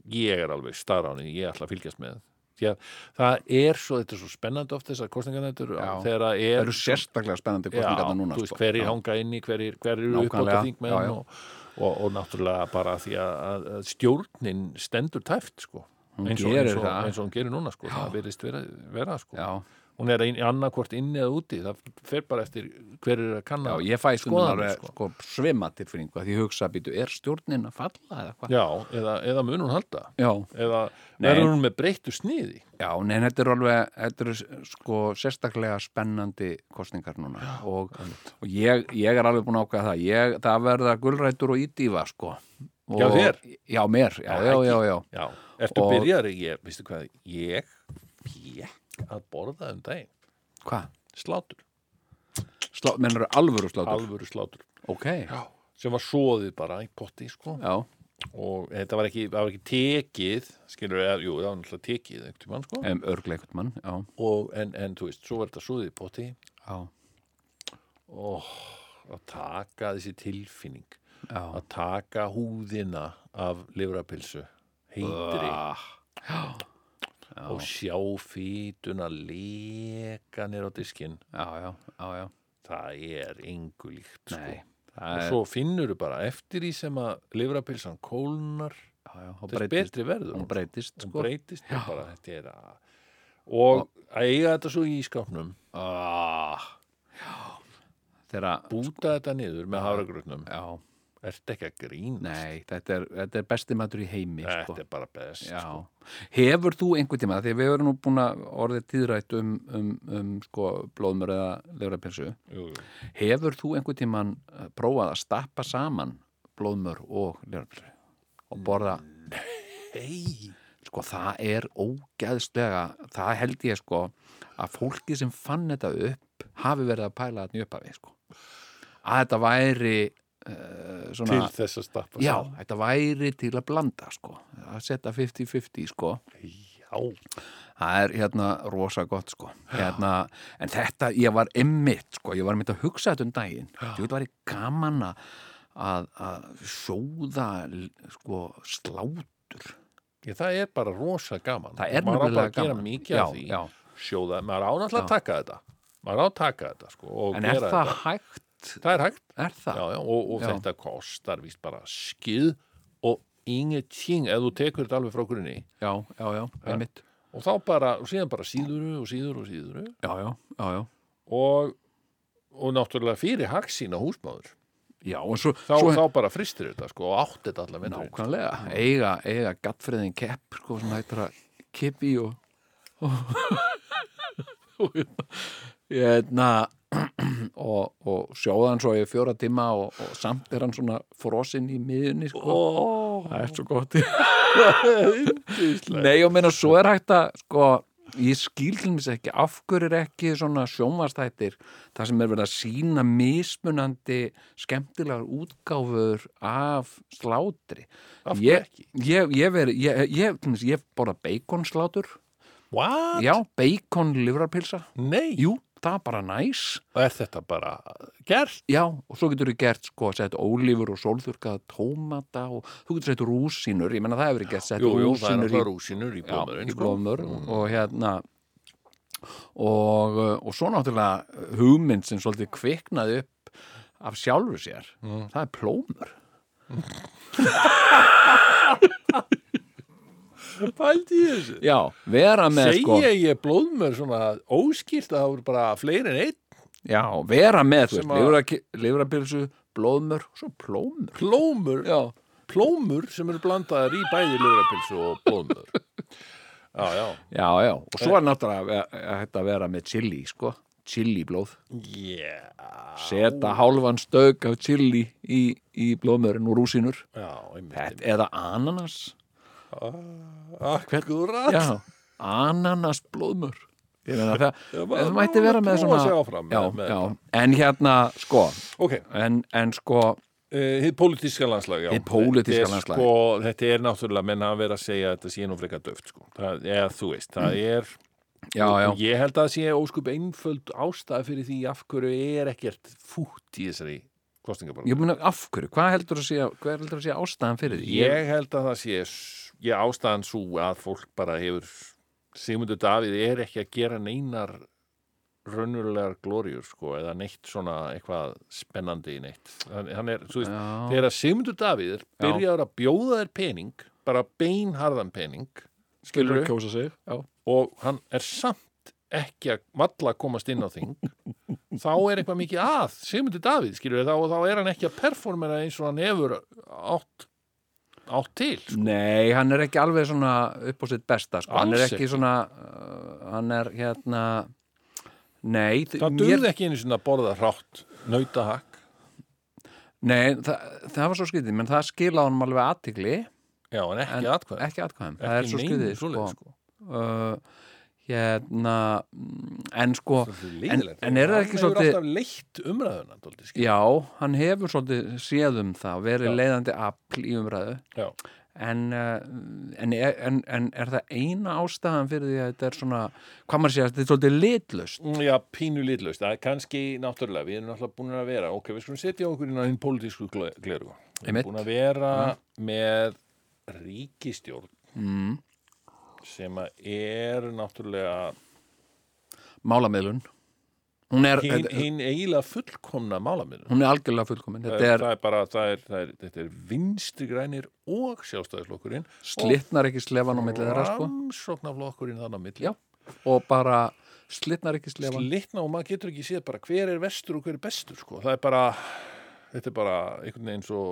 Speaker 2: ég er alveg starránið, ég ætla að fylgjast með því að það er svo þetta er svo spennandi oft þessar kostninganættur
Speaker 5: Já.
Speaker 2: þegar það
Speaker 5: Það
Speaker 2: er
Speaker 5: eru sérstaklega spennandi
Speaker 2: Já,
Speaker 5: kostningarna núna.
Speaker 2: þú veist,
Speaker 5: sko.
Speaker 2: hverjir
Speaker 5: Já.
Speaker 2: hanga inni, hverjir, hverjir eru
Speaker 5: Nákvæmlega,
Speaker 2: uppátt
Speaker 5: já,
Speaker 2: að
Speaker 5: já.
Speaker 2: þingmenn og, og, og náttúrulega bara því að, að- að stjórnin stendur tæft, sko eins og,
Speaker 5: gerir
Speaker 2: eins, og,
Speaker 5: það.
Speaker 2: eins og hún gerir núna, sko það virðist vera, vera sko
Speaker 5: Já.
Speaker 2: hún er ein, annarkvort inni eða úti það fer bara eftir hver er að
Speaker 5: Já,
Speaker 2: kanna
Speaker 5: ég fæ stundum
Speaker 2: skoðanir,
Speaker 5: alveg sko, svima tilfinningu að því hugsa býtu, er stjórnin að falla eða hvað?
Speaker 2: Já, eða, eða mun hún halda
Speaker 5: Já,
Speaker 2: eða
Speaker 5: Nei.
Speaker 2: verður hún með breyttu sniði
Speaker 5: já, nei, en þetta er alveg, þetta er sko sérstaklega spennandi kostningar núna og, og ég, ég er alveg búin að ákveða það, ég, það verða gulrætur og ídýfa sko. Og,
Speaker 2: Já, þér?
Speaker 5: Já, mér, já, já, já, já.
Speaker 2: Já, ertu
Speaker 5: Og-
Speaker 2: byrjar ég, veistu hvað, ég ég að borða um daginn
Speaker 5: Hvað?
Speaker 2: slátur,
Speaker 5: Slá, menn eru alvöru slátur?
Speaker 2: alvöru slátur
Speaker 5: Ok, já.
Speaker 2: sem var soðið bara í potti sko.
Speaker 5: Já,
Speaker 2: og þetta var ekki, það var ekki tekið skilur við, jú, það var náttúrulega tekið einhvern tímann, sko.
Speaker 5: um, örgleikut mann, já,
Speaker 2: og, en, en þú veist, svo var þetta soðið í potti
Speaker 5: já,
Speaker 2: og að taka þessi tilfinning
Speaker 5: já.
Speaker 2: að taka húðina af livrapilsu heitri
Speaker 5: Ah.
Speaker 2: og sjá fýtuna leka nýr á diskinn
Speaker 5: Já, já, já, já.
Speaker 2: það er engu líkt
Speaker 5: Nei,
Speaker 2: sko.
Speaker 5: það
Speaker 2: og
Speaker 5: er-
Speaker 2: svo finnur þú bara eftir í sem að livrapilsan kólnar
Speaker 5: Já, já, hún
Speaker 2: þess
Speaker 5: breytist,
Speaker 2: betri verður
Speaker 5: hún
Speaker 2: hún,
Speaker 5: breytist,
Speaker 2: hún
Speaker 5: sko.
Speaker 2: breytist og bara þetta er að og að eiga þetta svo í skápnum
Speaker 5: Ah, þegar,
Speaker 2: búta þetta niður með hafragrötnum
Speaker 5: Sko- já,
Speaker 2: ert ekki að grína
Speaker 5: Nei, þetta er, þetta er besti matur í heimi
Speaker 2: þetta
Speaker 5: sko.
Speaker 2: er bara best
Speaker 5: Já. Hefur þú einhvern tíma, því við erum nú búin að orðið tíðrætt um, um, um sko, blóðmur eða lefrapilsu
Speaker 2: Jú, jú.
Speaker 5: Hefur þú einhvern tíman prófað að stappa saman blóðmur og lefrapilsu og borða
Speaker 2: Nei,
Speaker 5: sko það er ógeðslega það held ég sko að fólki sem fann þetta upp hafi verið að pæla þetta upp af því sko að þetta væri uh,
Speaker 2: til
Speaker 5: svona
Speaker 2: þess að stappa
Speaker 5: Já,
Speaker 2: saman.
Speaker 5: þetta væri til að blanda sko, að setja 50-50 sko,
Speaker 2: Já,
Speaker 5: það er hérna rosa gott sko, hérna, en þetta, ég var emmitt sko, ég var emmitt að hugsa þetta um daginn, þú veit, var ég gaman að- að, að sjóða sko slátur,
Speaker 2: ég, það er bara rosa gaman
Speaker 5: það er
Speaker 2: maður á bara
Speaker 5: nefnilega
Speaker 2: að gera
Speaker 5: gaman.
Speaker 2: mikið af því
Speaker 5: já, já.
Speaker 2: sjóða, maður á náttúrulega að
Speaker 5: Já.
Speaker 2: taka þetta maður á að taka þetta sko, og
Speaker 5: En
Speaker 2: gera
Speaker 5: er það
Speaker 2: þetta.
Speaker 5: hægt?
Speaker 2: það er hægt
Speaker 5: Er það?
Speaker 2: já, já, og, og
Speaker 5: Já.
Speaker 2: þetta kostar víst bara skið og ingeting ef þú tekur þetta alveg frá grunni
Speaker 5: já, já, já, einmitt.
Speaker 2: og þá bara, og síðan bara síðuru og síðuru og síðuru
Speaker 5: Já, já, já, já.
Speaker 2: og, og náttúrulega fyrir hagsína húsmaður
Speaker 5: Já, og svo,
Speaker 2: þá,
Speaker 5: svo
Speaker 2: þá bara fristir þetta sko og átti þetta allaveg
Speaker 5: nákvæmlega, eiga, eiga gattfriðin kepp, sko, sem hættur að kippi og og hérna og, og sjóða hann svo í fjóra tíma og, og samt er hann svona frosinn í miðunni, sko.
Speaker 2: oh,
Speaker 5: Það er svo gott Nei, og meina svo er hægt að sko, ég skil til mér ekki af hverju er ekki svona sjónvastættir það sem er verið að sína mismunandi skemmtilegar útgáfur af slátri
Speaker 2: Af hverju
Speaker 5: ég,
Speaker 2: ekki?
Speaker 5: ég, ég, veri, ég, ég, til dæmis, ég borða baconslátur
Speaker 2: What?
Speaker 5: já, bacon livrarpilsa
Speaker 2: Nei,
Speaker 5: jú, það bara næs
Speaker 2: Og er þetta bara gert?
Speaker 5: já, og svo getur þú gert sko að setja ólífur og sólþurkaða tómata og þú getur setja rúsinur, ég menna það hefur verið gert setja
Speaker 2: Jú, jú, það er
Speaker 5: rúsinur í,
Speaker 2: náttúrulega rúsinur í sko.
Speaker 5: já,
Speaker 2: blómurinn.
Speaker 5: í blómur
Speaker 2: Mm.
Speaker 5: og hérna og, og svo náttúrulega uh, hugmynd sem svolítið kviknaði upp af sjálfu sér,
Speaker 2: Mm.
Speaker 5: það er plómur
Speaker 2: Pældi í þessu.
Speaker 5: já, vera með sko
Speaker 2: Segja ég blóðmör svona óskýrt að það voru bara fleiri en einn
Speaker 5: já, vera með, þú
Speaker 2: Sem
Speaker 5: veist,
Speaker 2: að-
Speaker 5: lifra, lifrapilsu blóðmör, svo plómur
Speaker 2: plómur, já. plómur sem eru blandaðar í bæði lifrapilsu og blóðmör. Já, já.
Speaker 5: já, já, og svo er náttúrulega að- að hætta að vera með chili, sko chili blóð
Speaker 2: Yeah.
Speaker 5: setja hálfan stögg af chili í, í blóðmörin og rúsinur
Speaker 2: Já, einmitt.
Speaker 5: Þetta, eða ananas
Speaker 2: Ah, hvernig þú rætt?
Speaker 5: já, ananas blóðmör ég meina það,
Speaker 2: Já, bara
Speaker 5: það mætti vera með
Speaker 2: prófa
Speaker 5: svona
Speaker 2: sig áfram
Speaker 5: já,
Speaker 2: með- með
Speaker 5: já, en hérna sko
Speaker 2: Ok,
Speaker 5: en, en sko,
Speaker 2: eh, hið pólitíska landslag, já.
Speaker 5: Hið pólitíska
Speaker 2: Þetta er
Speaker 5: landslag.
Speaker 2: Sko, þetta er náttúrulega, menn hafa verið að segja að þetta sé nú frekar döft, sko. Það, eða þú veist, það er...
Speaker 5: já, Mm. já
Speaker 2: Og Ég held að það sé óskup einföld ástæð fyrir því af hverju er ekkert fútt í þessari kostningabarunni.
Speaker 5: ég meina af hverju, hvað heldur að segja hvað heldur að segja ástæðan fyrir því
Speaker 2: Ég held að það sé s- ég ástæðan svo að fólk bara hefur Sigmundur Davíð er ekki að gera neinar raunulegar glóriur sko eða neitt svona eitthvað spennandi í neitt hann, hann er, svo veist,
Speaker 5: Já.
Speaker 2: þegar Sigmundur Davíð er
Speaker 5: Já.
Speaker 2: byrjaður að bjóða þér pening bara beinharðan pening skilur
Speaker 5: að kjósa sig já,
Speaker 2: og hann er samt ekki að valla að komast inn á þing þá er eitthvað mikið að Sigmundur Davíð skilur við þá og þá er hann ekki að performera eins og hann hefur átt, átt til sko.
Speaker 5: Nei, hann er ekki alveg svona upp á sitt besta sko. hann er
Speaker 2: Alls
Speaker 5: ekki
Speaker 2: ekki.
Speaker 5: svona uh, hann er hérna Nei, þ-
Speaker 2: það
Speaker 5: mér-
Speaker 2: durði ekki einu sinna að borða hrátt nautahakk
Speaker 5: nei það, það var svo skrítið, menn það skila honum alveg aðtigli,
Speaker 2: já en ekki
Speaker 5: En
Speaker 2: atkvæðum
Speaker 5: ekki atkvæðum það er svo skrítið sko.
Speaker 2: sko.
Speaker 5: uh, hérna mm, en sko en,
Speaker 2: leiðilegt.
Speaker 5: en er það ekki svolítið
Speaker 2: hann hefur alltaf leitt umræðuna dóldi,
Speaker 5: já, hann hefur svolítið séð um það verið leiðandi afl í umræðu
Speaker 2: já.
Speaker 5: en, uh, en, er- en, en er það eina ástæðan fyrir því að þetta er svona hvað maður sé að þetta er svolítið litlust
Speaker 2: Mm, já, pínu litlaust það er kannski náttúrulega, við erum náttúrulega búin að vera ok, við skulum setja okkur inn á hinn pólitísku gleru við erum
Speaker 5: Einmitt. Mhm.
Speaker 2: búin að vera með ríkistjórn mm. sem að er náttúrulega
Speaker 5: málamiðlun hún er,
Speaker 2: hinn
Speaker 5: þetta-
Speaker 2: hin eiginlega fullkomna málamiður
Speaker 5: hún er algjörlega fullkomin þetta er,
Speaker 2: það er bara, það er, það er, þetta er vinstri grænir og sjálfstæðislokkurinn
Speaker 5: slitnar ekki slefan á milli þeirra sko
Speaker 2: rannsóknarflokkurinn þannig á milli
Speaker 5: Já. og bara slitnar ekki slefan
Speaker 2: slitna og maður getur ekki séð bara hver er vestur og hver er bestur sko. það er bara, þetta er bara einhvern veginn svo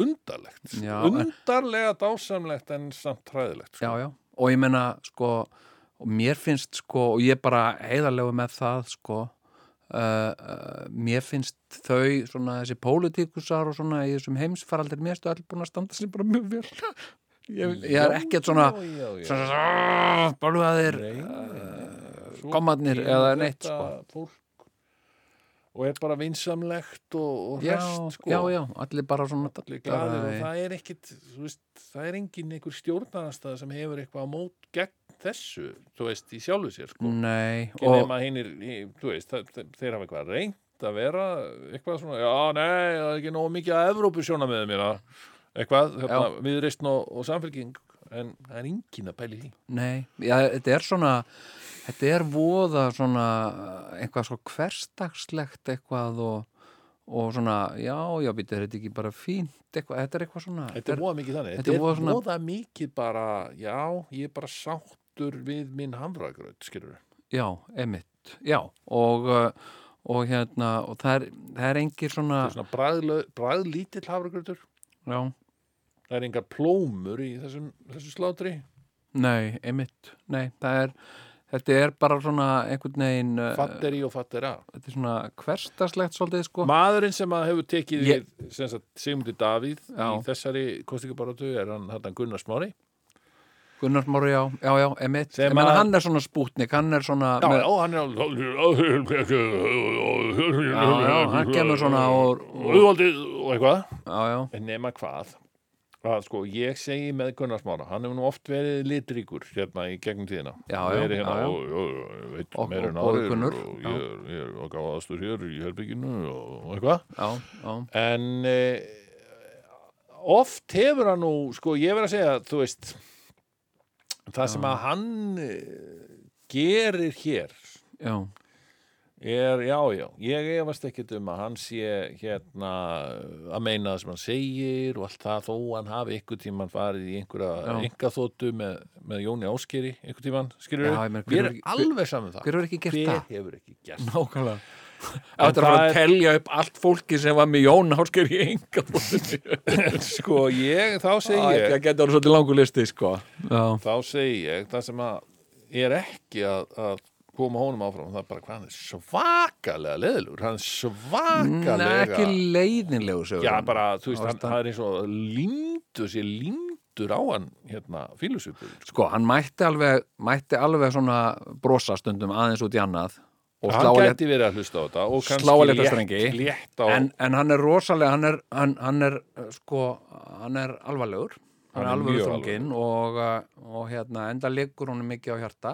Speaker 2: undarlegt
Speaker 5: Já, en-
Speaker 2: undarlega dásamlegt en samt hræðilegt sko.
Speaker 5: já, já. og ég meina sko, og mér finnst sko, og ég er bara heiðarlegu með það sko, uh, uh, mér finnst þau svona þessi pólitíkusar og svona í þessum heimsfaraldir mér stu allir búin að standa sér bara mjög vel ég, ég er ekkert svona
Speaker 2: já, já, já.
Speaker 5: svona "Ah, bölvaðir
Speaker 2: Svo
Speaker 5: kommarnir
Speaker 2: kemur
Speaker 5: eða neitt
Speaker 2: þetta
Speaker 5: sko.
Speaker 2: fólk og er bara vinsamlegt og, og
Speaker 5: já,
Speaker 2: hresst sko.
Speaker 5: já, já, allir bara svona
Speaker 2: Allir glaðir og
Speaker 5: Æ.
Speaker 2: það er ekkit þú veist, það er engin einhver stjórnarastað sem hefur eitthvað á mót gegn þessu þú veist, í sjálfu sér sko.
Speaker 5: nei,
Speaker 2: ekki
Speaker 5: Mm, og
Speaker 2: nema hinnir, þú veist, það- þe- þeir hafa eitthvað reynd að vera eitthvað svona, já, nei, það er ekki nóg mikið að Evrópu sjóna með mér eitthvað, hérna, við reysn og, og samfélking en það er engin að pæli því
Speaker 5: Nei, já, þetta er svona þetta er voða svona eitthvað svo hversdagslegt eitthvað og, og svona já, já, býta, þetta er ekki bara fínt eitthvað, þetta er eitthvað svona
Speaker 2: Þetta er voða mikið þannig,
Speaker 5: þetta
Speaker 2: þetta
Speaker 5: er
Speaker 2: er
Speaker 5: voða
Speaker 2: voða,
Speaker 5: svona-
Speaker 2: mikið bara, já, ég er bara sáttur við minn hamragraut, skilur
Speaker 5: já, emitt, já og, uh, og hérna og það er, það er engir svona,
Speaker 2: það er svona bragðlö- bragðlítill hafragrautur
Speaker 5: já,
Speaker 2: það er engar plómur í þessum, þessum slátri
Speaker 5: nei, emitt nei, það er, þetta er bara svona einhvern veginn, uh,
Speaker 2: fatteri og fattera
Speaker 5: þetta er svona hversdagslegt svolítið, sko,
Speaker 2: Maðurinn sem að hefur tekið
Speaker 5: Ég-
Speaker 2: ég... sem sagt, Sigmundi Davíð
Speaker 5: Já.
Speaker 2: í þessari kostningabarótu er hann, hann Gunnar Smári
Speaker 5: Gunnar Máru, já, já, já, emitt
Speaker 2: Sem
Speaker 5: ég menna
Speaker 2: að-
Speaker 5: hann er svona spútnik, hann er svona
Speaker 2: Já,
Speaker 5: með-
Speaker 2: já, hann er Já,
Speaker 5: já, hann kemur svona og- og-
Speaker 2: og eitthvað
Speaker 5: já, já,
Speaker 2: En nema hvað að sko, ég segi með Gunnar Smára hann hefur nú oft verið litríkur hérna í gegnum tíðina
Speaker 5: Já, já,
Speaker 2: verið hérna
Speaker 5: já, já.
Speaker 2: og, og, og, veit,
Speaker 5: Og-
Speaker 2: meira en
Speaker 5: og- og
Speaker 2: aðrir
Speaker 5: Gunnur,
Speaker 2: og
Speaker 5: já.
Speaker 2: ég er, ég er og gáðastur hér í herbygginu og, og eitthvað
Speaker 5: já, já,
Speaker 2: en eh, oft hefur hann nú sko ég verið að segja þú veist það sem að hann eh, gerir hér
Speaker 5: já,
Speaker 2: er, já, já, ég efast ekkit um að hann sé hérna að meina það sem hann segir og allt það þó hann hafi ykkur tíman farið í einhverja
Speaker 5: Já.
Speaker 2: engaþótu með, með Jóni Áskeri ykkur tíman, skilur
Speaker 5: Já, ég meina, hver
Speaker 2: við
Speaker 5: hefur
Speaker 2: erum
Speaker 5: ekki-
Speaker 2: alveg saman það
Speaker 5: hver hefur ekki gert það?
Speaker 2: hefur ekki gert það?
Speaker 5: Nákvæmlega Þetta er
Speaker 2: En
Speaker 5: að fara
Speaker 2: það
Speaker 5: að
Speaker 2: er-
Speaker 5: telja upp allt fólki sem var með Jón Ásker í enga
Speaker 2: sko ég, þá
Speaker 5: Það
Speaker 2: segi ég
Speaker 5: gæti að vera svolítið langur listi sko Já,
Speaker 2: þá segi ég það sem að er ekki að, að koma honum áfram það er bara hvað hann er svakalega leðilur hann er
Speaker 5: Nei,
Speaker 2: svakalega
Speaker 5: ekki leiðinlegu sögur
Speaker 2: já bara þú veist hann,
Speaker 5: Ástand.
Speaker 2: það er eins og lindur sér lindur á hann hérna fílusupur
Speaker 5: Sko, hann mætti alveg, mætti alveg svona brosa stundum aðeins út í annað og
Speaker 2: hann
Speaker 5: slá að
Speaker 2: gæti verið að hlusta á þetta og
Speaker 5: Slá á
Speaker 2: kannski
Speaker 5: létta
Speaker 2: létt,
Speaker 5: strengi.
Speaker 2: létt á
Speaker 5: en, en hann er rosalega hann er, hann, hann er uh, sko hann er alvarlegur hann,
Speaker 2: Hann
Speaker 5: er
Speaker 2: er
Speaker 5: alvarlegur
Speaker 2: mjög
Speaker 5: þrungin og, uh, og hérna enda liggur honum mikið á hjarta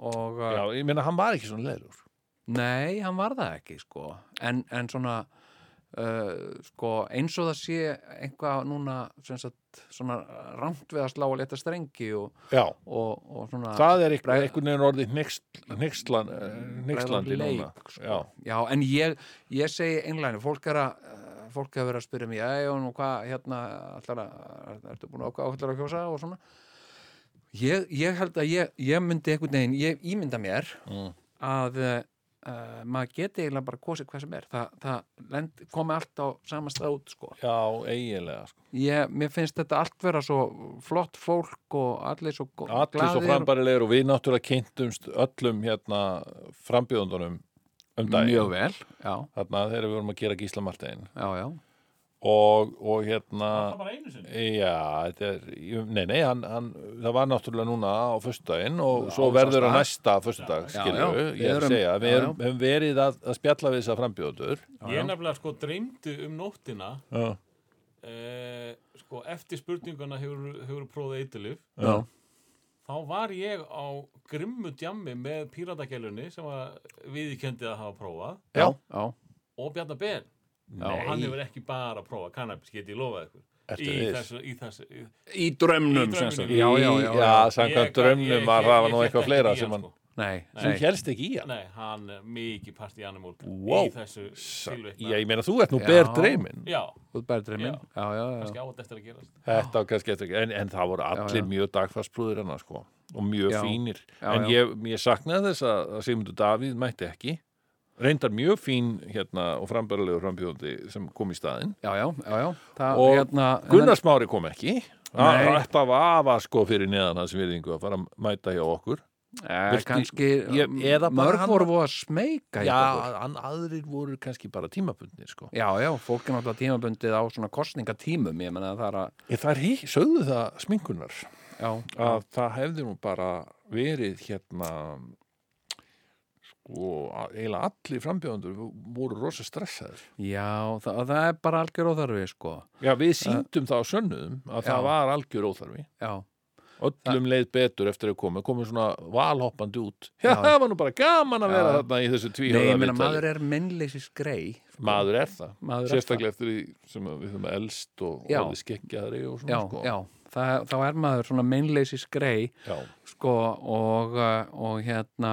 Speaker 5: og uh,
Speaker 2: já, ég meina hann var ekki svona leðilur
Speaker 5: nei, hann var það ekki sko en, en svona uh, sko eins og það sé einhvað núna sem sagt svona rangt við að slá að leta strengi og,
Speaker 2: já
Speaker 5: og, og svona
Speaker 2: það er
Speaker 5: Bregð-
Speaker 2: einhvern einhvern veginn orðið nextlan nextlandi
Speaker 5: Bregðan
Speaker 2: núna
Speaker 5: leik, sko.
Speaker 2: já,
Speaker 5: Já, en ég, ég segi einlægni, fólk er að eh, fólk er að vera að spyrja mig, já, og hvað, hérna, allar að, ertu búin að ákvæða allar að kjósa og svona ég, ég held að ég, ég myndi einhvern veginn, ég ímynda mér
Speaker 2: Mm.
Speaker 5: að uh, maður geti eiginlega bara kosið hvað sem er Þa, það lend, komi allt á sama stað út, sko
Speaker 2: já, eiginlega sko.
Speaker 5: ég, mér finnst þetta allt vera svo flott fólk og allir svo gó-
Speaker 2: allir svo
Speaker 5: glaðir og-
Speaker 2: frambærilegur og við náttúrulega kynntumst öllum hérna frambjöðundunum um daginn
Speaker 5: mjög vel, já,
Speaker 2: þarna þegar við vorum að gera Gísla Martein
Speaker 5: já, já
Speaker 2: og, og hérna
Speaker 4: Það var bara einu sinni.
Speaker 2: já, þetta er ég- nei, nei, hann, hann, það var náttúrulega núna á föstudaginn og
Speaker 5: Á
Speaker 2: svo verður
Speaker 5: föstudag.
Speaker 2: að næsta föstudag,
Speaker 5: Já,
Speaker 2: skilju,
Speaker 5: já,
Speaker 2: ég
Speaker 5: við
Speaker 2: er
Speaker 5: erum-
Speaker 2: að segja við
Speaker 5: já,
Speaker 2: erum, hefum verið að, að spjalla við þess að frambjöðundur
Speaker 4: Ég nefnilega sko dreymdi um nóttina
Speaker 2: já,
Speaker 4: eh, sko eftir spurninguna hefur, hefur prófið eitilif
Speaker 2: já,
Speaker 4: þá var ég á grimmu djammi með píratagælunni sem var viðkendi að hafa prófað
Speaker 2: já.
Speaker 5: já,
Speaker 4: og Bjarnar Ben og hann hefur ekki bara að prófa kannabis, get ég lofað ykkur
Speaker 2: Ertu
Speaker 4: í
Speaker 2: viss?
Speaker 4: þessu, í þessu í,
Speaker 5: í drömmnum,
Speaker 4: Í
Speaker 5: sem
Speaker 4: draumnum.
Speaker 5: sagt.
Speaker 2: Já, já, já, já,
Speaker 4: ég-
Speaker 2: samkvæmt drömmnum var
Speaker 4: ég-
Speaker 2: það
Speaker 4: ég
Speaker 2: nú
Speaker 4: hélt
Speaker 2: eitthvað
Speaker 4: ekki
Speaker 2: fleira
Speaker 4: í
Speaker 2: sem
Speaker 4: hann,
Speaker 2: hann
Speaker 4: sko.
Speaker 5: Nei,
Speaker 2: sem
Speaker 5: nei,
Speaker 2: helst ekki í hann
Speaker 4: Nei, hann er mikið part í animal
Speaker 2: Wow.
Speaker 4: í þessu
Speaker 2: Já,
Speaker 4: tilvikna
Speaker 2: ég meina, þú ert nú
Speaker 5: Já.
Speaker 2: ber dreyminn
Speaker 4: Já,
Speaker 5: út bara dreymin
Speaker 4: Já.
Speaker 5: já, já, já,
Speaker 4: kannski á þetta eftir að gerast
Speaker 2: Þetta var kannski eftir ekki, en, en það voru allir
Speaker 5: já.
Speaker 2: mjög dagfarsbrúðir hennar sko og mjög
Speaker 5: Já.
Speaker 2: fínir.
Speaker 5: Já,
Speaker 2: en
Speaker 5: já.
Speaker 2: Ég, ég saknaði þess að, að Sigmundur Davíð mætti ekki. Reyndar mjög fín hérna og frambærulegur frambjóðandi sem kom í staðinn.
Speaker 5: já, já, já, já. Það,
Speaker 2: Og
Speaker 5: hérna,
Speaker 2: Gunnar Smári kom ekki. Það
Speaker 5: Nei.
Speaker 2: ætti að vafa sko fyrir neðan hans virðingu að fara að mæta hjá okkur.
Speaker 5: eh,
Speaker 2: Viltu-
Speaker 5: kannski
Speaker 2: Ég- eða bara
Speaker 5: mörg
Speaker 2: hann-
Speaker 5: voru voru að smeika í okkur.
Speaker 2: hann aðrir voru kannski bara tímabundni sko.
Speaker 5: já, já, fólk er náttúrulega tímabundið á svona kostningatímum, ég menna það er að
Speaker 2: Ég, það er hí, sögðu það sminkunar.
Speaker 5: já,
Speaker 2: að það hefði nú bara verið hérna sko, að- eiginlega allir frambjöðandur voru rosa stressaður.
Speaker 5: já það, það er bara algjör óþarfi, sko
Speaker 2: Já, við síndum það á sönnum að
Speaker 5: Já.
Speaker 2: það var algjör óþarfi.
Speaker 5: já,
Speaker 2: Öllum leið betur eftir að koma, komið svona valhoppandi út. Já,
Speaker 5: Já.
Speaker 2: það var nú bara gaman að
Speaker 5: Já.
Speaker 2: vera þarna í þessu
Speaker 5: nei,
Speaker 2: tvíhöða
Speaker 5: ég menna
Speaker 2: viðtali.
Speaker 5: maður er mennleysis grei
Speaker 2: Maður er það.
Speaker 5: Maður er
Speaker 2: Sérstaklega eftir því sem að við höfum elst og
Speaker 5: Já.
Speaker 2: orðið skekkjaðri og svona
Speaker 5: já,
Speaker 2: sko.
Speaker 5: já, það, þá er maður svona mennleysis grei
Speaker 2: já.
Speaker 5: sko og, uh, og hérna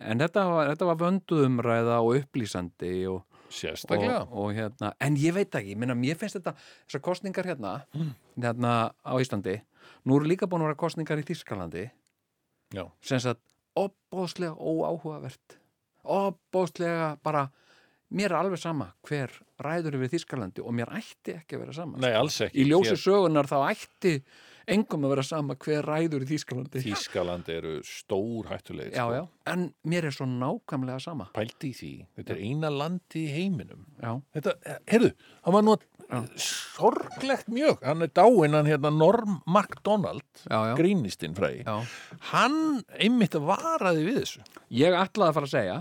Speaker 5: en þetta var, þetta var vönduðumræða og upplýsandi og
Speaker 2: Sérstaklega.
Speaker 5: og, og hérna, en ég veit ekki, minna, mér finnst þetta þessar kostningar hérna,
Speaker 2: Mm.
Speaker 5: hérna á Íslandi, nú eru líka búin að vera kostningar í Þískalandi
Speaker 2: Já.
Speaker 5: sem sagt, opbóðslega óáhugavert, opbóðslega bara, mér er alveg sama hver ræður yfir Þískalandi og mér ætti ekki að vera sama
Speaker 2: Nei, alls ekki.
Speaker 5: í ljósi
Speaker 2: Hér-
Speaker 5: sögunar þá ætti engum að vera sama hver ræður í Þískalandi
Speaker 2: Þýskaland eru stór hættulegir.
Speaker 5: já,
Speaker 2: sko.
Speaker 5: já, en mér er svo nákvæmlega sama
Speaker 2: pældi í því, þetta er eina landi í heiminum
Speaker 5: já,
Speaker 2: þetta, heyrðu, hann var nú sorglegt mjög, hann er dáinn hann hérna Norm MacDonald
Speaker 5: já, já,
Speaker 2: grínistinn fræði
Speaker 5: já.
Speaker 2: hann einmitt varaði við þessu
Speaker 5: Ég ætlaði að fara að segja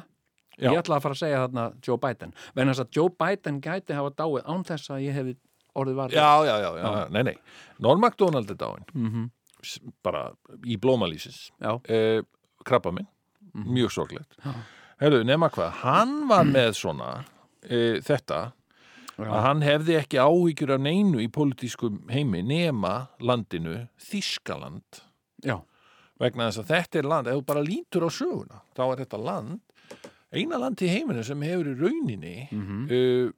Speaker 2: Já.
Speaker 5: Ég ætlaði að fara að segja þarna Joe Biden vegna þess að Joe Biden gæti hafa dáið án þess að ég hefði orðið var
Speaker 2: já, já, já, já, nei, nei Norm MacDonald er dáin
Speaker 5: Mhm.
Speaker 2: S- bara í blómalýsins
Speaker 5: Já. Mhm.
Speaker 2: eh, krabba minn mjög sorglegt Heru, nema hvað, hann var með svona eh, þetta að hann hefði ekki áhyggjur af neinu í pólitískum heimi nema landinu Þískaland
Speaker 5: Já.
Speaker 2: vegna þess að þetta er land, ef þú bara lítur á söguna þá er þetta land eina land í heiminu sem hefur í rauninni
Speaker 5: Mhm.
Speaker 2: mm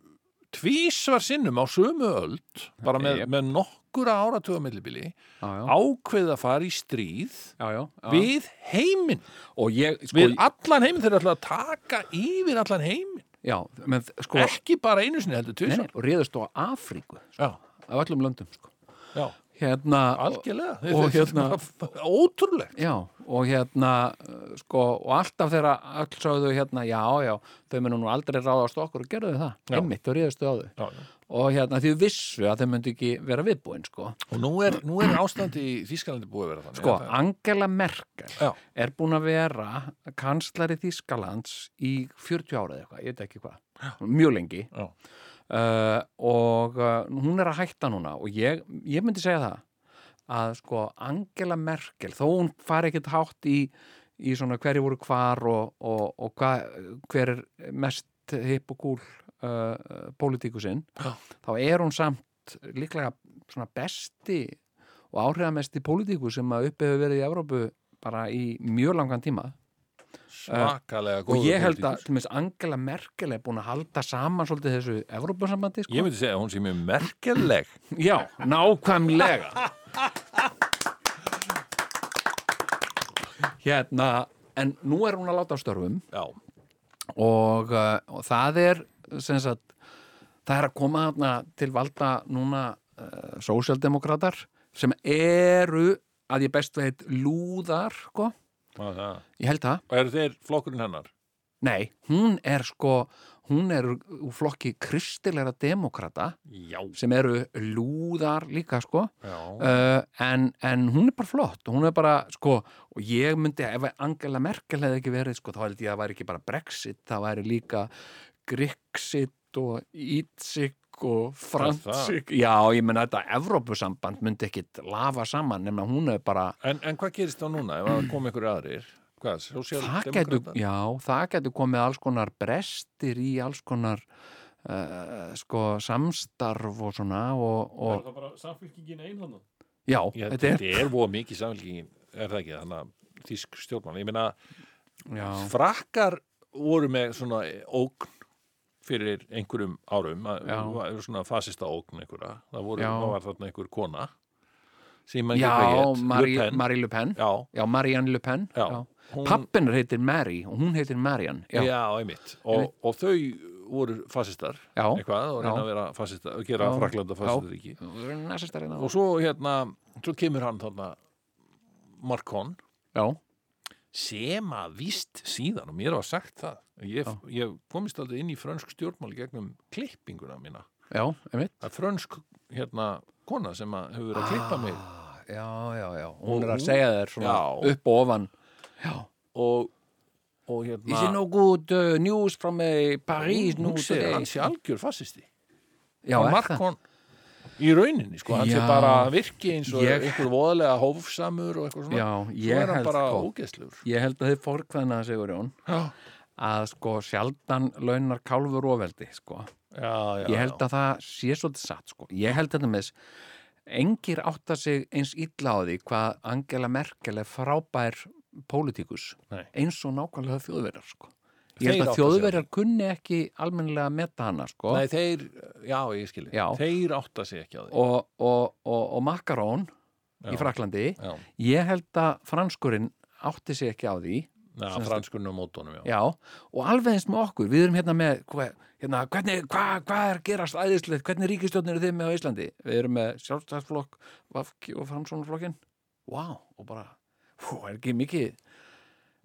Speaker 2: tvísvar sinnum á sömu öld bara með,
Speaker 5: Jep.
Speaker 2: með nokkura áratuga millibili
Speaker 5: já, já,
Speaker 2: ákveð að fara í stríð
Speaker 5: já, já, já.
Speaker 2: við heiminn
Speaker 5: og ég, sko,
Speaker 2: við allan heiminn þeir eru alltaf að taka yfir allan heiminn
Speaker 5: já, menn, sko
Speaker 2: ekki bara einu sinni heldur
Speaker 5: nei,
Speaker 2: tvisar
Speaker 5: nei, og réðust á Afríku sko,
Speaker 2: já,
Speaker 5: af öllum löndum sko.
Speaker 2: já,
Speaker 5: hérna,
Speaker 2: algjörlega
Speaker 5: og
Speaker 2: Þetta er
Speaker 5: hérna-
Speaker 2: bara ótrúlegt
Speaker 5: já, og hérna uh, sko, og alltaf þeirra öll sögðu hérna, já, já, þau munum nú aldrei ráðast á okkur og gerðu það,
Speaker 2: Já.
Speaker 5: einmitt og réðustu á þau
Speaker 2: já, já.
Speaker 5: og hérna því vissu að þau myndu ekki vera viðbúin sko,
Speaker 2: og nú er, nú er ástandi í Þískalandi búið að vera þannig
Speaker 5: sko
Speaker 2: að það-
Speaker 5: Angela Merkel
Speaker 2: Já.
Speaker 5: er búin að vera kanslari Þýskalands í 40 ára eða eitthvað, ég veit ekki hvað mjög lengi
Speaker 2: Já.
Speaker 5: uh, og uh, hún er að hætta núna og ég, ég myndi segja það að sko Angela Merkel þó hún fari ekkert hátt í, í svona hverju voru hvar og, og, og hva, hver er mest hipp og gúl uh, pólitíkusinn þá er hún samt líklega svona besti og áhrifamesti pólitíku sem að uppi hefur verið í Evrópu bara í mjög langan tíma
Speaker 2: svakalega góður
Speaker 5: og ég held að
Speaker 2: pólitíkus.
Speaker 5: til minnst Angela Merkel er búin að halda saman svolítið þessu Evrópusambandi sko.
Speaker 2: ég myndi segja að hún sé mjög merkeleg
Speaker 5: Já, nákvæmlega Hérna en nú er hún að láta á störfum
Speaker 2: já,
Speaker 5: og, uh, og það er sem sagt, það er að koma þarna til valda núna uh, sósjaldemokratar sem eru að ég best veit lúðar, sko,
Speaker 2: það það.
Speaker 5: ég held það
Speaker 2: og eru þeir flokkurinn hennar
Speaker 5: nei, hún er sko hún er úr flokki kristilegra demokrata
Speaker 2: já,
Speaker 5: sem eru lúðar líka, sko
Speaker 2: já,
Speaker 5: uh, en, en hún er bara flott hún er bara, sko, og ég myndi ef Angela Merkel hefði ekki verið sko, þá held ég að það væri ekki bara Brexit það væri líka Grixit og Ítsik og Fransik, já, ég menna þetta Evrópusamband myndi ekkit lafa saman nema hún er bara,
Speaker 2: En, en hvað gerist þá núna ef að koma ykkur aðrir hvað,
Speaker 5: það getur
Speaker 2: sósíaldemokrata
Speaker 5: já, það getur komið alls konar brestir í alls konar uh, sko, samstarf og svona og,
Speaker 4: Er
Speaker 5: og
Speaker 4: það bara samfélkingin einhanna?
Speaker 5: já,
Speaker 2: Já,
Speaker 5: þetta er
Speaker 2: er voða mikið samfélgingin, er það ekki, þannig að þísk stjórnmála. Ég meina,
Speaker 5: já,
Speaker 2: frakkar voru með svona ógn fyrir einhverjum árum, að-
Speaker 5: Já.
Speaker 2: það var svona fasista ógn einhverja, það voru,
Speaker 5: Já.
Speaker 2: það var þarna einhver kona, sem mann
Speaker 5: já, Marie
Speaker 2: Pen,
Speaker 5: Marie Le Pen
Speaker 2: já,
Speaker 5: Já, Marianne Le Pen
Speaker 2: Já.
Speaker 5: Hún...
Speaker 2: Hún-
Speaker 5: Pappin heitir Mary og hún heitir Marianne
Speaker 2: já,
Speaker 5: Já, já,
Speaker 2: einmitt, og, og þau voru fasistar, eitthvað, og reyna
Speaker 5: Já.
Speaker 2: að vera fasista, og gera
Speaker 5: Já.
Speaker 2: fraklanda fasistaríki.
Speaker 5: Nasistar hérna.
Speaker 2: Og svo hérna, svo kemur hann þarna Markon,
Speaker 5: já,
Speaker 2: sem að víst síðan og mér var sagt það ég, ég komist aldrei inn í frönsk stjórnmál í gegnum klippinguna mína
Speaker 5: já, einmitt
Speaker 2: að frönsk hérna kona sem að hefur verið að klippa mig
Speaker 5: Ah, Já, já, já, hún
Speaker 2: Og
Speaker 5: er að
Speaker 2: hún-
Speaker 5: segja þér svona
Speaker 2: Já.
Speaker 5: upp og ofan Já,
Speaker 2: og, og
Speaker 5: is it
Speaker 2: hérna
Speaker 5: no good uh, news from uh, Paris
Speaker 2: hún
Speaker 5: news
Speaker 2: segir
Speaker 5: today?
Speaker 2: að hann sé algjör fassisti
Speaker 5: Já,
Speaker 2: og
Speaker 5: er það?
Speaker 2: Markon í rauninni sko, hann sé
Speaker 5: Já.
Speaker 2: bara virki eins og
Speaker 5: Ég-
Speaker 2: einhver voðalega hófsamur og eitthvað svona
Speaker 5: Já,
Speaker 2: svo
Speaker 5: ég
Speaker 2: er hann
Speaker 5: held,
Speaker 2: bara
Speaker 5: sko,
Speaker 2: ógeðslegur
Speaker 5: ég held að þið fórkvæðna Sigurjón
Speaker 2: Já.
Speaker 5: að sko sjaldan launar kálfur ofeldi sko
Speaker 2: já, já,
Speaker 5: ég held að það sé svolítið satt sko. ég held þetta með þess engir átta sig eins illa á því hvað Angela Merkel er frábær pólitíkus,
Speaker 2: Nei.
Speaker 5: eins og nákvæmlega þjóðverjar sko. ég
Speaker 2: Þeir
Speaker 5: held
Speaker 2: átta sig
Speaker 5: að
Speaker 2: á
Speaker 5: þjóðverjar kunni ekki almennilega að meta hana sko.
Speaker 2: Nei, þeir, já, ég skilji
Speaker 5: Já.
Speaker 2: þeir átta sig ekki á því
Speaker 5: og, og, og, og Macaron í Fraklandi
Speaker 2: já,
Speaker 5: ég held að franskurinn átti sig ekki á því
Speaker 2: já
Speaker 5: Sem sagt-
Speaker 2: franskunum mótunum, já,
Speaker 5: Já, og alveg eins með okkur, við erum hérna með, hva- hérna, hvernig, hvað hva er að gerast æðislegt, hvernig ríkistjórnir eru þið með á Íslandi? Við erum með sjálfstæðsflokk, Vafki og Framsónarflokkin. Vá, og bara, hú, er ekki mikið,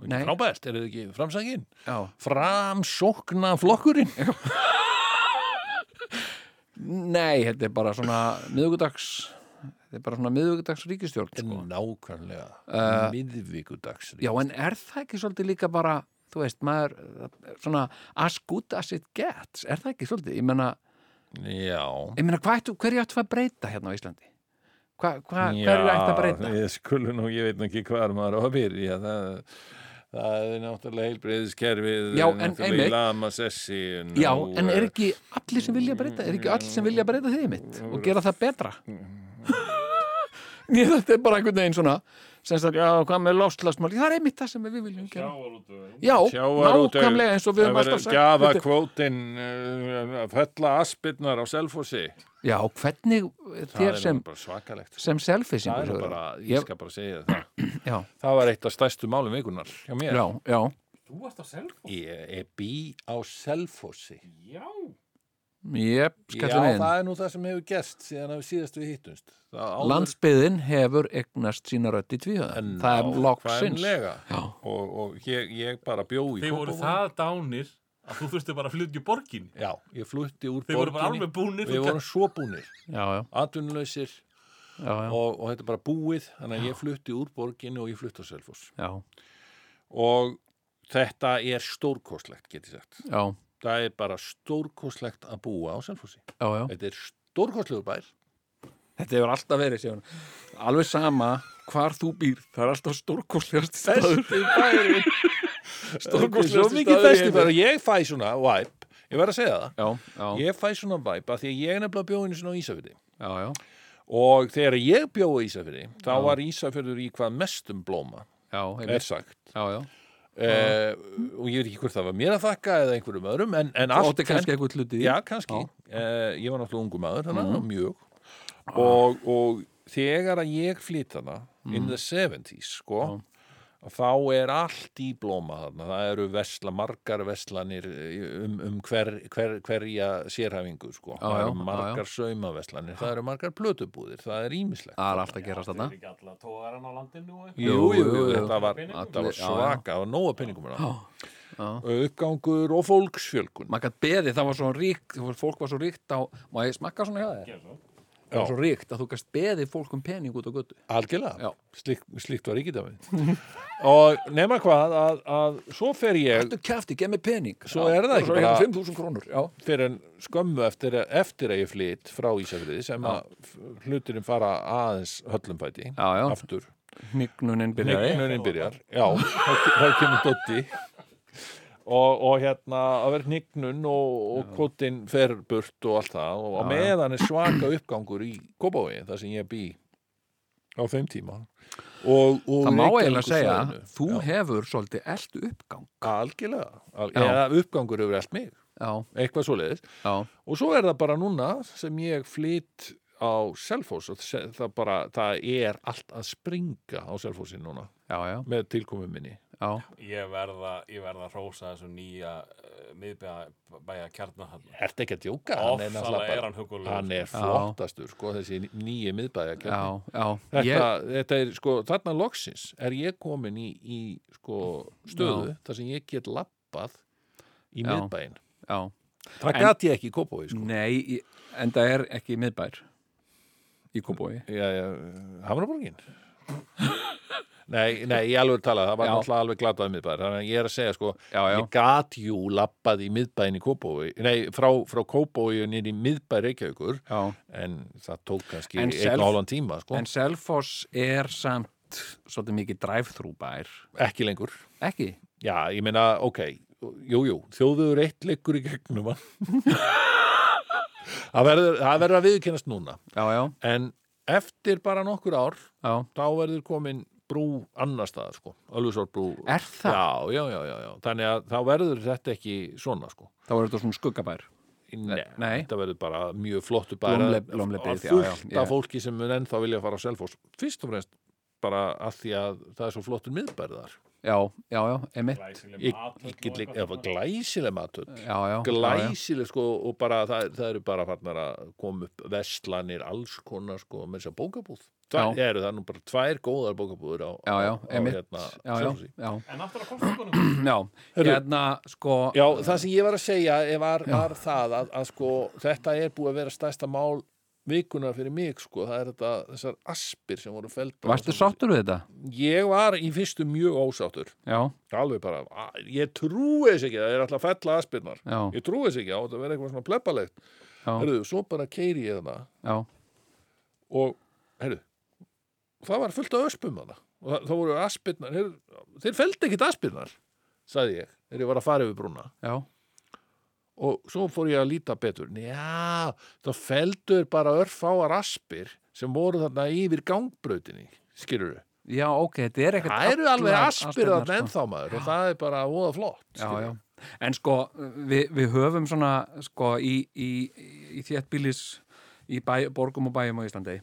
Speaker 5: nei.
Speaker 2: já. frábært, er þið ekki framsækin?
Speaker 5: já,
Speaker 2: framsókna flokkurinn
Speaker 5: nei, þetta er bara svona miðugudags, þetta er bara svona miðugudags ríkistjórn, sko.
Speaker 2: nákvæmlega
Speaker 5: Eh,
Speaker 2: miðvikudags
Speaker 5: Já, en er það ekki svolítið líka bara, þú veist, maður, eh, svona, as good as it gets, er það ekki svolítið, ég menna,
Speaker 2: Já.
Speaker 5: Ég meina, hvað ættu, hverju ættu að breyta hérna á Íslandi? Hva, hva,
Speaker 2: Já,
Speaker 5: hverju ættu að breyta?
Speaker 2: Ég skulum nú, ég veit nú ekki hvað maður á að byrja. Það, það er náttúrulega heilbreyðiskerfið,
Speaker 5: Já, en einmitt.
Speaker 2: náttúrulega lamasessi.
Speaker 5: Já, en
Speaker 2: eh,
Speaker 5: er ekki allir sem vilja breyta? Er ekki öll sem vilja breyta þið mitt og gera það betra? Mér þetta er bara einhvern veginn svona sem sagt, já, hvað með lofslagsmál? Það er einmitt það sem við viljum gera. Já, nákvæmlega eins og við höfum alltaf sagt.
Speaker 2: Gjafa
Speaker 5: Þetta-
Speaker 2: kvótin, eh, að fella aspirnar á selfossi.
Speaker 5: Já, hvernig
Speaker 2: Það
Speaker 5: þér
Speaker 2: er
Speaker 5: sem,
Speaker 2: nú bara svakalegt.
Speaker 5: sem
Speaker 2: Það
Speaker 5: selfisingur
Speaker 2: er bara, ég skal bara segja það.
Speaker 5: Já,
Speaker 2: Það var eitt af stærstu málum vikunar hjá mér.
Speaker 5: já, já,
Speaker 4: Þú varst á selfo?
Speaker 2: Ég er bí á selfossi.
Speaker 4: Já.
Speaker 5: ég
Speaker 2: Já,
Speaker 5: skallum inn.
Speaker 2: það er nú það sem hefur gest síðan að síðast við hittumst.
Speaker 5: Landsbyðin hefur egnast sína rödd í tvíhöða. Það er loksins.
Speaker 2: Fænlega.
Speaker 5: Já,
Speaker 2: Og, og ég, ég bara bjó í
Speaker 4: Þeir voru
Speaker 2: Kópavogi.
Speaker 4: það dánir að þú þurfti bara að flytja borgin.
Speaker 2: Já, ég flutti úr
Speaker 4: Þeir voru bara
Speaker 2: borginni.
Speaker 4: alveg búnir.
Speaker 2: Við vorum svo búnir,
Speaker 5: já, já,
Speaker 2: atvinnulausir
Speaker 5: já, já.
Speaker 2: og, og þetta er bara búið. Þannig að ég flutti úr borginni og ég flutti á Selfoss.
Speaker 5: já,
Speaker 2: Og þetta er stórkostlegt, get ég sagt.
Speaker 5: já,
Speaker 2: Það er bara stórkostlegt að búa á Selfossi.
Speaker 5: já, já.
Speaker 2: Þetta er stórkostlegur bær.
Speaker 5: Þetta hefur alltaf verið, séu. Alveg sama hvar þú býr, það er alltaf stórkostlegast staður.
Speaker 2: bæri.
Speaker 5: Stórkostlegasti
Speaker 2: Svo mikið
Speaker 5: staður í
Speaker 2: besti
Speaker 5: heimi.
Speaker 2: bæri. Ég fæ svona væp. Ég verð að segja það.
Speaker 5: Já, já,
Speaker 2: Ég fæ svona væp að því að ég er nefnilega bjóðinu sinna á Ísafjörði.
Speaker 5: já, já,
Speaker 2: Og þegar ég bjóði Ísafjörði, þá var Ísafjörður í hvað mestum blóma,
Speaker 5: já,
Speaker 2: er
Speaker 5: einmitt.
Speaker 2: sagt.
Speaker 5: já, Eh. já.
Speaker 2: Uh, og ég veit ekki hvort það var mér að þakka eða einhverjum öðrum, en, en
Speaker 5: Það
Speaker 2: allt...
Speaker 5: átti kannski eitthvað hlutið.
Speaker 2: Já, kannski. Uh, ég var náttúrulega ungu maður, þannig mm.
Speaker 5: Mhm.
Speaker 2: mjög.
Speaker 5: Ah.
Speaker 2: Og, og þegar að ég flyt hana,
Speaker 5: Mhm.
Speaker 2: in the 70s, sko, þá er allt í blóma þarna. Það eru vesla, margar veslanir eh, um, um hver, hver, hverja sérhæfingu, sko.
Speaker 5: Já,
Speaker 2: það
Speaker 5: já,
Speaker 2: eru
Speaker 5: já,
Speaker 2: margar saumaveslanir, það eru margar plötubúðir, það er ímislegt.
Speaker 5: Það er alltaf að gerast þarna.
Speaker 4: ekki alla tóðaran á landinu
Speaker 2: Jú,
Speaker 4: og
Speaker 5: Jú,
Speaker 2: jú,
Speaker 5: jú, jú.
Speaker 2: þetta var,
Speaker 4: Peningum.
Speaker 2: þetta var
Speaker 5: Já, já.
Speaker 2: svaka, það var nóga peningum hérna.
Speaker 5: já.
Speaker 2: Uppgangur og fólksfjölkun.
Speaker 5: maður gætt beðið, það var svo ríkt fólk var svo ríkt á, má ég smakka svona hjá þér? það var
Speaker 2: Já.
Speaker 5: svo ríkt að þú gætt beðið fólk um pening út á götu Já.
Speaker 2: Algjörlega, Slik, slíkt var ekki dæmið. og nema hvað, að, að svo fer ég,
Speaker 5: Þetta er kæfti, gef mér pening
Speaker 2: Svo er það ekki
Speaker 5: Svo
Speaker 2: bara-
Speaker 5: hérna 5.000 krónur Já,
Speaker 2: fyrir en skömmu eftir, að- eftir að ég flytt frá Ísafriði sem að hluturinn fara aðeins höllumfæti,
Speaker 5: Já, já.
Speaker 2: aftur.
Speaker 5: hnignunin byrjaði
Speaker 2: Hnignunin byrjar, já, þá þá kemur Dotti og, og hérna að vera hnignun og, og kottin fer burt og allt það og á meðan er svaka uppgangur í Kópavogi, þar sem ég bý á þeim tíma og, og
Speaker 5: Það má eiginlega segja,
Speaker 2: Reykjavíkursvæðinu.
Speaker 5: þú
Speaker 2: Já,
Speaker 5: hefur svolítið eld uppgang
Speaker 2: algjörlega, al,
Speaker 5: Já.
Speaker 2: eða uppgangur hefur allt mig,
Speaker 5: Já,
Speaker 2: eitthvað svoleiðis
Speaker 5: já,
Speaker 2: og svo er það bara núna sem ég flytt á Selfoss og se- það bara, það er allt að springa á Selfossi núna
Speaker 5: já, já,
Speaker 2: með tilkomu minni
Speaker 5: já.
Speaker 2: sko-
Speaker 4: Ég verða, ég verða að rósa þessu nýja uh, miðbæja kjarnar hann.
Speaker 2: Ertu ekki að djóka? Hann er
Speaker 4: Ofsalega
Speaker 2: náttúrulega
Speaker 4: er
Speaker 2: bara,
Speaker 4: hann hugulegur.
Speaker 2: hann er flottastur, sko, þessi nýju miðbæja
Speaker 5: Já, já,
Speaker 2: Þetta,
Speaker 5: ég,
Speaker 2: þetta er, sko, þarna loksins er ég komin í, í sko, stöðu þar sem ég get lappað í
Speaker 5: Já.
Speaker 2: miðbæin.
Speaker 5: já.
Speaker 2: Það
Speaker 5: En-
Speaker 2: gat ég ekki í Kópói, sko.
Speaker 5: Nei, ég- en það er ekki miðbær í Kópói
Speaker 2: Já, já, Hamraborgin. nei, nei, ég alveg tala, það var
Speaker 5: Já.
Speaker 2: náttúrulega alveg glatað miðbæin. Þannig að ég er að segja, sko,
Speaker 5: Já, já,
Speaker 2: ég gat jú lappað í miðbæin í Kópói, nei, frá, frá Kópói og nýri miðbæ Reykjavíkur,
Speaker 5: já
Speaker 2: en það tók kannski
Speaker 5: En
Speaker 2: einn
Speaker 5: self-
Speaker 2: og hálfan tíma, sko.
Speaker 5: En Selfoss er samt svolítið mikið drive-thru bær
Speaker 2: ekki lengur
Speaker 5: Ekki?
Speaker 2: já, ég meina, ok, jú, jú þjóðuður eitt leikur í gegnum hann. það verður það verður að viðkennast núna
Speaker 5: Já, já,
Speaker 2: en eftir bara nokkur ár
Speaker 5: já
Speaker 2: þá verður komin brú annar staðar, sko, Ölfusárbrú
Speaker 5: Er það?
Speaker 2: já, já, já, já, já, þannig að þá verður þetta ekki svona, sko
Speaker 5: Þá er þetta svona skuggabær
Speaker 2: Nei,
Speaker 5: Nei.
Speaker 2: þetta verður bara mjög flottu bara
Speaker 5: Blómle- blómlebyggð, já, já,
Speaker 2: fullt af
Speaker 5: ég-
Speaker 2: fólki sem mun ennþá vilja fara á Selfoss fyrst og fremst bara að því að það er svo flottur miðbærðar
Speaker 5: Já, já, já, emitt
Speaker 2: ég, ég get líka, eða glæsileg matöld
Speaker 5: Já, já, já, já.
Speaker 2: glæsileg sko og bara það, það eru bara farnar að koma upp vestlanir alls konar sko með þess að bókabúð
Speaker 5: Já.
Speaker 2: það eru það nú bara tvær góðar bókabúður á,
Speaker 5: Já, já,
Speaker 2: á, á
Speaker 5: emitt
Speaker 2: hérna
Speaker 5: Já, já,
Speaker 2: Selfossi.
Speaker 5: já,
Speaker 4: En aftur að kostingunum.
Speaker 5: já
Speaker 2: Hörru.
Speaker 5: Hérna, sko
Speaker 2: Já, það sem ég var að segja er- var, var það að, að sko, þetta er búið að vera stærsta mál vikuna fyrir mig sko, það er þetta, þessar aspir sem voru feldar
Speaker 5: Varstu sáttur við þetta?
Speaker 2: Ég var í fyrstu mjög ósáttur
Speaker 5: Já,
Speaker 2: alveg bara, "Á, ég trúi þess ekki það er alltaf að fella aspirnar
Speaker 5: já,
Speaker 2: ég trúi þess ekki á, þetta verður eitthvað svona pleppalegt
Speaker 5: Já.
Speaker 2: Herðu, svo bara keiri ég þarna
Speaker 5: já,
Speaker 2: og, herru það var fullt af öspum þarna og það, það voru aspirnar, heyrðu, þeir feldi ekkit aspirnar sagði ég, þegar ég var að fara yfir brúna
Speaker 5: já
Speaker 2: og svo fór ég að líta betur já, það feldur bara örfáar aspir sem voru þarna yfir gangbrautinni skilur við,
Speaker 5: Já, ok, þetta er ekkert
Speaker 2: það eru
Speaker 5: allar
Speaker 2: alveg aspir
Speaker 5: aspirnar,
Speaker 2: þarna
Speaker 5: sko.
Speaker 2: ennþá maður og það er bara óða flott
Speaker 5: já,
Speaker 2: skilurðu.
Speaker 5: já. En sko, við, við höfum svona sko, í, í, í þéttbílis í bæ, borgum og bæjum á Íslandi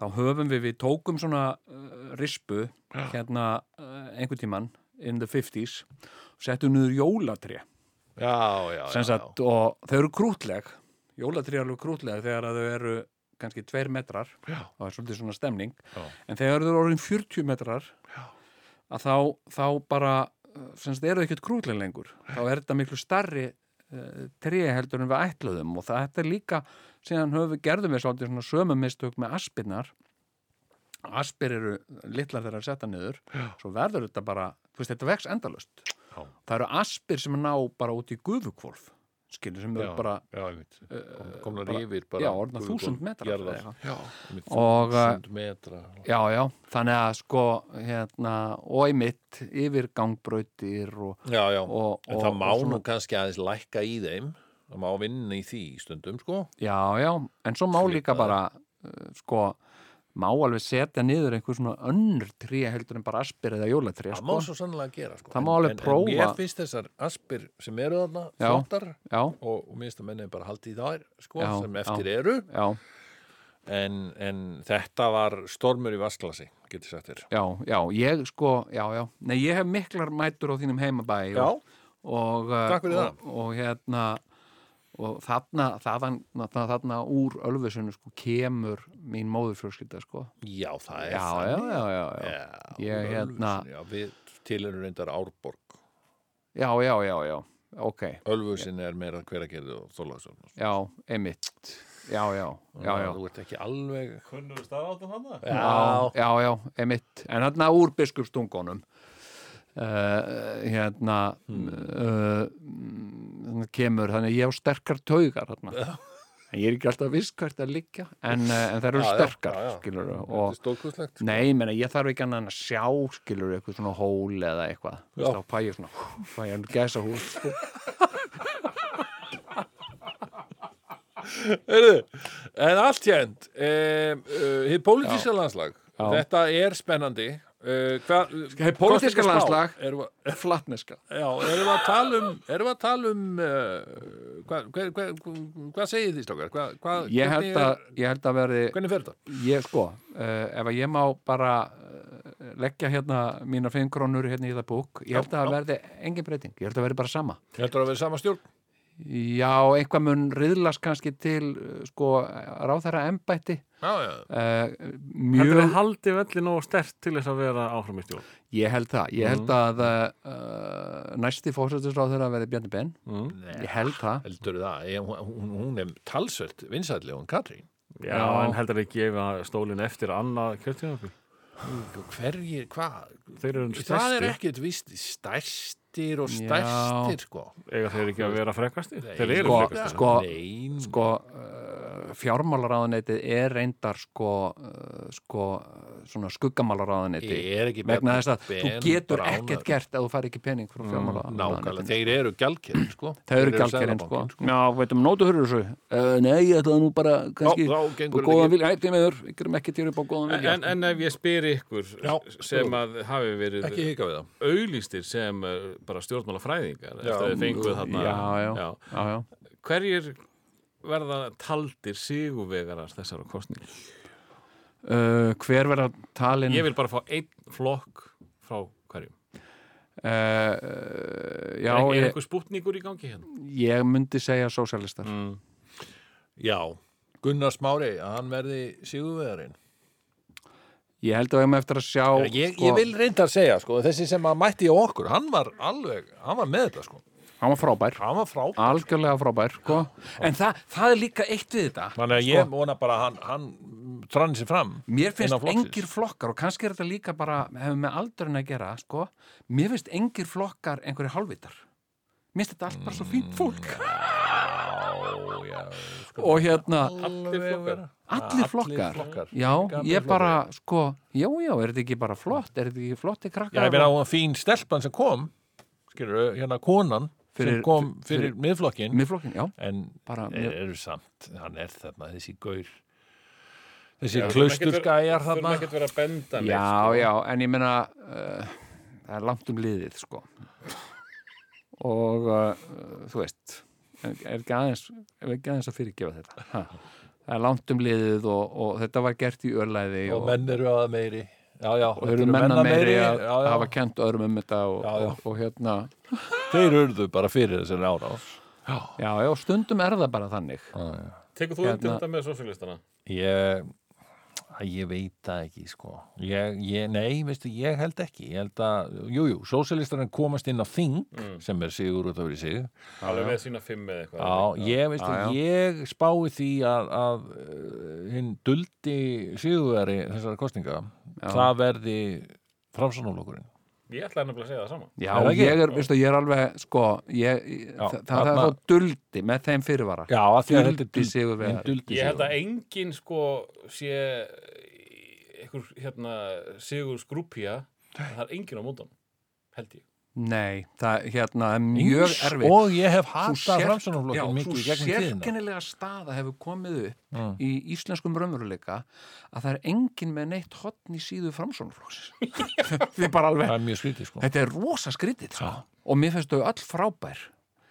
Speaker 5: þá höfum við, við tókum svona uh, rispu hérna uh, einhvern tíman in the 50s og settum niður jólatri
Speaker 2: já, já,
Speaker 5: sem
Speaker 2: já, já.
Speaker 5: sagt, og þau eru krútleg jólatri er alveg krútleg þegar að þau eru kannski tveir metrar
Speaker 2: Já.
Speaker 5: og það er svolítið svona stemning
Speaker 2: Já.
Speaker 5: en þegar þau eru orðin 40 metrar
Speaker 2: Já.
Speaker 5: að þá, þá bara uh, sem sagt, eru þau ekkert krútleg lengur þá er þetta miklu starri uh, tré heldur en við ætluðum og það, þetta er líka síðan höfum við gerðum við svolítið svona sömu mistök með aspirnar aspir eru litlar þegar að setja niður Já. svo verður þetta bara, þú veist, þetta vex endalust
Speaker 2: Já.
Speaker 5: það eru aspir sem ná bara út í gufuhvolf skilur sem eru
Speaker 2: Já,
Speaker 5: bara eh,
Speaker 2: já, einmitt. Kom, komnar
Speaker 5: bara-
Speaker 2: yfir bara
Speaker 5: já, orðna
Speaker 2: gufuhvolf
Speaker 5: þúsund metrar
Speaker 2: jarðar.
Speaker 5: eða eitthvað.
Speaker 2: já,
Speaker 5: Og, eh,
Speaker 2: þúsund metra
Speaker 5: já, já, þannig að sko hérna, og einmitt yfir gangbrautir og,
Speaker 2: já, já,
Speaker 5: og,
Speaker 2: en
Speaker 5: og,
Speaker 2: það má
Speaker 5: og
Speaker 2: nú kannski aðeins lækka í þeim það má vinna í því stundum sko
Speaker 5: já, já, en svo má líka
Speaker 2: Flippaði.
Speaker 5: bara uh, sko má alveg setja niður einhver svona önnur tré heldur en bara aspir eða jólatri
Speaker 2: það má
Speaker 5: sko.
Speaker 2: svo sannlega gera sko.
Speaker 5: Það
Speaker 2: En-
Speaker 5: má alveg
Speaker 2: en-
Speaker 5: prófa.
Speaker 2: en mér finnst þessar aspir sem eru þarna
Speaker 5: Já.
Speaker 2: flottar
Speaker 5: já,
Speaker 2: og, og minnst að menni bara haldið í þær sko,
Speaker 5: Já,
Speaker 2: sem eftir eru
Speaker 5: já,
Speaker 2: en, en þetta var stormur í vasklasi getur sagt þér
Speaker 5: já, já, ég sko já, já, nei, ég hef miklar mætur á þínum heimabæi og, og, uh,
Speaker 2: Takk fyrir
Speaker 5: og, og hérna og þarna, þaðan, þarna, þarna úr Ölfusinu sko kemur mín móðurfjörskylda sko
Speaker 2: já, það
Speaker 5: já,
Speaker 2: er
Speaker 5: já,
Speaker 2: þannig
Speaker 5: já, já, já.
Speaker 2: Já,
Speaker 5: Ég,
Speaker 2: Ölfusin,
Speaker 5: hérna-
Speaker 2: já, við tilhengur reyndar Árborg
Speaker 5: já, já, já, já, ok
Speaker 2: Ölfusin er meira hver að gera og Þorláksson
Speaker 5: já, einmitt já, já, já, já
Speaker 2: þú ert ekki alveg
Speaker 6: Kunnur staðáttan hann það?
Speaker 5: já, já, já, einmitt en hérna úr biskupstungunum uh, hérna
Speaker 2: Hmm.
Speaker 5: uh, mm, kemur þannig að ég á sterkar taugar hérna en ég er ekki alltaf viss hvert það liggja en, uh, en það eru
Speaker 2: Já, já,
Speaker 5: sterkar,
Speaker 2: já, já.
Speaker 5: skilur
Speaker 2: Þetta er
Speaker 5: og
Speaker 2: stórkustlegt
Speaker 5: Nei, menna, ég þarf ekki annað en að sjá, skilur, eitthvað svona hól eða eitthvað. Þú veist, þá fæ ég svona, fæ ég að gæsa hól, sko.
Speaker 2: En allt hérnt um, uh, Hið pólitíska landslag
Speaker 5: Já.
Speaker 2: Þetta er spennandi uh, hva,
Speaker 5: hið pólitíska landslag.
Speaker 2: Erum við
Speaker 5: Flatneska.
Speaker 2: já, erum við að tala um erum við að tala um uh, hvað hva, hva, hva, hva segir því strókar? Hva, hva,
Speaker 5: Ég held að, ég held að verði,
Speaker 2: Hvernig fer þetta?
Speaker 5: ég sko, uh, ef að ég má bara uh, leggja hérna mína fimm krónur hérna í það búk, ég held að það verði engin breyting, ég held að það verði bara sama.
Speaker 2: Heldur að vera sama stjórn?
Speaker 5: Já, einhvað mun riðlast kannski til, uh, sko, ráðherra embætti,
Speaker 2: Já, já,
Speaker 5: uh,
Speaker 4: Heldur
Speaker 5: mjög
Speaker 4: það haldi velli nógu stert til þess að vera áfram í stjórn? Mm.
Speaker 5: Ég held það, ég held að uh, næsti fórsættisráð þeirra verði Bjarni Ben
Speaker 4: Mm.
Speaker 5: Ég held það
Speaker 2: heldur það Ég- Hún, hún, hún er talsvert vinsætli hún Katrín
Speaker 4: Já, en heldur það gefa stólinn eftir annað kjörtíðanabí?
Speaker 2: Hverjir, hvað?
Speaker 4: Þeir eru
Speaker 2: Það er
Speaker 4: stærsti,
Speaker 2: ekkert vist stærstir og stærstir sko
Speaker 4: eiga þeir ekki að vera frekasti? Þeir eru
Speaker 5: sko-
Speaker 4: frekasti.
Speaker 5: sko-
Speaker 2: Nein,
Speaker 5: Sko, uh, fjármálaráðuneytið er reyndar sko, uh, sko uh, svona skuggamálaráðuneyti
Speaker 2: er ekki
Speaker 5: vegna
Speaker 2: Bjarni
Speaker 5: þess að þú
Speaker 2: Ben
Speaker 5: getur
Speaker 2: bránar.
Speaker 5: ekkert gert ef þú fær ekki pening frá
Speaker 2: Nákvæmlega,
Speaker 5: fjármálaráðuneytinu
Speaker 2: þeir eru gjaldkerinn sko
Speaker 5: Það eru gjaldkerinn sko. Já, veitum, nótu hörur þessu uh, Nei, ég ætlaði nú bara kannski
Speaker 2: þá
Speaker 5: og
Speaker 2: gengur þetta
Speaker 5: góðan
Speaker 2: ekki.
Speaker 5: vilja, eitthvað meður, ykkur er ekki til upp á góðan vilja
Speaker 4: En, en ef ég spyr ykkur
Speaker 2: Já,
Speaker 4: sem
Speaker 2: spyr.
Speaker 4: að hafi verið
Speaker 2: Ekki hika við það
Speaker 4: auglýstir sem eh, bara stjórnmálafræðingar eftir að fenguð þarna
Speaker 5: Já, já. Já, já
Speaker 4: Hverjir verða taldir sigurvegarar þessara kostningu?
Speaker 5: uh, Hver verða talin
Speaker 4: Ég vil bara fá einn flokk frá hverjum
Speaker 5: uh, uh, Já,
Speaker 4: Er, ekki- er
Speaker 5: ég,
Speaker 4: eitthvað spútningur í gangi hérna?
Speaker 5: ég myndi segja sósjálistar
Speaker 2: Já, Gunnar Smári, að hann verði sigurveðarinn
Speaker 5: ég held að við með eftir að sjá
Speaker 2: ég, ég vil reynda að segja sko, þessi sem að mætti á okkur, hann var alveg, hann var með þetta sko
Speaker 5: hann var frábær
Speaker 2: hann var frábær
Speaker 5: algjörlega frábær sko. en það, það er líka eitt við þetta sko.
Speaker 2: Þannig að ég vona bara að hann, hann tranni sér fram
Speaker 5: mér finnst
Speaker 2: innan flokksins.
Speaker 5: engir flokkar og kannski er þetta líka bara hefur með aldurinn að gera sko. mér finnst engir flokkar einhverju hálfvitar mér finnst þetta allt bara svo
Speaker 2: Mm.
Speaker 5: fínt fólk
Speaker 2: Já, já, sko,
Speaker 5: og hérna
Speaker 2: alveg vera.
Speaker 5: Allir flokkar. Já,
Speaker 2: Gamlir
Speaker 5: ég bara, sko, já, já, er þetta ekki bara flott, er þetta ekki flott í
Speaker 2: Já,
Speaker 5: krakkar?
Speaker 2: ég meina hún fín stelpan sem kom skilur, hérna konan
Speaker 5: Fyrir-
Speaker 2: sem kom
Speaker 5: fyrir-
Speaker 2: fyrir, miðflokkin
Speaker 5: Miðflokkin, já,
Speaker 2: en
Speaker 5: bara,
Speaker 2: er,
Speaker 5: mjög-
Speaker 2: eru samt hann er þarna, þessi gaur þessi
Speaker 4: Klausturgæjar
Speaker 2: klausturgæjar þarna
Speaker 4: Þurfum ekki að vera að benda neitt,
Speaker 5: já,
Speaker 4: sko.
Speaker 5: já, en ég meina, uh, það er langt um liðið, sko. Og, uh, þú veist, er er ekki aðeins, er ekki aðeins að fyrirgefa þetta. Ha. Það er langt um liðið og, og þetta var gert í örlæði
Speaker 2: og menn eru aða meiri já, já,
Speaker 5: og þeir eru menna meiri að,
Speaker 2: já, já,
Speaker 5: hafa kent öðrum um þetta og,
Speaker 2: Já, já.
Speaker 5: og, og hérna,
Speaker 2: þeir urðu bara fyrir þessari árás
Speaker 5: já, já, stundum er það bara þannig.
Speaker 4: Tekur þú undir
Speaker 5: Hérna-
Speaker 4: þetta með sosialistana?
Speaker 2: ég Æ, ég veit það ekki sko ég, ég, nei, veistu, ég held ekki ég held að, jújú, jú, sósalistarinn komast inn á þing
Speaker 5: Mm.
Speaker 2: sem er sigur út af verið sig
Speaker 4: Alveg með sína fimm eða
Speaker 2: Já,
Speaker 4: eitthvað
Speaker 2: ég veist
Speaker 5: Já,
Speaker 2: að
Speaker 5: já.
Speaker 2: ég spái því að, að eh, hinn duldi síðuveri þessara kostninga það verði framsánulokkurinn
Speaker 4: Ég ætlaði nefnilega að segja það sama
Speaker 5: Já,
Speaker 2: Er það ekki?
Speaker 5: ég er, veistu, ég er alveg, sko, ég,
Speaker 2: Já,
Speaker 5: það, það, það er
Speaker 2: þarna-
Speaker 5: þá duldi með þeim fyrirvara.
Speaker 2: Já, að því að þetta er
Speaker 5: Duldi sigurvegari.
Speaker 2: hinn duldi
Speaker 4: Ég held að
Speaker 2: sigurvegari.
Speaker 4: enginn sko sé einhver hérna sigur skrúpja það er enginn á mótan held ég
Speaker 5: Nei, það, hérna, er mjög
Speaker 2: Eins
Speaker 5: erfitt.
Speaker 2: og ég hef
Speaker 5: Sú
Speaker 2: hatað
Speaker 5: sérk-
Speaker 2: framsánulokkurinn
Speaker 5: já,
Speaker 2: mikið í
Speaker 5: svo
Speaker 2: gegnum tíðina
Speaker 5: sérkennilega staða hefur komið upp í íslenskum raunveruleika að það er engin með neitt hotn í síðu framsónaflóksins. Við bara alveg,
Speaker 2: það er mjög skrítið sko
Speaker 5: þetta er rosa skrítið, sko. Og mér finnst þau öll frábær.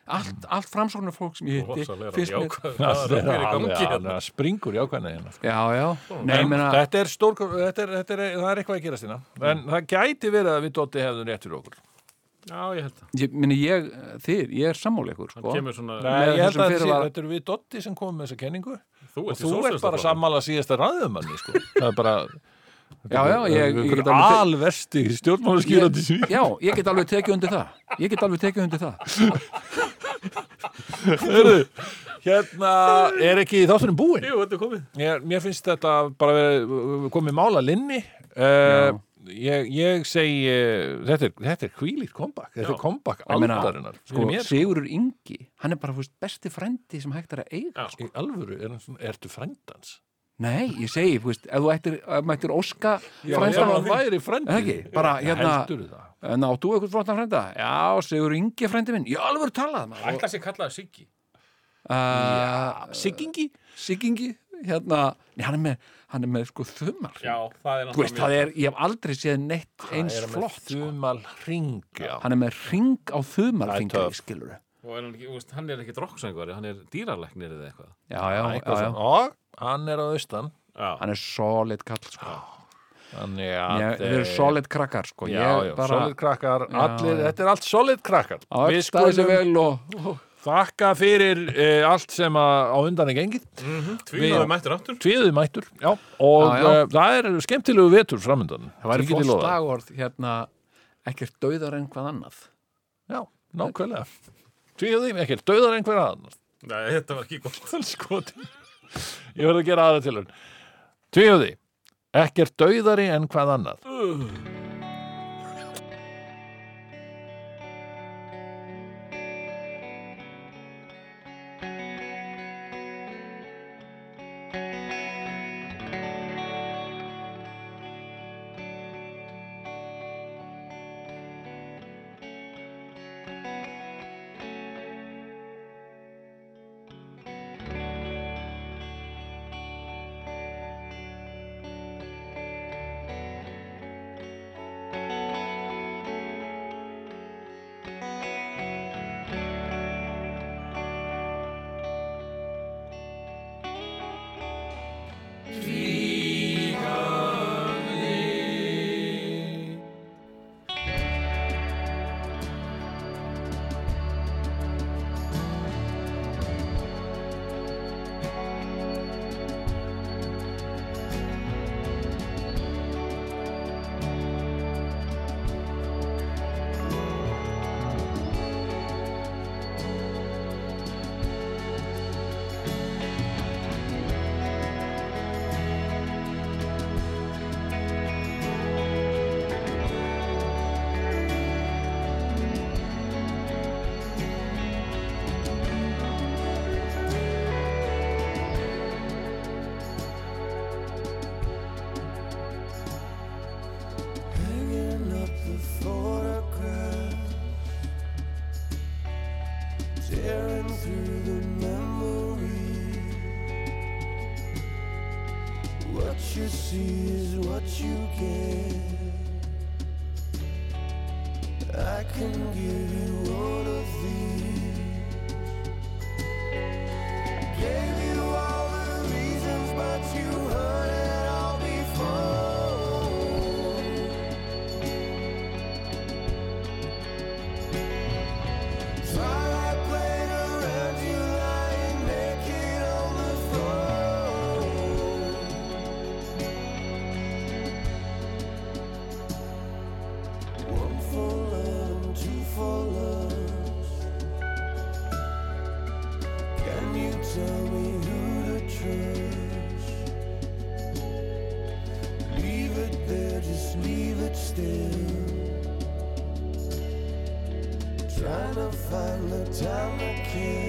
Speaker 5: Allt,
Speaker 2: Mm.
Speaker 5: allt framsóknarfólk sem ég hitti
Speaker 4: Rosalega
Speaker 5: finnst mér...
Speaker 4: jákvæður.
Speaker 2: Það er
Speaker 4: meiri gangi
Speaker 2: alveg-
Speaker 4: hérna.
Speaker 2: alveg að springur í ákvæðina hérna sko.
Speaker 5: Já, já. Nei, ég
Speaker 2: En
Speaker 5: meina...
Speaker 2: Þetta er stór þetta er, þetta er, það er eitthvað að gerast hérna en það gæti verið að við Dótti hefðum rétt fyrir okkur
Speaker 4: Já, ég held það
Speaker 5: Ég, minni, ég, þið, ég er sammáleikur,
Speaker 4: Hann
Speaker 5: sko.
Speaker 4: kemur svona
Speaker 2: Nei,
Speaker 5: þessum
Speaker 2: ég held að þetta sé-
Speaker 5: fyrirvara-
Speaker 2: þetta er við Dótti sem komum með þessa kenningu og
Speaker 4: Þú ert í
Speaker 2: þú ert bara
Speaker 4: sósíalistaflokknum.
Speaker 2: sammála síðasta ræðumanni sko. það er bara
Speaker 5: Já, já, ég, ég get alveg te-
Speaker 2: alversti stjórnmálaskýrandi sín
Speaker 5: Já, ég get alveg tekið undir það Ég get alveg tekið undir það
Speaker 2: hérna er ekki þátturinn búinn
Speaker 4: Jú, þetta er komið
Speaker 2: ég, mér finnst þetta bara verið komið mála linni uh, ég, ég segi eh, þetta er, þetta er kvílíkt comeback þetta er comeback
Speaker 5: Ég meina,
Speaker 2: aldarinnar
Speaker 5: Sko,
Speaker 2: fyrir mér,
Speaker 5: Sigurur Ingi, hann er bara fúst, besti frendi sem hægt er að eiga
Speaker 2: í alvöru, er, hann svona- ertu frændans
Speaker 5: Nei, ég segi, fúst, ef þú ættir, ef maður ættir óska
Speaker 2: ef hann
Speaker 5: frændan
Speaker 2: væri frændi
Speaker 5: Ekki, bara hérna
Speaker 2: heldur það
Speaker 5: Náttu eitthvað flottan frænda Já, Sigurur Ingi frendi minn, ég alveg talað um maður.
Speaker 4: Ætla sér kallaði Siggi
Speaker 5: uh,
Speaker 2: Siggingi?
Speaker 5: Siggingi, hérna Nei, hann er með, hann er með sko þumal
Speaker 4: Já, það er
Speaker 5: Þú veist, það er, ég hef aldrei séð neitt eins
Speaker 2: Það er með
Speaker 5: flott sko.
Speaker 2: þumal hring já.
Speaker 5: Hann er með ring á
Speaker 2: Það er
Speaker 5: þumalfingri,
Speaker 2: töff.
Speaker 5: skilur
Speaker 4: Og er hann, ekki, þú veist, hann er ekki droksengari, hann er dýraleknir eða eitthvað
Speaker 5: Já, já, já,
Speaker 2: Eitthvað
Speaker 5: já.
Speaker 2: svona. og hann er á austan
Speaker 4: Já,
Speaker 5: Hann er solid kall, sko.
Speaker 2: þannig
Speaker 5: Ég,
Speaker 2: að
Speaker 5: þeir eru
Speaker 2: eh,
Speaker 5: solid krakkar, sko.
Speaker 2: Ah, Já,
Speaker 5: ég
Speaker 2: já,
Speaker 5: bara
Speaker 2: solid krakkar,
Speaker 5: Já,
Speaker 2: allir,
Speaker 5: já.
Speaker 2: þetta er allt solid krakkar
Speaker 5: á
Speaker 2: Við
Speaker 5: öll staði sem
Speaker 2: skulum
Speaker 5: vel og... og
Speaker 2: þakka fyrir uh, allt sem að, á undan er gengið
Speaker 4: tvíðaði mættur Mhm, aftur
Speaker 2: Tvíðu mættur, já Og
Speaker 5: Já,
Speaker 2: já,
Speaker 5: já.
Speaker 2: það er skemmtilegu vetur framöndan
Speaker 5: það væri
Speaker 2: sem get ég
Speaker 5: flott
Speaker 2: lofað.
Speaker 5: slagorð, hérna, ekkert dauðar en hvað annað.
Speaker 2: Já, nákvæmlega Tvíðu, ekki, döðar einhver aðan
Speaker 4: Nei, þetta var ekki gott
Speaker 2: Skotin Ég verð að gera aðra til hann Tvíðu, ekkert döðari en hvað annað
Speaker 8: you see is what you get. I can give you all of these. Gave you all the reasons, but you heard it all before. Twilight played around you, lying naked on the floor. One for love, two for lust. Can you tell me who to trust? Leave it there, just leave it still. Trying to find the time to kill.